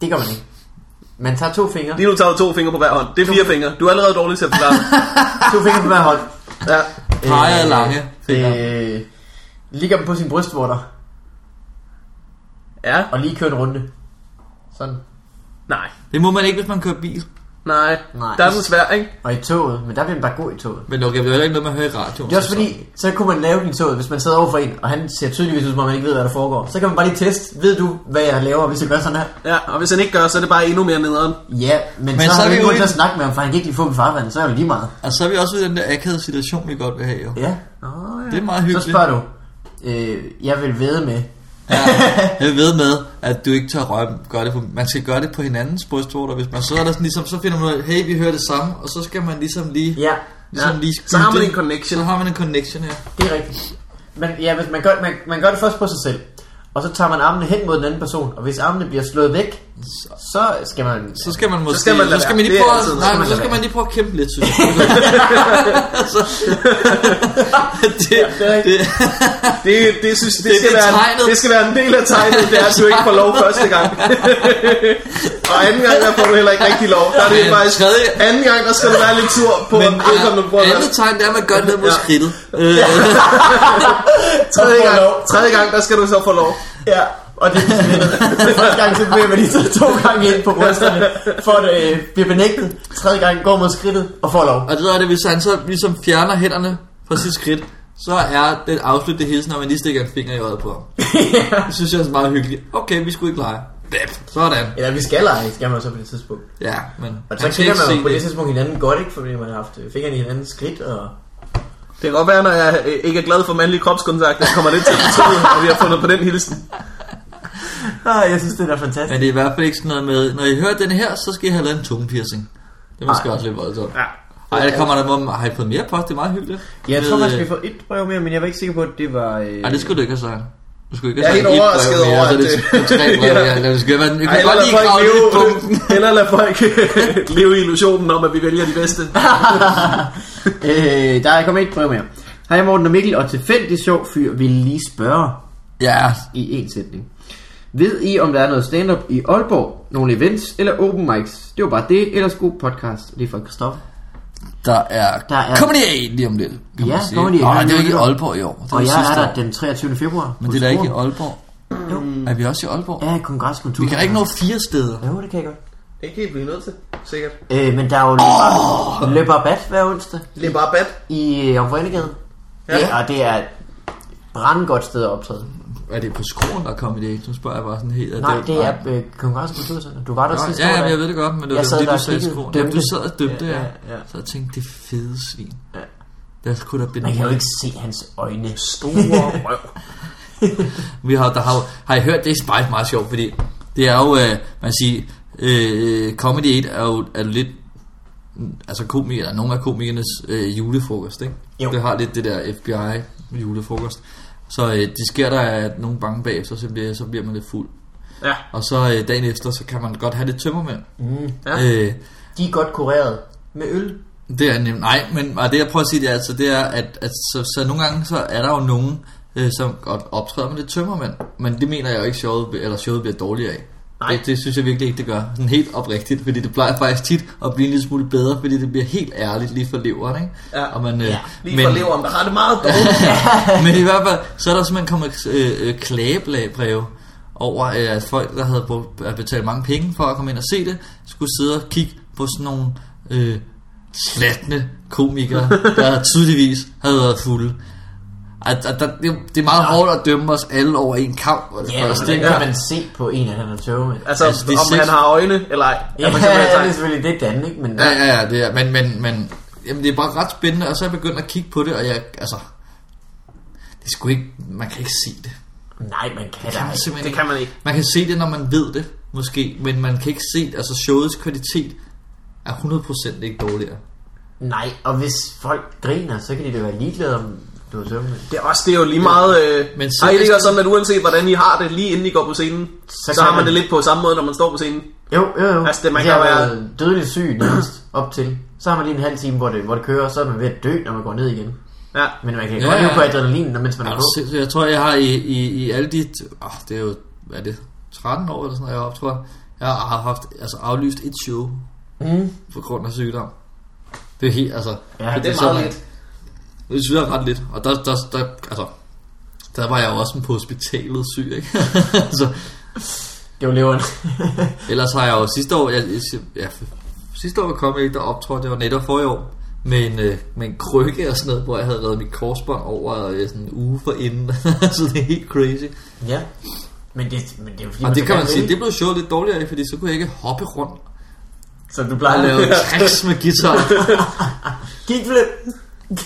Speaker 3: Det gør man ikke. Man tager to
Speaker 2: *laughs*
Speaker 3: fingre.
Speaker 1: Lige nu tager du to fingre på hver hånd. Det er fire fingre. Du er allerede dårlig til at forklare.
Speaker 3: To fingre på hver hånd.
Speaker 1: Ja.
Speaker 2: Peger lange fingre.
Speaker 3: Øh, ligger dem på sin brystvorter,
Speaker 1: Ja.
Speaker 3: og lige kører en runde. Sådan.
Speaker 1: Nej.
Speaker 2: Det må man ikke, hvis man kører bil.
Speaker 1: Nej.
Speaker 3: Nej.
Speaker 1: Der er den svær, ikke?
Speaker 3: Og i toget, men der bliver den bare god i toget.
Speaker 2: Men okay, det er heller ikke noget, man hører i radioen.
Speaker 3: Det er også fordi, så kunne man lave den i toget, hvis man sidder overfor en, og han ser tydeligvis ud, som om han ikke ved, hvad der foregår. Så kan man bare lige teste, ved du, hvad jeg laver, hvis jeg gør sådan her?
Speaker 1: Ja, og hvis han ikke gør, så er det bare endnu mere nederen.
Speaker 3: Ja, men, men
Speaker 2: så
Speaker 3: så,
Speaker 2: er
Speaker 3: har
Speaker 2: vi
Speaker 3: vi ikke
Speaker 2: jo
Speaker 3: grund til at
Speaker 2: en-
Speaker 3: snakke med ham, for han kan ikke lige få dem farvandet, så er det lige meget.
Speaker 2: Og så er vi også ved den der akavede situation, vi godt vil have, jo.
Speaker 3: Ja.
Speaker 1: Oh,
Speaker 2: Det er meget
Speaker 3: Så
Speaker 2: hyggeligt.
Speaker 3: spørger du, øh, jeg vil vede med.
Speaker 2: Ja, jeg ved med, at du ikke tør røre, gør det på, man skal gøre det på hinandens brystvorter. Hvis man så er der sådan ligesom, så finder man ud af, hey, vi hører det samme, og så skal man ligesom lige
Speaker 3: Ja,
Speaker 2: Ligesom
Speaker 1: Ja,
Speaker 2: lige
Speaker 1: så har man
Speaker 2: bytte.
Speaker 1: en connection.
Speaker 2: Så har man en connection, ja.
Speaker 3: Det er rigtigt. Men ja, hvis man, gør, man, man gør det først på sig selv, og så tager man armene hen mod den anden person, og hvis armene bliver slået væk, så skal man...
Speaker 2: Så skal man måske...
Speaker 1: skal man lade
Speaker 2: så skal
Speaker 1: være.
Speaker 2: man lige
Speaker 1: Det er
Speaker 2: prøve,
Speaker 1: altid- så
Speaker 2: at,
Speaker 1: skal
Speaker 2: nej,
Speaker 1: man
Speaker 2: men så
Speaker 1: lade
Speaker 2: skal
Speaker 1: være.
Speaker 2: man lige prøve at kæmpe lidt, synes
Speaker 1: *laughs*
Speaker 2: jeg. så, det, det, det,
Speaker 1: Det, det, synes, det,
Speaker 2: Det
Speaker 1: skal
Speaker 2: er
Speaker 1: være
Speaker 2: tegnet.
Speaker 1: en, det skal være en del af tegnet, det er, at du ikke får lov første
Speaker 2: *laughs*
Speaker 1: gang. og anden gang, der får du heller ikke rigtig lov. Der er det
Speaker 2: Men
Speaker 1: faktisk,
Speaker 2: tredje-
Speaker 1: anden gang, der skal du være lidt tur på,
Speaker 2: men
Speaker 1: men, vedkommende bruger
Speaker 2: alle tegn, det er, at man gør noget mod
Speaker 1: Ja.
Speaker 2: skridtet. Øh,
Speaker 1: tredje
Speaker 3: får
Speaker 1: gang,
Speaker 3: lov.
Speaker 1: tredje gang, der skal du så få lov.
Speaker 3: Ja, og det er Første
Speaker 2: *laughs*
Speaker 3: gang, så bliver man lige så to gange ind på brysterne, for at øh, blive benægtet. Tredje gang går mod skridtet og får lov.
Speaker 2: og det er det, hvis han så ligesom fjerner hænderne fra sit skridt, så er den afsluttede hilsen, når man lige stikker en finger i øjet på ham. Det synes jeg er meget hyggeligt. Okay, vi skulle ikke lege. Bap. Sådan.
Speaker 3: Eller vi skal lege, skal man så på det tidspunkt.
Speaker 2: Ja, men
Speaker 3: Og
Speaker 2: han
Speaker 3: så
Speaker 2: skal
Speaker 3: kender
Speaker 2: ikke
Speaker 3: man
Speaker 2: se
Speaker 3: jo på det
Speaker 2: det.
Speaker 3: tidspunkt hinanden godt, ikke? Fordi man har haft øh, fingrene i hinandens skridt, og
Speaker 1: Det kan godt være, når jeg øh, ikke er glad for mandlig kropskontakt, jeg kommer lidt til at fortryde, at vi har fundet på den hilsen.
Speaker 3: Ah, jeg synes, det er da fantastisk.
Speaker 2: Men det er i hvert fald ikke sådan noget med, når I hører den her, så skal I have lavet en tungepiercing. Det er måske
Speaker 3: Ej.
Speaker 2: også lidt voldsomt.
Speaker 1: Ja.
Speaker 2: Ej, der kommer der med, har I fået mere post? Det er meget hyggeligt.
Speaker 3: Jeg
Speaker 2: Med,
Speaker 3: tror, man skal
Speaker 2: øh,
Speaker 3: få et brev mere, men jeg var ikke sikker på, at det var... Øh...
Speaker 2: Ej, det skulle du ikke have sagt. Du skulle ikke
Speaker 1: Jeg er
Speaker 2: have
Speaker 1: helt
Speaker 2: sagt et
Speaker 1: overrasket
Speaker 2: brev mere,
Speaker 1: over,
Speaker 2: så er det
Speaker 1: at det-
Speaker 2: t-
Speaker 3: *laughs*
Speaker 2: tre brev
Speaker 1: Ja.
Speaker 2: mere, eller det skal være den. Jeg
Speaker 1: Ej,
Speaker 2: kunne
Speaker 1: eller,
Speaker 2: godt
Speaker 1: lad
Speaker 2: lige
Speaker 1: folk
Speaker 2: grave lidt i punkten.
Speaker 1: leve, *laughs* eller lad folk øh, leve i illusionen om, at vi vælger de
Speaker 2: *laughs*
Speaker 1: bedste.
Speaker 3: Øh, der er kommet et brev mere. Hej Morten og Mikkel, og tilfældig sjov fyr vil lige spørge
Speaker 2: Ja,
Speaker 3: i en sætning. Ved I, om der er noget stand-up i Aalborg? Nogle events eller open mics? Det var bare det, ellers god podcast. Det er fra Christoffer.
Speaker 2: der er,
Speaker 3: Der er-
Speaker 2: Comedy A lige om lidt. kan
Speaker 3: Ja,
Speaker 2: man sige.
Speaker 3: Comedy A lige
Speaker 2: Nå,
Speaker 3: om
Speaker 2: det er jo ikke i
Speaker 3: lidt.
Speaker 2: Aalborg i år. Det
Speaker 3: Og
Speaker 2: jo
Speaker 3: jeg er
Speaker 2: sidste
Speaker 3: der
Speaker 2: år.
Speaker 3: den 23. februar.
Speaker 2: Men det er da ikke i Aalborg. Er vi også i Aalborg?
Speaker 3: Ja, kongreskultur.
Speaker 2: Vi kan da ikke nå fire steder.
Speaker 3: Jo, det kan jeg godt.
Speaker 1: Det kan I blive nødt til, sikkert.
Speaker 3: Øh, men der er jo oh! Løberbat hver onsdag
Speaker 1: Det er bare bad.
Speaker 3: i øh, Omforenegade. Ja. ja. Og det er et brandgodt sted at optræde.
Speaker 2: Er det på skolen, der er Comedy A? Nu spørger jeg bare sådan helt.
Speaker 3: Nej, det er øh, Kongreskulturcenter. Du var der
Speaker 2: Nå,
Speaker 3: sidste
Speaker 2: ja,
Speaker 3: år.
Speaker 2: ja, men
Speaker 3: da.
Speaker 2: jeg ved det godt, men det var
Speaker 3: Jeg sad
Speaker 2: fordi,
Speaker 3: der
Speaker 2: du
Speaker 3: og
Speaker 2: sagde
Speaker 3: kiggede,
Speaker 2: skolen.
Speaker 3: dømte.
Speaker 2: Jamen, du sad og dømte, ja.
Speaker 3: Ja,
Speaker 2: ja,
Speaker 3: ja, ja.
Speaker 2: Så jeg tænkte, det fede svin.
Speaker 3: Ja.
Speaker 2: Der skulle da blive
Speaker 3: Man kan jo ikke se hans øjne.
Speaker 1: Store røv.
Speaker 2: Vi har, der har, jo- har I hørt, det er faktisk meget sjovt, fordi det er jo, øh, man siger, øh, Comedy 8 er jo er jo lidt, mm, altså komikere, eller nogle af komikernes øh, julefrokost, ikke?
Speaker 3: Jo.
Speaker 2: Det har lidt det der FBI julefrokost. Så øh, det sker der, at nogen bange bagefter, så bliver, så bliver man lidt fuld.
Speaker 1: Ja.
Speaker 2: Og så øh, dagen efter, så kan man godt have lidt tømmermænd.
Speaker 3: Mm.
Speaker 1: Ja.
Speaker 2: Øh,
Speaker 3: *laughs* De er godt kureret med øl.
Speaker 2: Det er nemt. Nej, men og det jeg prøver at sige, det er, altså, det er at, at så, så, nogle gange så er der jo nogen, øh, som godt optræder med lidt tømmermænd. Men det mener jeg jo ikke, showet, bliver- eller showet bliver dårligere af.
Speaker 1: Nej.
Speaker 2: Det, det, synes jeg virkelig ikke, det gør. Sådan helt oprigtigt, fordi det plejer faktisk tit at blive en lille smule bedre, fordi det bliver helt ærligt lige for leveren, ikke?
Speaker 1: Ja.
Speaker 2: Og man, øh,
Speaker 3: Ja,
Speaker 1: Lige men... for leveren, der har det meget dårligt.
Speaker 2: men i hvert fald, så er der simpelthen kommet øh, øh, klagebreve over, øh, at folk, der havde brugt, at betalt mange penge for at komme ind og se det, skulle sidde og kigge på sådan nogle øh, slatne komikere, der *laughs* tydeligvis havde været fulde. At, at, der, det, det er meget hårdt at dømme os alle over en kamp. og det
Speaker 3: Ja,
Speaker 2: første,
Speaker 3: altså, det
Speaker 2: ikke?
Speaker 3: kan man se på en, at han er tøvet med.
Speaker 1: Altså,
Speaker 2: Altså, det er
Speaker 1: om
Speaker 2: sindssygt.
Speaker 1: han har øjne eller ej.
Speaker 3: Ja,
Speaker 1: man kan være
Speaker 3: ja, det er
Speaker 1: tak.
Speaker 3: selvfølgelig det, Dan, ikke? Men
Speaker 2: Ja, ja, ja, det er, men, men, men jamen, det er bare ret spændende, og så er jeg begyndt at kigge på det, og jeg, altså, det skulle ikke, man kan ikke se det.
Speaker 3: nej, man kan da
Speaker 2: Kan man
Speaker 3: ikke.
Speaker 2: simpelthen
Speaker 1: det kan man ikke.
Speaker 2: Man kan se det, når man ved det, måske, men man kan ikke se, altså showets kvalitet er 100% ikke dårligere.
Speaker 3: Nej, og hvis folk griner, så kan de da være ligeglade, om du er tøvet med.
Speaker 1: Det er også det er jo lige meget... Øh... Men
Speaker 2: Men
Speaker 1: ej, det er
Speaker 2: seriøst-
Speaker 1: jo sådan, at uanset hvordan I har det, lige inden I går på scenen, så,
Speaker 3: Så
Speaker 1: så
Speaker 3: kan
Speaker 1: har man
Speaker 3: man-
Speaker 1: det lidt på samme måde, når man står på scenen.
Speaker 3: Jo, jo, jo.
Speaker 1: Altså, det- man
Speaker 3: Hvis jeg
Speaker 1: kan
Speaker 3: har
Speaker 1: være-
Speaker 3: været dødeligt syg nærmest op til. Så har man lige en halv time, hvor det, hvor det kører, og så er man ved at dø, når man går ned igen.
Speaker 1: Ja.
Speaker 3: Men man kan
Speaker 2: Ja,
Speaker 3: ja, godt
Speaker 2: ja.
Speaker 3: leve på adrenalin, når- mens man er på.
Speaker 2: Altså, jeg tror, jeg har i, i, i alle de... Oh, det er jo, hvad er det, 13 år eller sådan noget, jeg har optrådt. Jeg har haft altså, aflyst et show
Speaker 3: Mm.
Speaker 2: på grund af sygdom. Det er helt, altså...
Speaker 3: Ja,
Speaker 1: Det er
Speaker 2: så-
Speaker 1: meget lidt.
Speaker 2: Det synes jeg er ret lidt. Og der, der, der, altså, der var jeg jo også på hospitalet syg, ikke? *laughs* Altså, så,
Speaker 3: Det var leveren. *laughs*
Speaker 2: Ellers har jeg jo sidste år, jeg, jeg- ja, sidste år kom jeg ikke der optrådte, det var netop for i år, med en, øh, med en krykke og sådan noget, hvor jeg havde reddet mit korsbånd over øh, sådan en uge for inden. *laughs* så det er helt crazy.
Speaker 3: ja. Men det, men det er jo fordi,
Speaker 2: Og det
Speaker 3: så
Speaker 2: kan man
Speaker 3: gerne
Speaker 2: sige,
Speaker 3: vil.
Speaker 2: det blev sjovt lidt dårligere, af, fordi så kunne jeg ikke hoppe rundt
Speaker 3: Så du
Speaker 2: og
Speaker 3: plejer
Speaker 2: lave
Speaker 3: at *laughs*
Speaker 2: tricks med guitar.
Speaker 3: Gik flip.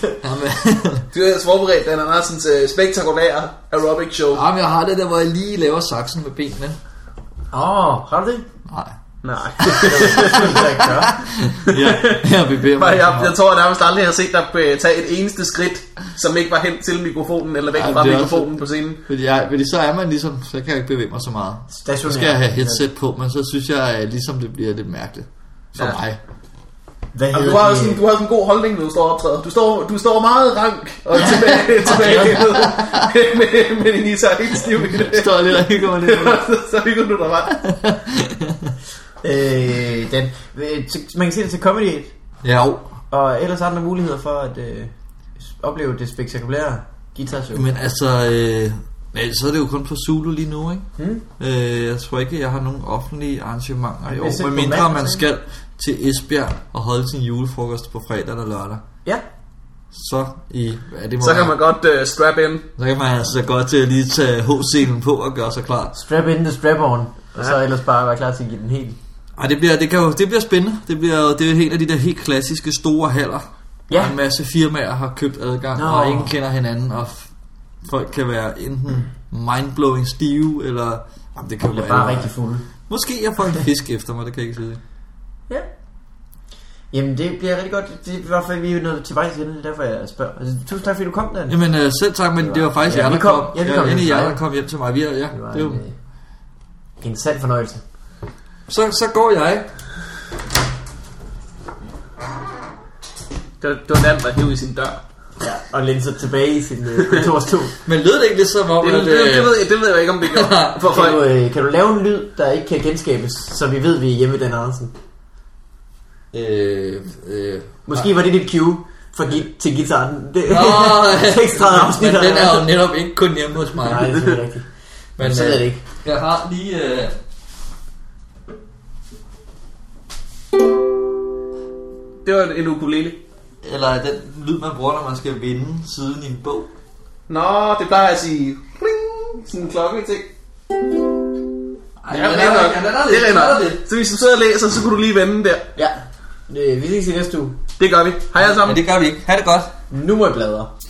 Speaker 2: Jamen, *laughs*
Speaker 1: Du har ellers forberedt Dan Andersens øh, spektakulære aerobic show.
Speaker 2: jamen, jeg har det der, hvor jeg lige laver saksen med benene.
Speaker 3: Åh, oh, har du *laughs* det?
Speaker 2: Nej.
Speaker 1: Nej.
Speaker 3: Det er ikke gøre.
Speaker 2: Ja, *laughs* jeg bevæger mig.
Speaker 1: Jeg,
Speaker 2: ikke så
Speaker 1: jeg,
Speaker 2: meget.
Speaker 1: jeg tror nærmest aldrig, jeg har set dig øh, tage et eneste skridt, som ikke var hen til mikrofonen, eller væk
Speaker 2: Ej, men
Speaker 1: fra
Speaker 2: det er
Speaker 1: mikrofonen på scenen.
Speaker 2: Fordi, jeg, fordi så er man ligesom, så kan jeg ikke bevæge mig så meget.
Speaker 3: Stationær.
Speaker 2: Så skal jeg have headset på, men så synes jeg øh, ligesom, det bliver lidt mærkeligt for
Speaker 1: Ja.
Speaker 2: ja. mig.
Speaker 3: Hvad
Speaker 1: Jamen, Altså, du
Speaker 3: hedder
Speaker 1: har
Speaker 3: det?
Speaker 1: også en, du har også en god holdning, når du står og optræder. Du står, du står meget rank *laughs* og tilbage, tilbage med, med, med din især helt stiv *laughs* i det.
Speaker 2: Jeg står lidt og hygger mig lidt.
Speaker 1: *laughs* Så- Så hygger du dig bare.
Speaker 3: Øh, den, øh, til- man kan se det til Comedy Aid,
Speaker 2: Ja, jo.
Speaker 3: og ellers andre muligheder for at øh, s- opleve det spektakulære guitarshow.
Speaker 2: Men altså, øh, men så er det jo kun på Zulu lige nu, ikke?
Speaker 3: Mm.
Speaker 2: Øh, jeg tror ikke, jeg har nogen offentlige arrangementer i
Speaker 3: Hvis
Speaker 2: år,
Speaker 3: ikke
Speaker 2: medmindre
Speaker 3: på
Speaker 2: man
Speaker 3: mandag,
Speaker 2: skal til Esbjerg og holde sin julefrokost på fredag eller lørdag.
Speaker 3: Ja,
Speaker 2: Så, i, ja, det må
Speaker 1: Så kan man
Speaker 2: være-
Speaker 1: godt øh, strap in.
Speaker 2: så kan man altså godt til at lige tage H-scenen på og gøre sig klar.
Speaker 3: strap in the strap on, og så ellers bare være klar til at give den helt.
Speaker 2: Ej, det bliver, det, kan jo, det bliver spændende. Det, bliver, jo- det er jo en af de der helt klassiske store haller.
Speaker 3: Ja.
Speaker 2: Ja. En masse firmaer har købt adgang,
Speaker 3: Nå.
Speaker 2: no. og ingen kender hinanden, og f- folk kan være enten mindblowing stive, eller... Jamen, det kan jo
Speaker 3: Det
Speaker 2: være
Speaker 3: er bare
Speaker 2: allerede.
Speaker 3: rigtig fulde.
Speaker 2: Måske jeg får en fisk efter mig, det kan jeg ikke sige.
Speaker 3: Ja. Jamen det bliver rigtig godt. Det er i hvert fald, vi er nået til vejs ende, det er derfor jeg spørger. Altså, tusind tak fordi du kom, Dan.
Speaker 2: Jamen øh, selv tak, men det var faktisk
Speaker 3: Ja,
Speaker 2: jer,
Speaker 3: vi
Speaker 2: der
Speaker 3: kom-
Speaker 2: kom.
Speaker 3: ja, vi kom hjem
Speaker 2: endelig
Speaker 3: til
Speaker 2: jer,
Speaker 3: dig.
Speaker 2: der kom hjem til mig. Vi er, ja,
Speaker 3: Det var
Speaker 2: det er jo.
Speaker 3: en, øh, en sand fornøjelse.
Speaker 2: Så, så går jeg.
Speaker 1: Det, var- det var nemt at hive i sin dør.
Speaker 3: Ja, og læne sig tilbage i sin øh, *laughs* kontorstol.
Speaker 2: Men lød det ikke lidt som om,
Speaker 1: Det,
Speaker 2: at...
Speaker 1: det, det, det,
Speaker 2: øh,
Speaker 1: ved, jeg, det ved jeg ikke, om det *laughs* gjorde. For, for,
Speaker 3: Kan du, øh, kan du lave en lyd, der ikke kan genskabes, så vi ved, vi er hjemme ved Dan Andersen?
Speaker 2: Øh, øh,
Speaker 3: Måske var det dit cue for git til gitaren. *laughs* Det,
Speaker 2: Nå,
Speaker 3: ekstra afsnit. *laughs*
Speaker 2: men den
Speaker 3: der
Speaker 2: er jo netop ikke kun hjemme hos mig.
Speaker 3: Nej, det er selvfølgelig rigtigt.
Speaker 2: men, øh,
Speaker 3: så ved jeg det ikke.
Speaker 2: Jeg har lige... Øh,
Speaker 1: det var en ukulele.
Speaker 2: eller den lyd, man bruger, når man skal vinde siden i en bog.
Speaker 1: Nå, det plejer at sige... Pling, sådan en klokke ting.
Speaker 2: Ej,
Speaker 1: Ja,
Speaker 2: den
Speaker 1: det er nok.
Speaker 2: ja, den er
Speaker 1: Det
Speaker 2: lidt-
Speaker 1: er
Speaker 2: den er lidt.
Speaker 1: nok. Så hvis du sidder og læser, så kunne du lige vende der.
Speaker 3: Ja, øh, vi ses i næste uge.
Speaker 1: Det gør vi. Hej alle sammen.
Speaker 2: Men det gør vi ikke. Ha' det godt.
Speaker 3: Nummerblader.